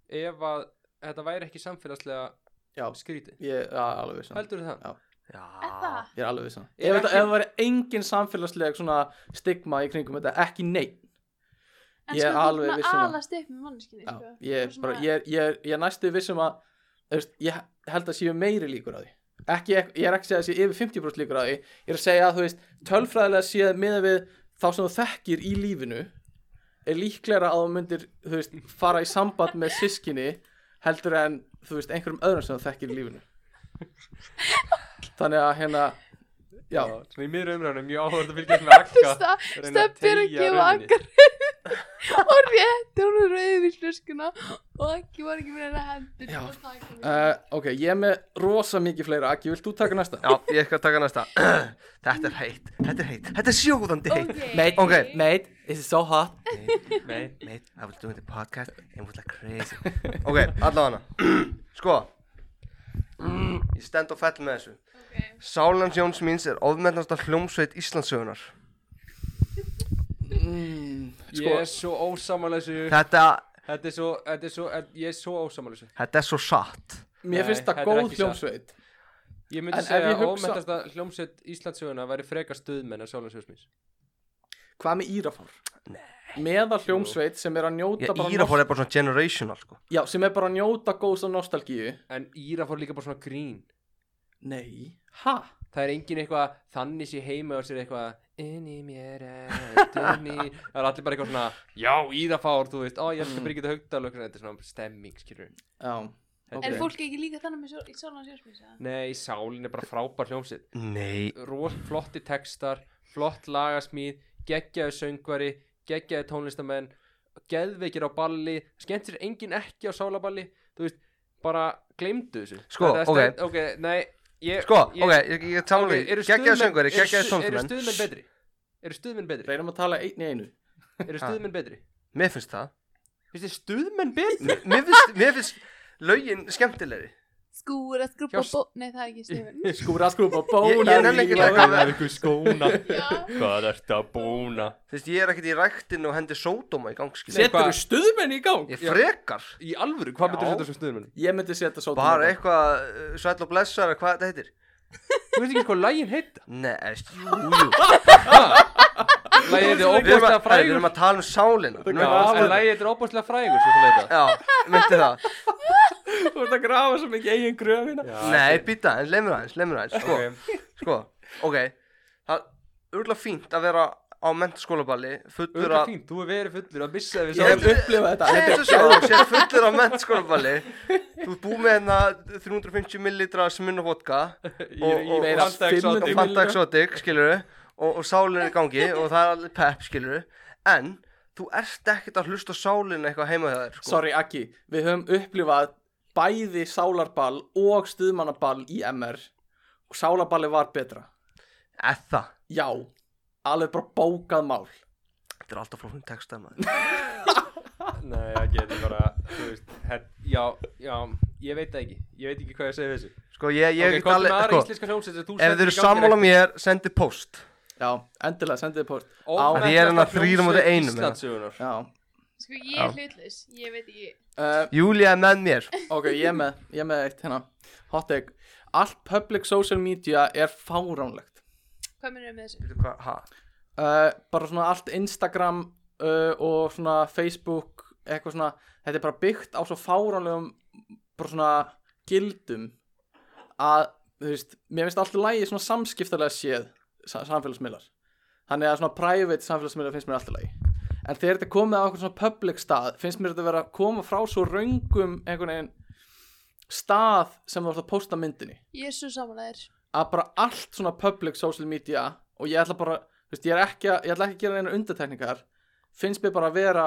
S1: ef að þetta væri ekki samfélagslega
S2: já,
S1: skrítið
S2: ég er alveg vissan
S1: Heldur það?
S4: er það?
S2: ég er alveg vissan
S1: Er
S2: ef þetta-
S1: ekki-
S2: ef það væri engin samfélagsleg svona stigma í kringum þetta, ekki neitt
S4: En
S2: Ég er
S4: sko,
S2: alveg
S4: þú
S2: viss
S4: svona
S2: um að-
S4: alast upp með manneskinni,
S2: Já,
S4: sko.
S2: ég, er
S4: Bara
S2: bara,
S4: svona-
S2: ég, er- ég, er- ég er næstu vissum að þú veist, ég held að séu meiri líkur á því ekki, ek- ég er ekki að segja að séu yfir 50% líkur á því ég er að segja að þú veist tölfræðilega séð miða við þá sem þú þekkir í lífinu er líklega að þú myndir þú veist, fara í samband með sískinni heldur en þú veist einhverjum öðrum sem þú þekkir í lífinu þannig að hérna já,
S1: Svona í miðru umræðunum, ég áhverð að fylgja með akka
S4: Stefn er að gefa akkar og rétti hún rauðið við slöskuna og ekki var ekki með hennar hendur
S2: Já.
S4: til að taka mig.
S2: Uh, ok, ég er með rosa mikið fleira Akki, vilt þú taka næsta?
S5: Já, ég skal taka næsta Þetta er heitt, þetta er heitt, þetta er sjóðandi heitt
S4: Ok.
S5: ok,
S2: mate, this is so hot
S5: Mate, mate, I was doing the podcast and it was like crazy Ok, allavega Sko Ég stend og fell með þessu
S4: Ok.
S5: Sálans Jóns míns er ofmennasta hljómsveit Íslandsögunar
S1: Ég er svo ósamalessu
S5: Þetta,
S1: Þetta er svo, þetta er svo, þetta- ég er svo ósamalessu
S5: þetta er svo satt
S2: Mér
S1: Nei,
S2: finnst
S1: þetta
S2: það
S1: er
S2: góð
S1: ekki satt.
S2: hljómsveit
S1: Ég
S2: En
S1: myndi
S2: ef
S1: segja
S2: ég
S1: að
S2: hugsa-
S1: ómettasta hljómsveit Íslandsöguna væri frekar stuðmenn en Sálansjóðsmís
S2: Hvað með Írafár? Meðal hljómsveit sem er að njóta
S5: Ég
S2: bara
S5: íra fór er bara svona generational sko.
S2: Já, sem er bara að njóta góðs og nostalgíu
S1: En Íra fór líka bara svona grín
S2: Nei Ha?
S1: Það er engin eitthvað þannig sé heima og sér eitthvað Inni mér er dunni Það er allir bara eitthvað svona Já, Íra fór, þú veist Ó, ég
S5: Mm.
S1: elskar Birgitta Haugdal og eitthvað svona, Þetta er svona stemming, skilur
S2: Já
S4: Er
S2: ok.
S4: fólk ekki líka þannig með sjó- í sko, Sólan Sjósmísa?
S1: Nei, Sálin er bara frábær hljómsveit
S5: Nei
S1: Ros, flotti textar, flott lagasmíð Geggjaði söngvari, geggjaði tónlistamenn Geðveikir á balli Skemmt sér engin ekki á sálaballi Þú veist, bara gleymdu þessu
S5: Sko,
S1: Þetta er
S5: ok.
S1: stend- Ok, nei ég,
S5: Sko,
S1: ég,
S5: ok, ég, ég tala
S1: Ok,
S5: okay, við
S1: eru
S5: Gekkjaði
S1: stuðmenn-
S5: söngveri,
S1: eru
S5: gekkjaði
S1: stu-
S5: tónsumenn
S1: Eru stuðmenn betri? Eru stuðmenn betri?
S2: Reynum að tala einn í einu
S1: Eru stuðmenn betri?
S5: Mér finnst það
S1: Finnst þið stuðmenn betri?
S5: Mér- Mér finnst, mér finnst lögin skemmtilegri
S4: Skúra, Sko, skrúpa,
S1: Hjá-
S4: bó... Nei, það er ekki stefin.
S2: Skúra skrúpa
S5: Ég-
S2: bóna
S5: ég nenni ekki að taka-
S1: ykkur skóna
S4: Já.
S1: Hvað ert að búna?
S5: Þú veist, ég er ekkert í ræktinu og hendi sódóma í gangskil
S2: Setur þú stuðmenn í gang?
S5: Ég frekar
S1: Í alvöru, hvað myndir
S5: Já.
S1: þetta sem stuðmenn?
S2: Ég myndi setja sótum hérna.
S5: Bara eitthvað uh, sæll og blessar eða hvað þetta heitir
S1: Þú veist ekki hvað lægin heita?
S5: Nei, eist, jú, jú
S1: Lægin heitir
S5: Við erum,
S1: óbúslega
S5: að, nei, við
S1: frægur
S5: erum að tala um sálina Við erum
S1: Já,
S5: að tala um
S1: en
S5: sálina.
S1: lægin heitir óbúslega frægur svo sem þetta
S5: Já, myndi það
S2: Þú ert að grafa svo mikið eigin hérna. gröfina
S5: Nei, býta, en lemur aðeins, lemur aðeins Sko, sko, ok Það er urla fínt að vera á mentaskólaballi Fullur
S1: Öðru
S5: að
S1: fínt, þú er verið fullur að missa við
S5: Ég
S2: Ég hef
S1: sáum
S5: held-
S2: upplifað þetta
S5: Þetta
S2: Þetta
S5: er svo, sér fullur á mentaskólaballi Þú ert búið með hérna 350 millilitra smunna vodka og- og-
S2: meira
S1: Fanta Exotic.
S2: 500 Fimm
S5: og Fanta
S2: millilitra.
S5: Exotic, skilur og, og sálinn er í gangi og það er allir pepp, skilur en þú ert ekkert að hlusta á sálinn eitthvað heima hjá þér, sko
S2: Sorry Akki, við höfum upplifað bæði sálarball og stuðmannaball í MR og sálarballi var betra
S5: Eða,
S2: Já, alveg bara bókað mál
S5: þetta er alltaf flóknum texta maður
S1: Nei, það getur bara, þú veist het- Já, já, ég veit það ekki Ég veit ekki hvað ég segi við þessu
S5: Sko, ég, ég
S1: Ok,
S5: get
S1: hvað er
S5: alveg,
S1: með aðra
S5: sko,
S1: íslenska hljómsveit sem þú
S5: ef
S1: sendir
S5: þið eru
S1: í gangi
S5: sammála mér, sendi post
S2: Já, endilega sendið þið post
S1: Ómettasta
S5: Því ég er hérna þrír á móti
S1: hljómsveit
S5: einum, eða?
S1: Íslandssögunar
S2: Já,
S4: Sko, ég er hlutlaus. Ég veit ekki.
S2: uh,
S5: Júlia er með mér
S2: ok, ég er með, ég er með eitt hérna Hot take Allt public social media er fáránlegt
S4: Hvað minnir með þessu?
S5: Veitu hvað, ha?
S2: uh, Bara svona allt Instagram uh, og svona Facebook eitthvað svona, þetta er bara byggt á svo fáránlegum bara svona gildum að, þú veist, mér finnst alltaf lægi svona samskiptalega séð sa- samfélagsmiðlar þannig að svona private samfélagsmiðlar finnst mér alltaf lægi en þegar þetta er komið á okkur svona public stað finnst mér þetta vera að koma frá svo röngum einhvern veginn stað sem þú ert að posta myndinni
S4: Ég er svo samanlegaður.
S2: að bara allt svona public social media og ég ætla bara, þú veist, ég er ekki að, ég ætla ekki að gera neina undartekningar finnst mér bara að vera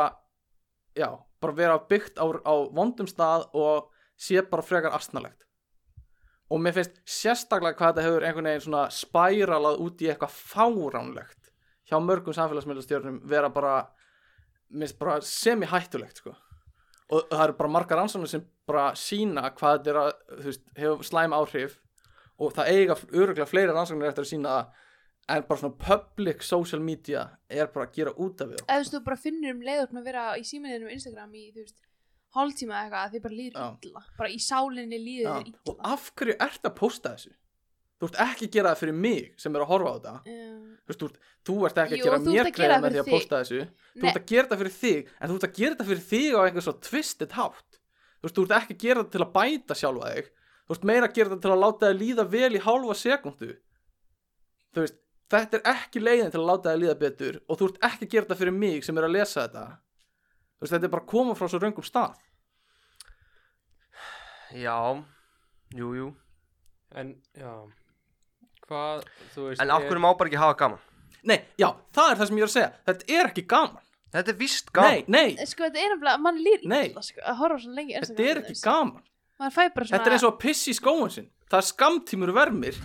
S2: já, bara vera byggt á, á vondum stað og sé bara frekar astnalegt og mér finnst sérstaklega hvað þetta hefur einhvern veginn svona spæralað út í eitthvað fáránlegt hjá mörgum samfélagsmiðlastjórnum vera bara, mér finnst bara semi-hættulegt sko og það eru bara margar rannsóknir sem bara sína hvað þetta er að, þú veist, hefur slæm áhrif og það eiga öruglega fleiri rannsóknir eftir að sína það en bara svona public social media er bara að gera út af því
S4: Ef þú veist, þú bara finnur um leiðurinn að vera í símininum og Instagram í, þú veist, hálftíma eða eitthvað, þið bara líður
S2: Já.
S4: illa. Bara í sálinni líður
S2: Já,
S4: þér illa.
S2: og af hverju ert að posta þessu þú ert ekki að gera það fyrir mig sem er að horfa á þetta
S4: Um,
S2: þú, veist, þú, ert- þú ert ekki
S4: Jú,
S2: að gera
S4: þú ert
S2: mér
S4: að gera
S2: greiða
S4: það
S2: með því
S4: fyrir
S2: að posta þessu þú
S4: Nei.
S2: ert að gera þetta fyrir þig en þú ert að gera þetta fyrir þig á einhver svo tvistit hátt þú veist, þú ert ekki að gera þetta til að bæta sjálfa þig þú ert meira að gera þetta til að láta þig líða vel í hálfa sekundu þú veist, þetta er ekki leiðin til að láta þig líða betur og þú ert ekki að gera þetta fyrir mig sem er að lesa þetta þú veist, þetta er bara að koma frá svo röngum stað
S5: Já, jú, jú
S1: En, já Hvað, þú veist
S5: En af
S1: er-
S5: hverju má bara ekki hafa gaman?
S2: nei, já, það er það sem ég er að segja þetta er ekki gaman
S5: Þetta er víst
S2: Nei,
S5: gaman
S2: nei,
S4: sko þetta er nefnilega, mann líður
S2: Nei.
S4: illa sko, að horfa svo lengi
S2: þetta er ekki gaman
S4: mann fæ bara svona
S2: Þetta er eins og að pissi í skóin sinn Það er skamtímur vermir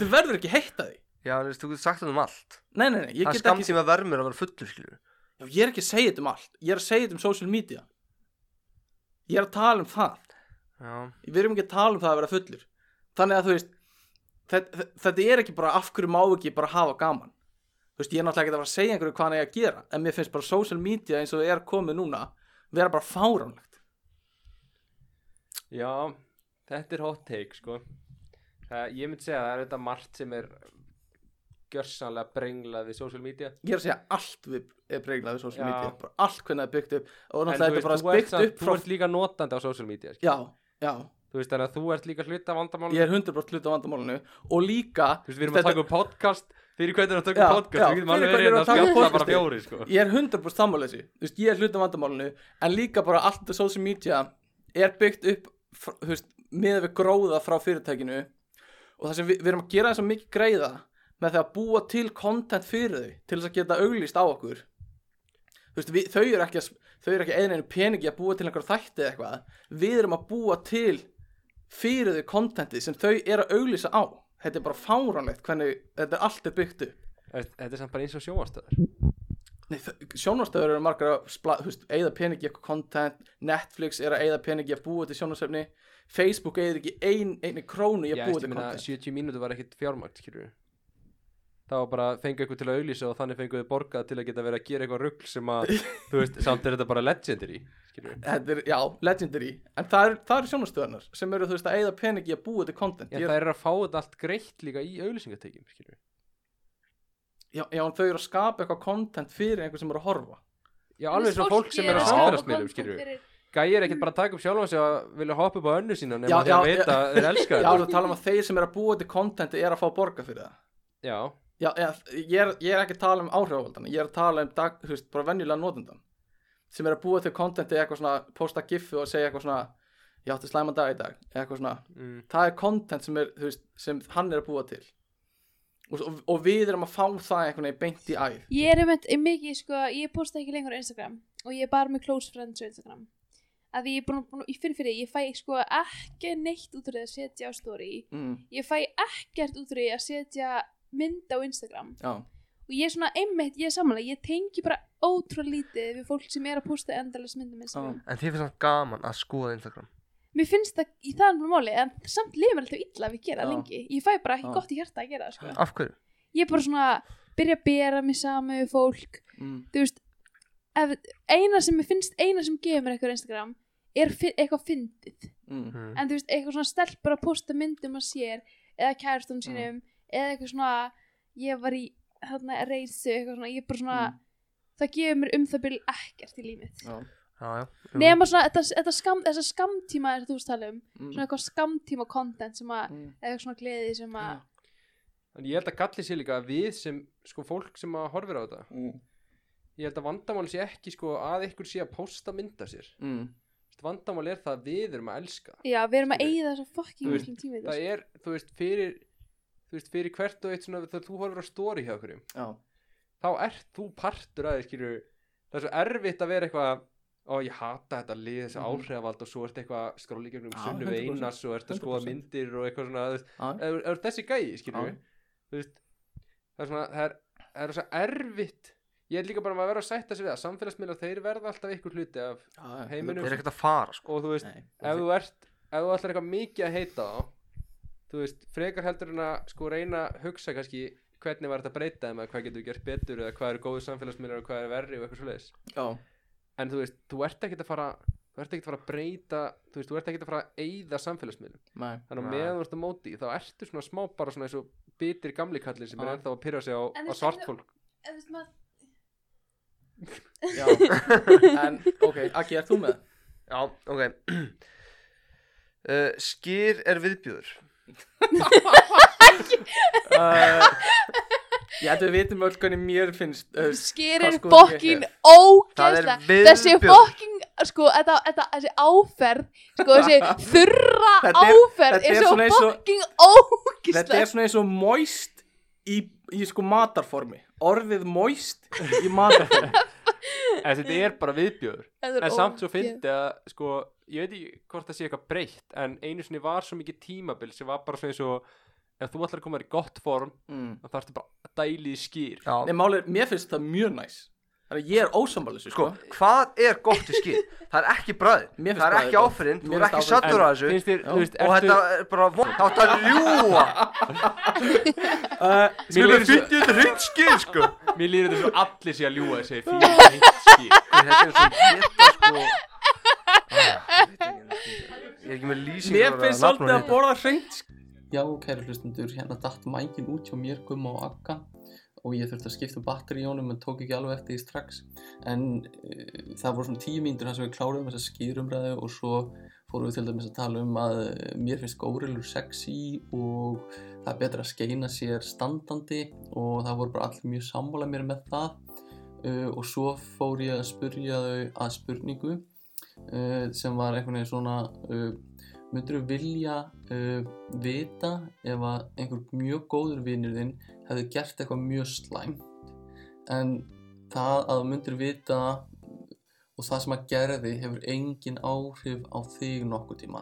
S2: Þú verður ekki heita því
S5: Já, en þú veist, þú getur sagt þetta um allt
S2: Nei, nei, nei, ég
S5: Það
S2: get
S5: er
S2: ekki
S5: skamtíma vermur að vera fullur, skilur
S2: Já, ég er ekki að segja þetta um allt Ég er að segja þetta um social media Ég er að tala um það
S5: Já,
S2: Við erum ekki að tala um það að vera fullur Þannig að þú veist Þetta, þetta er ekki bara af hverju má ekki bara hafa gaman Þú veist, ég er náttúrulega ekki að fara að segja einhverju hvað hann er að gera En mér finnst bara social media eins og það er komið núna Vera bara fáránlegt
S1: Já, þetta er hot take sko það, Ég myndi segja að það er þetta margt sem er gjörsanlega brenglað við social media
S2: Ég er að segja allt við er breglað við social
S1: Já.
S2: media bara Allt hvernig það er byggt upp Og
S1: En
S2: náttúrulega er
S1: þú
S2: þetta
S1: veist,
S2: bara
S1: þú ert
S2: byggt
S1: samt-
S2: upp
S1: þú
S2: frá
S1: ert líka notandi á social media skilur.
S2: Já, já,
S1: Þú veist þannig að þú ert líka hluta vandamálum
S2: ég er 100% hluti af vandamálinu Og líka
S1: Þú veist, við erum að taka upp podcast Fyrir hvernig erum við að
S2: Já,
S1: taka upp podcast
S2: já,
S1: Við getum alveg
S2: fyrir hvernig
S1: verið hérna
S2: erum
S1: að
S2: við að taka upp
S1: spjalla bara
S2: podcastið?
S1: fjóri sko.
S2: ég er 100% sammála þessu Þú veist, ég er hluti af vandamálinu en líka bara allt það social media er byggt upp fr- þú veist, miða við gróða frá fyrirtækinu og það sem við, við erum að gera þess að mikið greiða með því að búa til content fyrir þau til þess að geta auglýst á okkur Þú veist, við, þau eru ekki að s- þau eru ekki einu peningi að búa til einhver þætti eða eitthvað við erum að búa til fyrir þau contentið sem þau eru að auglýsa á þetta er bara fáránlegt hvernig þetta er allt er byggt upp
S1: Þetta er samt bara eins og sjóastöður
S2: Nei, sjónvarstöður eru margar að spla, þú veist, eigða peningi í eitthvað content Netflix er að eigða peningi að búa til sjónvarstöfni Facebook eigður ekki ein, einu krónu í
S1: Ég
S2: að búa
S1: veist,
S2: til
S1: ég meina,
S2: content
S1: 70 mínútur var ekkit fjármagt skilur. Það var bara fengið ykkur til að auglýsa og þannig fengið þau borgað til að geta verið að gera eitthvað rugl sem að, þú veist, samt er þetta bara legendary skilur.
S2: Þetta er, já, legendary En það eru er sjónvarstöðunar sem eru, þú veist, að eigða peningi í að búa til content
S1: En
S2: Ég
S1: það
S2: er,
S1: er að fá þetta allt greitt líka í auglýsingategjum skilur.
S2: já, já, en þau eru að skapa eitthvað content fyrir einhver sem eru að horfa
S1: Já, alveg eins og fólk sem er á
S5: að
S1: samfélagsmiðlum skilur. Gæi er ekkit bara að taka upp sjálfan sig að vilja hoppa upp á önnu sína nema
S2: Já,
S1: því að
S2: já,
S1: vita að þeir elska
S2: Já, þú
S1: þetta
S2: tala um að þeir sem eru að búa til content er að fá borga fyrir það
S1: Já,
S2: Já, eða, ég, er, ég er ekki að tala um áhrifavaldana ég er að tala um dag, þú veist, bara venjulega notendan sem er að búa til kontenti eitthvað svona, posta giffu og segja eitthvað svona ég átti slæman dag í dag eitthvað svona,
S1: mm,
S2: það er kontent sem, er, þú veist, sem hann er að búa til og, og, og við erum að fá það einhvern veginn beint í æð
S4: Ég er einmitt ég mikið, sko, ég posta ekki lengur á Instagram og ég er bara með close friends á Instagram að ég er búin, búin ég finn fyrir því, ég fæ sko ekki neitt út úr því að setja á story
S2: mm,
S4: ég fæ ekkert út úr því að setja mynd á Instagram
S2: já,
S4: og ég er svona einmitt, ég er samanlega, ég tengi bara ótrúlega lítið við fólk sem er að posta endalast myndum Instagram.
S5: en þið finnst það gaman að skoða Instagram
S4: Mér finnst það í það alveg máli, en samt lifir alltaf illa að við gera
S2: Já.
S4: það lengi. Ég fæ bara ekki
S2: Já.
S4: gott í hjarta að gera það, sko.
S5: Af hverju?
S4: Ég er bara svona, byrja að bera mig saman við fólk,
S2: mm,
S4: þú veist, ef, eina sem mér finnst, eina sem gefur mér eitthvað á Instagram er fi eitthvað fyndið.
S2: mm,
S1: Mhm.
S5: Mm.
S4: En þú veist, eitthvað svona stelpur að posta myndum að sér, eða kærastum sínum, eða eitthvað svona, ég var í, þarna, reysu, eitthvað svona, ég er bara svona,
S1: Mhm.
S2: Mm.
S4: það gefur mér um það byrja ekkert í lífið.
S2: já,
S5: Já, já jú.
S4: Nefna svona, þetta, þetta skam, þessa skamtíma þess að þú tala um,
S2: mm,
S4: svona eitthvað skamtíma content sem að,
S2: mm,
S4: eða eitthvað svona gleði sem að,
S1: en ég held að galli sér líka að við sem, sko, fólk sem að horfir á þetta
S2: mm,
S1: Ég held að vandamál sé ekki, sko, að ykkur sé að posta mynda sér
S2: mm,
S1: Þú veist, Vandamál er það að við erum að elska
S4: já, við erum að
S1: Skilur.
S4: eigða þessa
S1: Þú
S4: fucking
S1: veist,
S4: miklum tíma í
S1: Það
S4: þessu.
S1: er, þú veist, fyrir, þú veist, fyrir hvert og eitt svona Þegar þú horfir á story hjá okkur
S2: já,
S1: Þá ert þú partur að, skilur Það er svo erfitt að vera eitthvað Ó, ég hata þetta lið, þessi
S2: Mhm.
S1: áhrifavald og svo ert eitthvað að skróla í gegnum
S2: Já,
S1: sunnu
S2: 100%,
S1: veinas og ert að skoða
S2: 100%.
S1: myndir og eitthvað svona, þú veist,
S2: já,
S1: er, er þessi gæi, skilur
S2: Já.
S1: þú veist það er svona, það er, það er svo erfitt ég er líka bara um að vera að sætta sig við að samfélagsmiðlar þeir verða alltaf ykkur hluti af
S2: já,
S1: heiminum.
S5: Þeir eru ekkert að fara, sko
S1: og þú veist,
S2: ah, Nei,
S1: ef þú ert ef þú ætlar eitthvað mikið að heita á þú veist, frekar heldur en að sko reyna að hugsa kannski hvernig var þetta að breyta þeim eða hvað getur við gert betur eða hvað eru góðu samfélagsmiðlar og hvað eru verri og eitthvað svoleiðis
S2: já,
S1: en þú veist, þú ert ekkert að fara þú ert ekkert að fara að breyta þú veist, þú ert ekkert að fara að eyða samfélagsmiðlum
S2: nei,
S1: þannig að
S5: Nei.
S1: meðan þú ert á móti þá ertu svona smá bara svona eins og bitir gamli kallin sem er
S2: Já.
S1: ennþá að pyrra sig á,
S4: En
S1: á
S4: þú-
S1: svart fólk
S4: En þú veist, maður-
S2: já en, ok, Akki, er þú með?
S5: Já, ok uh, Skýr er viðbjöður
S2: uh, ég held að við vitum öll hvernig mér finnst uh,
S4: Sker
S2: hvað
S4: er
S2: sko
S4: fokkin
S2: ég
S5: Það er
S4: ógeðslega Þessi
S5: viðbjöður
S4: fokkin, sko, þetta, þetta, þessi áferð, sko, þessi þurra
S2: Þetta er-
S4: áferð
S2: þetta
S4: er
S2: er
S4: svo
S2: svona eins og-
S4: fokkin
S2: þetta
S4: ógeðslega
S2: er svona eins og moist í, í sko matarformi orðið moist í matarformi
S1: en þetta er bara viðbjöður
S4: Þetta er
S1: en samt svo
S4: ógeð.
S1: fyndi að sko, ég veit ekki hvort það sé eitthvað breytt en einu sinni var svo mikið tímabil sem var bara svona eins og ef þú ætlar að koma þér í gott form
S2: mm.
S1: þá þarftu bara að dæli í skýr
S5: Já.
S2: Nei, málið, er, mér finnst það mjög næs Þannig að ég er ósambalið
S5: Sko, hvað er gott í skýr? Það er ekki bræð,
S2: Mér finnst
S5: það er
S2: bragðið
S5: ekki
S2: gott.
S5: áfyrinn, þú
S2: Mér
S5: er
S2: finnst áferðin-
S5: ekki sattur á þessu
S1: finnst þér,
S2: Já.
S1: þú veist,
S5: og
S1: ertu
S5: þetta er bara vond, þá þetta er ljúa.
S2: uh,
S1: Mér
S5: Við
S1: líður svo-
S5: finnum þetta hreint skýr, sko.
S1: mér líður þetta svo allir sé að ljúa þessi fíla heitt skýr
S5: Þetta er svo geta, sko. Ah, ég veit ekki, Ég er ekki með lýsingar.
S2: Mér finnst svolítið að borða hreint sko.
S3: Já, kæri hlustendur, hérna datt mækin út hjá mér, gumma og akka og ég þurfti að skipta batteri í honum en tók ekki alveg eftir því strax en uh, það voru svona tíu mínútur þar sem við kláruðum þessa skýrumræðu og svo fórum við til dæmis að tala um að eh, mér finnst górilur sexy og það er betra að skeina sér standandi og það voru bara allir mjög sammála mér með það uh, og svo fór ég að spurja þau að spurningu uh, sem var einhvern veginn svona uh, myndur þú vilja uh, vita ef að einhver mjög góður vinnur þinn hefði gert eitthvað mjög slæmt en það að myndur vita og það sem að gerði hefur engin áhrif á þig nokkuð tíma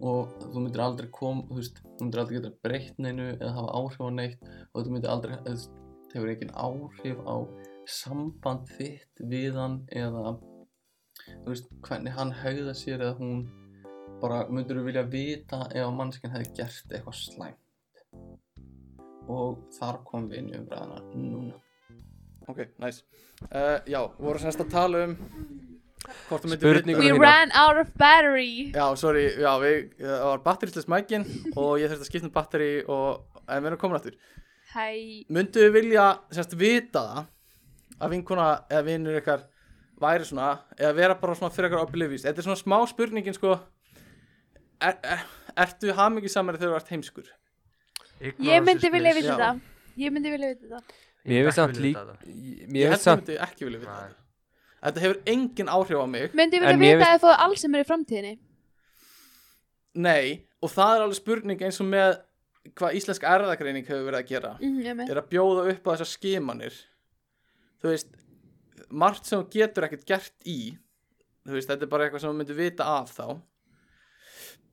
S3: og þú myndir aldrei kom, þú veist, þú myndir aldrei geta breytt neinu eða hafa áhrif á neitt og þú myndir aldrei, þú veist, það hefur engin áhrif á samband þitt við hann eða þú veist, hvernig hann haugða sér eða hún bara myndur þú vilja vita ef að mannskinn hefði gert eitthvað slæmt og þar kom við inn í umræðana núna
S2: Ok, næs uh, Já, voru semst að tala um Hvort þú myndir
S1: Spurningu
S4: We
S1: mína.
S4: ran out of battery
S2: Já, sorry, já, við, það var batteríslega smækin og ég þurfti að skipta um batteri og, en við erum komin aftur.
S4: Hæ
S2: Myndu við vilja, semst, vita það að vinkona eða vinur ykkar væri svona, eða vera bara svona fyrir ykkar oblivious. Þetta er svona smá spurningin, sko, er, er, ertu hamingi samari þegar þú ert heimskur?
S4: Ég myndi vilja
S2: Já.
S4: vita það Ég myndi vilja vita það
S1: mér finnst samt lík
S2: Ég
S1: mér
S2: held
S1: finnst
S2: að
S1: samt
S2: myndu ekki vilja vita
S5: Nei.
S2: það. Þetta hefur engin áhrif á mig.
S4: Myndi
S1: En
S4: vilja
S1: mér
S4: vita ef þú alls sem er í framtíðinni
S2: Nei, og það er alveg spurning eins og með hvað íslensk erðagreining hefur verið að gera.
S4: Mhm, ég með.
S2: er að bjóða upp á þessar skimanir þú veist margt sem þú getur ekkert gert í þú veist, þetta er bara eitthvað sem þú myndir vita af þá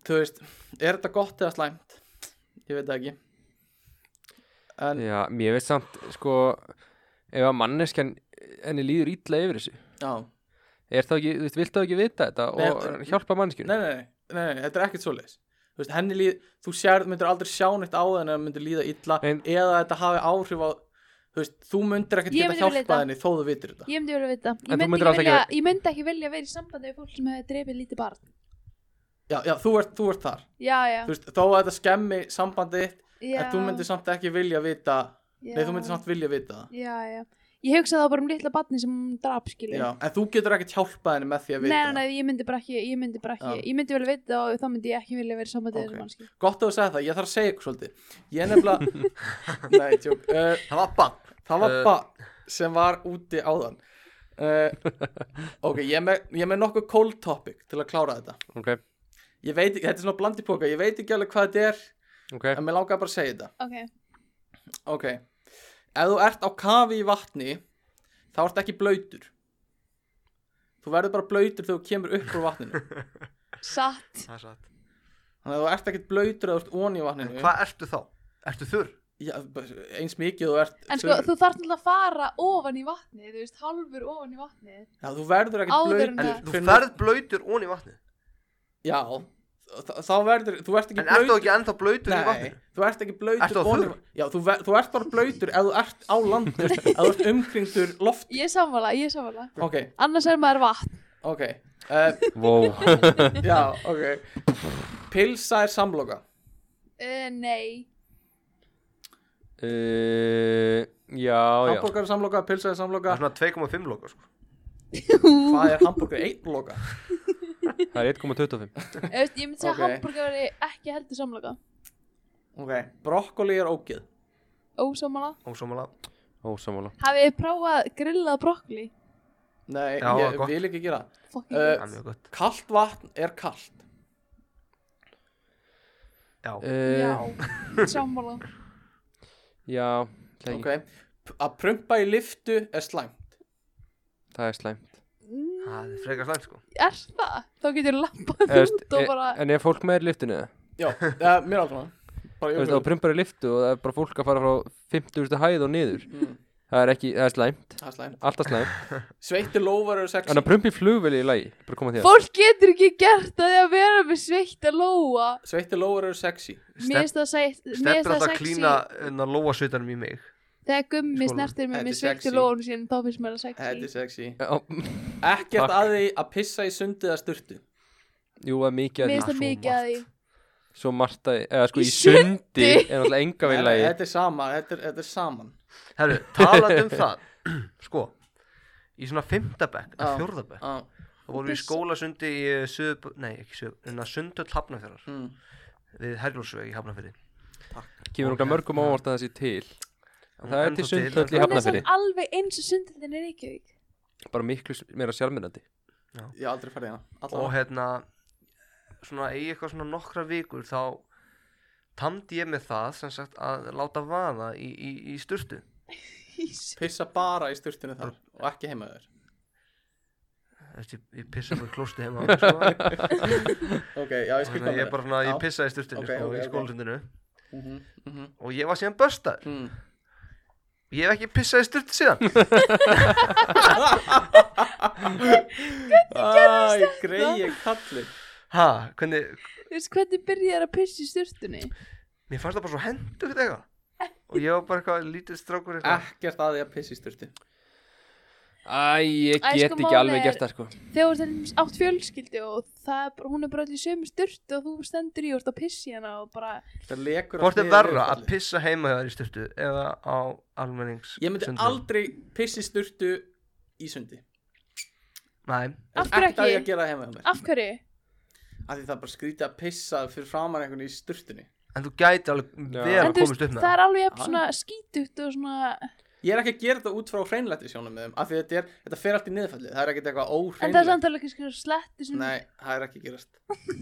S2: þú veist, er þetta gott eða slæmt ég veit það ekki en,
S1: já, mér finnst samt sko ef að manneskjan henni líður ítla yfir þessu
S2: já,
S1: er það ekki, þú veist, vilt það ekki vita þetta
S2: Nei,
S1: og
S2: þetta-
S1: hjálpa
S2: nei,
S1: manneskjunum
S2: nei, nei, nei, nei, þetta er ekkert svoleiðis þú veist, henni líð, þú sér, myndir aldrei sjá neitt á þenni að myndir líða illa
S1: En-
S2: eða þetta hafi áhrif á þú veist, þú myndir ekkert
S4: Ég
S2: geta
S4: myndi vilja
S2: hjálpað
S4: vita.
S2: henni þó þú vitir þetta
S4: Ég myndi vilja vita
S1: En þú
S4: Ég myndi,
S1: myndir
S4: ekki
S1: alls ekki
S4: vilja, ég myndi ekki vilja vera í sambandi við fólk sem hefur drefið lítið barn
S2: já, já, þú ert, þú ert þar
S4: Já, já,
S2: þú veist, þó að þetta skemmi sambandið
S4: já
S2: En þú myndir samt ekki vilja vita
S4: já,
S2: Nei, þú myndir samt vilja vita það
S4: Já, já Ég hugsa þá bara um litla barni sem hún drap, skilur
S2: Já, en þú getur ekkert hjálpað henni með því að
S4: Nei,
S2: vita
S4: nei, nei, ég myndi bara ekki, ég myndi bara ekki,
S2: Já.
S4: ég myndi vel vita og þá myndi ég ekki vilja vera í sambandi
S2: Ok.
S4: okay. þessu
S2: það Gott að þú segja það, ég þarf að segja ykkur svolítið Ég nefnilega Nei, tjók uh,
S5: Það var bann.
S2: Það var
S5: Eh.
S2: bara sem var úti áðan uh, Ok, ég er með, ég er með nokkuð cold topic til að klára þetta
S1: ok,
S2: Ég veit ekki, þetta er svona blandipoka Ég veit ekki alveg hvað þetta er
S1: ok
S2: En mér langar bara að segja þetta
S4: mannsku.
S2: Ok, ef þú ert á kafi í vatni þá ert ekki blöytur Þú verður bara blöytur þegar þú kemur upp úr vatninu
S4: Ok, satt.
S5: Það er satt.
S2: Þannig að þú ert ekkert blöytur að þú ert ón í
S5: En
S2: vatninu
S5: hvað ertu þá? Ertu þurr?
S2: Já, bara Eins mikið þú ert
S4: En sko,
S2: þurr.
S4: þú þarf náttúrulega að fara ofan í vatnið, þú veist, hálfur ofan í vatnið.
S2: Já, þú verður
S4: Áður
S2: ekkert blöytur
S4: en
S5: En
S4: Nei.
S5: þú ferð blöytur ón í vatni.
S2: Já, þá- þá verður, þú ert ekki
S5: En ertu
S2: blöytur
S5: ekki ennþá blöytur í
S2: Nei,
S5: vatni?
S2: þú ert ekki
S5: Ertu
S2: blöytur
S5: á
S2: ofan í
S5: þurr?
S2: vatni. Já, þú, ver, þú ert bara blöytur ef þú ert á landur ef þú ert umkringdur loft
S4: Ég er sammála, ég er sammála.
S2: Ok,
S4: Annars er maður vatn.
S2: ok uh,
S1: wow.
S2: Já, ok Pilsa er samloka
S4: Uh, nei.
S1: uh, já, já
S2: Hamburger er samloka, pilsa er
S5: Það
S2: samloka
S5: er svona 2,5 loka, sko.
S2: Hvað er hambúrgar einn loka?
S1: það er 1,25
S4: Þú veist, ég myndi
S2: Ok.
S4: segja okay. hambúrgar veri ekki heldur samloka.
S2: Ok, brokkoli er ógið
S4: Ósammála.
S5: Ósámála.
S1: ósamála
S4: Hafið þið prófað grillað brokkoli?
S2: Nei,
S5: Já,
S2: ég
S5: gott.
S2: vil ekki gera það.
S4: Fucking
S2: Eh,
S4: uh,
S5: Það er mjög gott.
S2: Kalt vatn er kalt
S5: Já.
S1: uh,
S2: eh.
S4: Já, sammála.
S1: já, já
S2: Ok P- Að prumpa í liftu er slæmt
S1: það er slæm
S4: Mm,
S5: Það er frekar slæmt sko
S4: Er það? Þá getur lampað
S1: Eða, veist, eh,
S4: út
S2: eh,
S4: og bara
S1: En er fólk með í liftinu?
S2: Já, ja, mér er aldrei maður Bara
S1: Þú
S2: ég
S1: veist, þá prumpar í liftu og það er bara fólk að fara frá 50.000 hæð og niður
S2: Mm.
S1: Það er ekki, það er slæmt,
S2: Það er slæmt
S1: alltaf slæmt
S2: Sveitti lófar eru sexy
S1: En að prumpa í flugveli í lagi, bara koma til það
S4: Fólk getur ekki gert það því að vera með sveitt að lóa
S2: Sveitti lófar eru sexy
S4: Mér finnst það sætt Mér finnst
S5: Stefnir alltaf
S4: það
S5: að
S4: sexy
S5: klína eh, en að lóa sveitanum í mig
S4: Þegar gummi
S5: Skólanum.
S4: snertir
S2: Þetta
S4: mig
S2: er
S4: með sveitt
S2: sexy.
S4: að lóa sín Þá finnst mér það
S2: Þetta er
S4: sexy
S2: sexy
S1: Já,
S2: Ekkert
S1: Takk.
S2: að því að pissa í sundið að sturtu
S1: Jú, það er mikið
S4: Mér
S1: að
S4: finnst það
S5: svo
S4: mikið að því
S5: margt.
S1: því Svo margt að, eða sko
S4: Í
S1: í sundi Er alltaf enga við í lagi
S2: Þetta er sama, þetta er, þetta er saman
S5: Herru, talað um það Sko, í svona fymtabekk,
S2: Já.
S5: fjórðabekk
S2: ah,
S5: Þá vorum við í
S4: Byssu.
S5: skólasundi í söðu, nei ekki söðu, en að sundöld hafnafjörðar
S2: mm.
S5: Við Herjólfsveg í hafnafjörði
S1: Kemur okkar mörgum ávart að það sé til En Það
S5: Ennþá
S1: er til
S5: til,
S1: sundhöll í
S5: ennþá
S4: Hún er
S1: Hafnarfirði
S4: samt alveg eins og sundhildin er ekki
S1: Bara miklu s- meira sjálfmyndandi
S2: Ég hef aldrei farið hérna
S5: Og
S2: Allavega.
S5: hérna, svona eigi eitthvað svona nokkra vikur þá tamdi ég með það sem sagt að láta vaða í, í, í sturtu
S4: Ís
S2: Pissa bara í sturtunni þar og ekki heima þér
S5: Þessi, ég pissa bara í klósti heima á mér, sko.
S2: Ok, já, ég skil
S5: Þannig að
S2: komið
S5: ég bara svona, ég
S2: Já.
S5: pissaði í sturtinu
S2: Ok,
S5: sko,
S2: ok,
S5: í
S2: ok.
S5: skólasundinu
S2: mm -hmm.
S5: og ég var síðan börstar
S2: mm.
S5: Ég hef ekki pissað í sturtu síðan
S2: Mm. Æ, greiði kalli
S5: Ha, hvernig,
S4: Þú veist hvernig byrjar að pissa í sturtunni?
S5: mér fannst það bara svo hendur eitthvað Og ég var bara eitthvað lítið strákur eitthvað
S2: Ekkert að því að pissa í sturtu
S1: Æ, ég
S4: Æ,
S1: get
S4: sko,
S1: ekki
S4: málið
S1: alveg
S4: er-
S1: gert það sko
S4: Þegar þú ert átt fjölskyldi og það, er bara- hún er bara allir sömu sturt og þú stendur í og ert að pissi hana og bara
S2: Það lekur
S5: Hvort
S2: allt
S5: er
S2: niður
S5: verra
S2: niður
S5: að
S2: fallið.
S5: pissa heima hjá þér í sturtu eða á almennings
S2: Ég myndi
S5: sundlaug?
S2: aldrei pissa í sturtu í sundi
S5: Nei,
S4: Af hverju
S2: Ekkert að því
S4: ekki?
S2: að gera það heima hjá mér
S4: Af hverju?
S2: Af því það er bara skrítið að pissa fyrir framan einhvern í sturtunni
S5: en þú gæti alveg
S1: Já.
S5: vel
S1: En
S5: að
S4: þú veist,
S5: komast upp með
S4: það er alveg jafn
S2: Já.
S4: svona skítugt og svona
S2: Ég er ekki að gera þetta út frá hreinlætti sjónum af því þetta, er, þetta fer allt í niðurfallið Það er ekkert eitthvað
S4: En það er
S2: óhreinlætt
S4: samt alveg kannski sletti sem
S2: Nei, það er ekki að gerast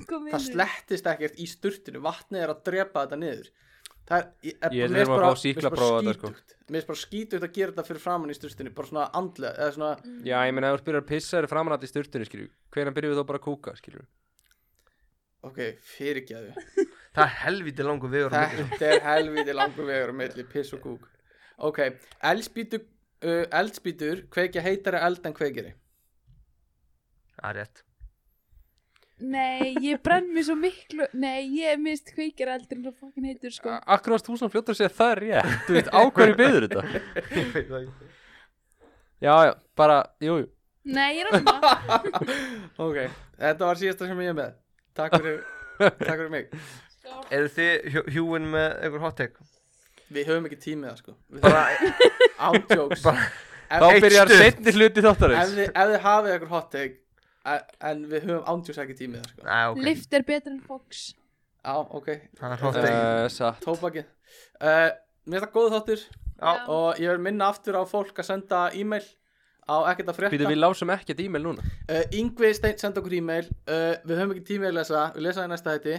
S4: kom
S2: það slettist ekkert í sturtinu vatnið er að drepa þetta niður það er, ég, er
S1: Ég þurfum
S2: bara- mér
S1: að
S2: finnst bara-
S1: fá sýkla
S2: mér finnst
S1: prófa
S2: bara
S1: þetta, sko.
S2: skítugt mér finnst bara skítugt að gera þetta fyrir framann í sturtinu bara svona andlega eða svona
S4: Mm.
S1: Já, ég meina, ef þú byrjar að pissa þér framan allir sturtunni, skilju Hvernig byrjum við þá bara að kúka, skilju
S2: ok, fyrirgjaðu
S5: Það er helviti langur vegur á milli, sko.
S2: þetta er helviti langur vegur á milli piss og kúk ok, eldspýtur uh, eldspýtur kveikja heitari eld en kveikjari
S5: Það er rétt
S4: Nei, ég brenn mér svo miklu Nei, ég mist kveikir eldur en það fokkin heitur sko
S2: Ah.
S1: Akkur varst þú svona fljóttur að segja það er rétt Þú veist, á hverju beður þetta?
S5: Ég veit það ekki.
S1: Já, já, bara, jú, jú
S4: Nei, ég er alveg bara
S2: ok, þetta var síðasta sem ég er með takk fyrir, takk fyrir mig
S5: Eru þið hjú- hjúin með einhver hot take?
S2: við höfum ekki tímið það sko Við
S5: Bara,
S2: höfum- án jokes
S5: Bara-
S2: Ef-
S1: Þá
S5: Eitt
S1: byrjar
S5: stutt.
S1: setni hluti
S2: ef
S1: þáttarins
S2: þið, ef þið hafið eitthvað hot take e- en við höfum ándjós ekki tímið það sko.
S5: næ, ok
S4: Lift er betra en Fox
S2: á, ok,
S5: Það er hot take
S1: Uh, Satt
S2: tópakið uh, mér er það góð þáttur
S5: Já.
S2: og ég vil minna aftur á fólk að senda e-mail á ekkert að
S1: Býtu,
S2: frétta
S1: við lásum ekkert e-mail núna
S2: uh, Yngvi Steinn senda okkur e-mail uh, við höfum ekki tímið að lesa, við lesa það í næsta hætti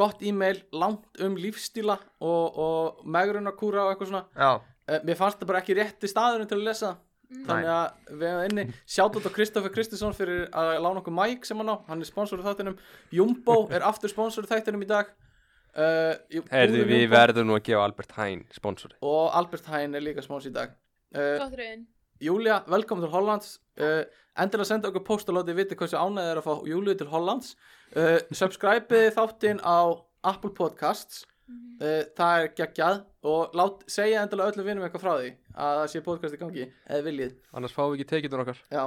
S2: gott e-mail, langt um lífstíla og, og megrunarkúra og eitthvað svona
S5: Já,
S2: uh, mér fannst það bara ekki rétti staðurinn til að lesa það. þannig að við hefum inni sjátt á Kristoffer Kristinsson fyrir að lána okkur mæk sem hann á, hann er sponsorið þættinum Jumbo er aftur sponsorið þættinum í dag uh, jú-
S1: Herðu,
S2: búðum
S1: við
S2: Jumbo
S1: verðum nú að gefa Albert Hain sponsori
S2: og Albert Hain er líka sponsor í dag uh,
S4: Gott rauðin
S2: Júlia, velkomin til Hollands uh, endilega senda okkur post og látið viti hversu ánæðið er að fá Júliu til Hollands uh, subscribe þáttinn á Apple Podcasts uh, það er geggjað og lát, segja endilega öllum vinum eitthvað frá því að það sé podcast í gangi eða viljið
S1: Annars fáum við ekki tekið um okkar
S2: Já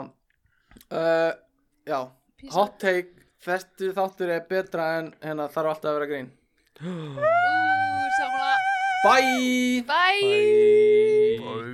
S2: uh, Já,
S4: Písa.
S2: hot take Þessu þáttur er betra en hérna, þarf alltaf að vera grín
S4: Ú, samanlega
S2: Bye!
S4: Bye.
S5: og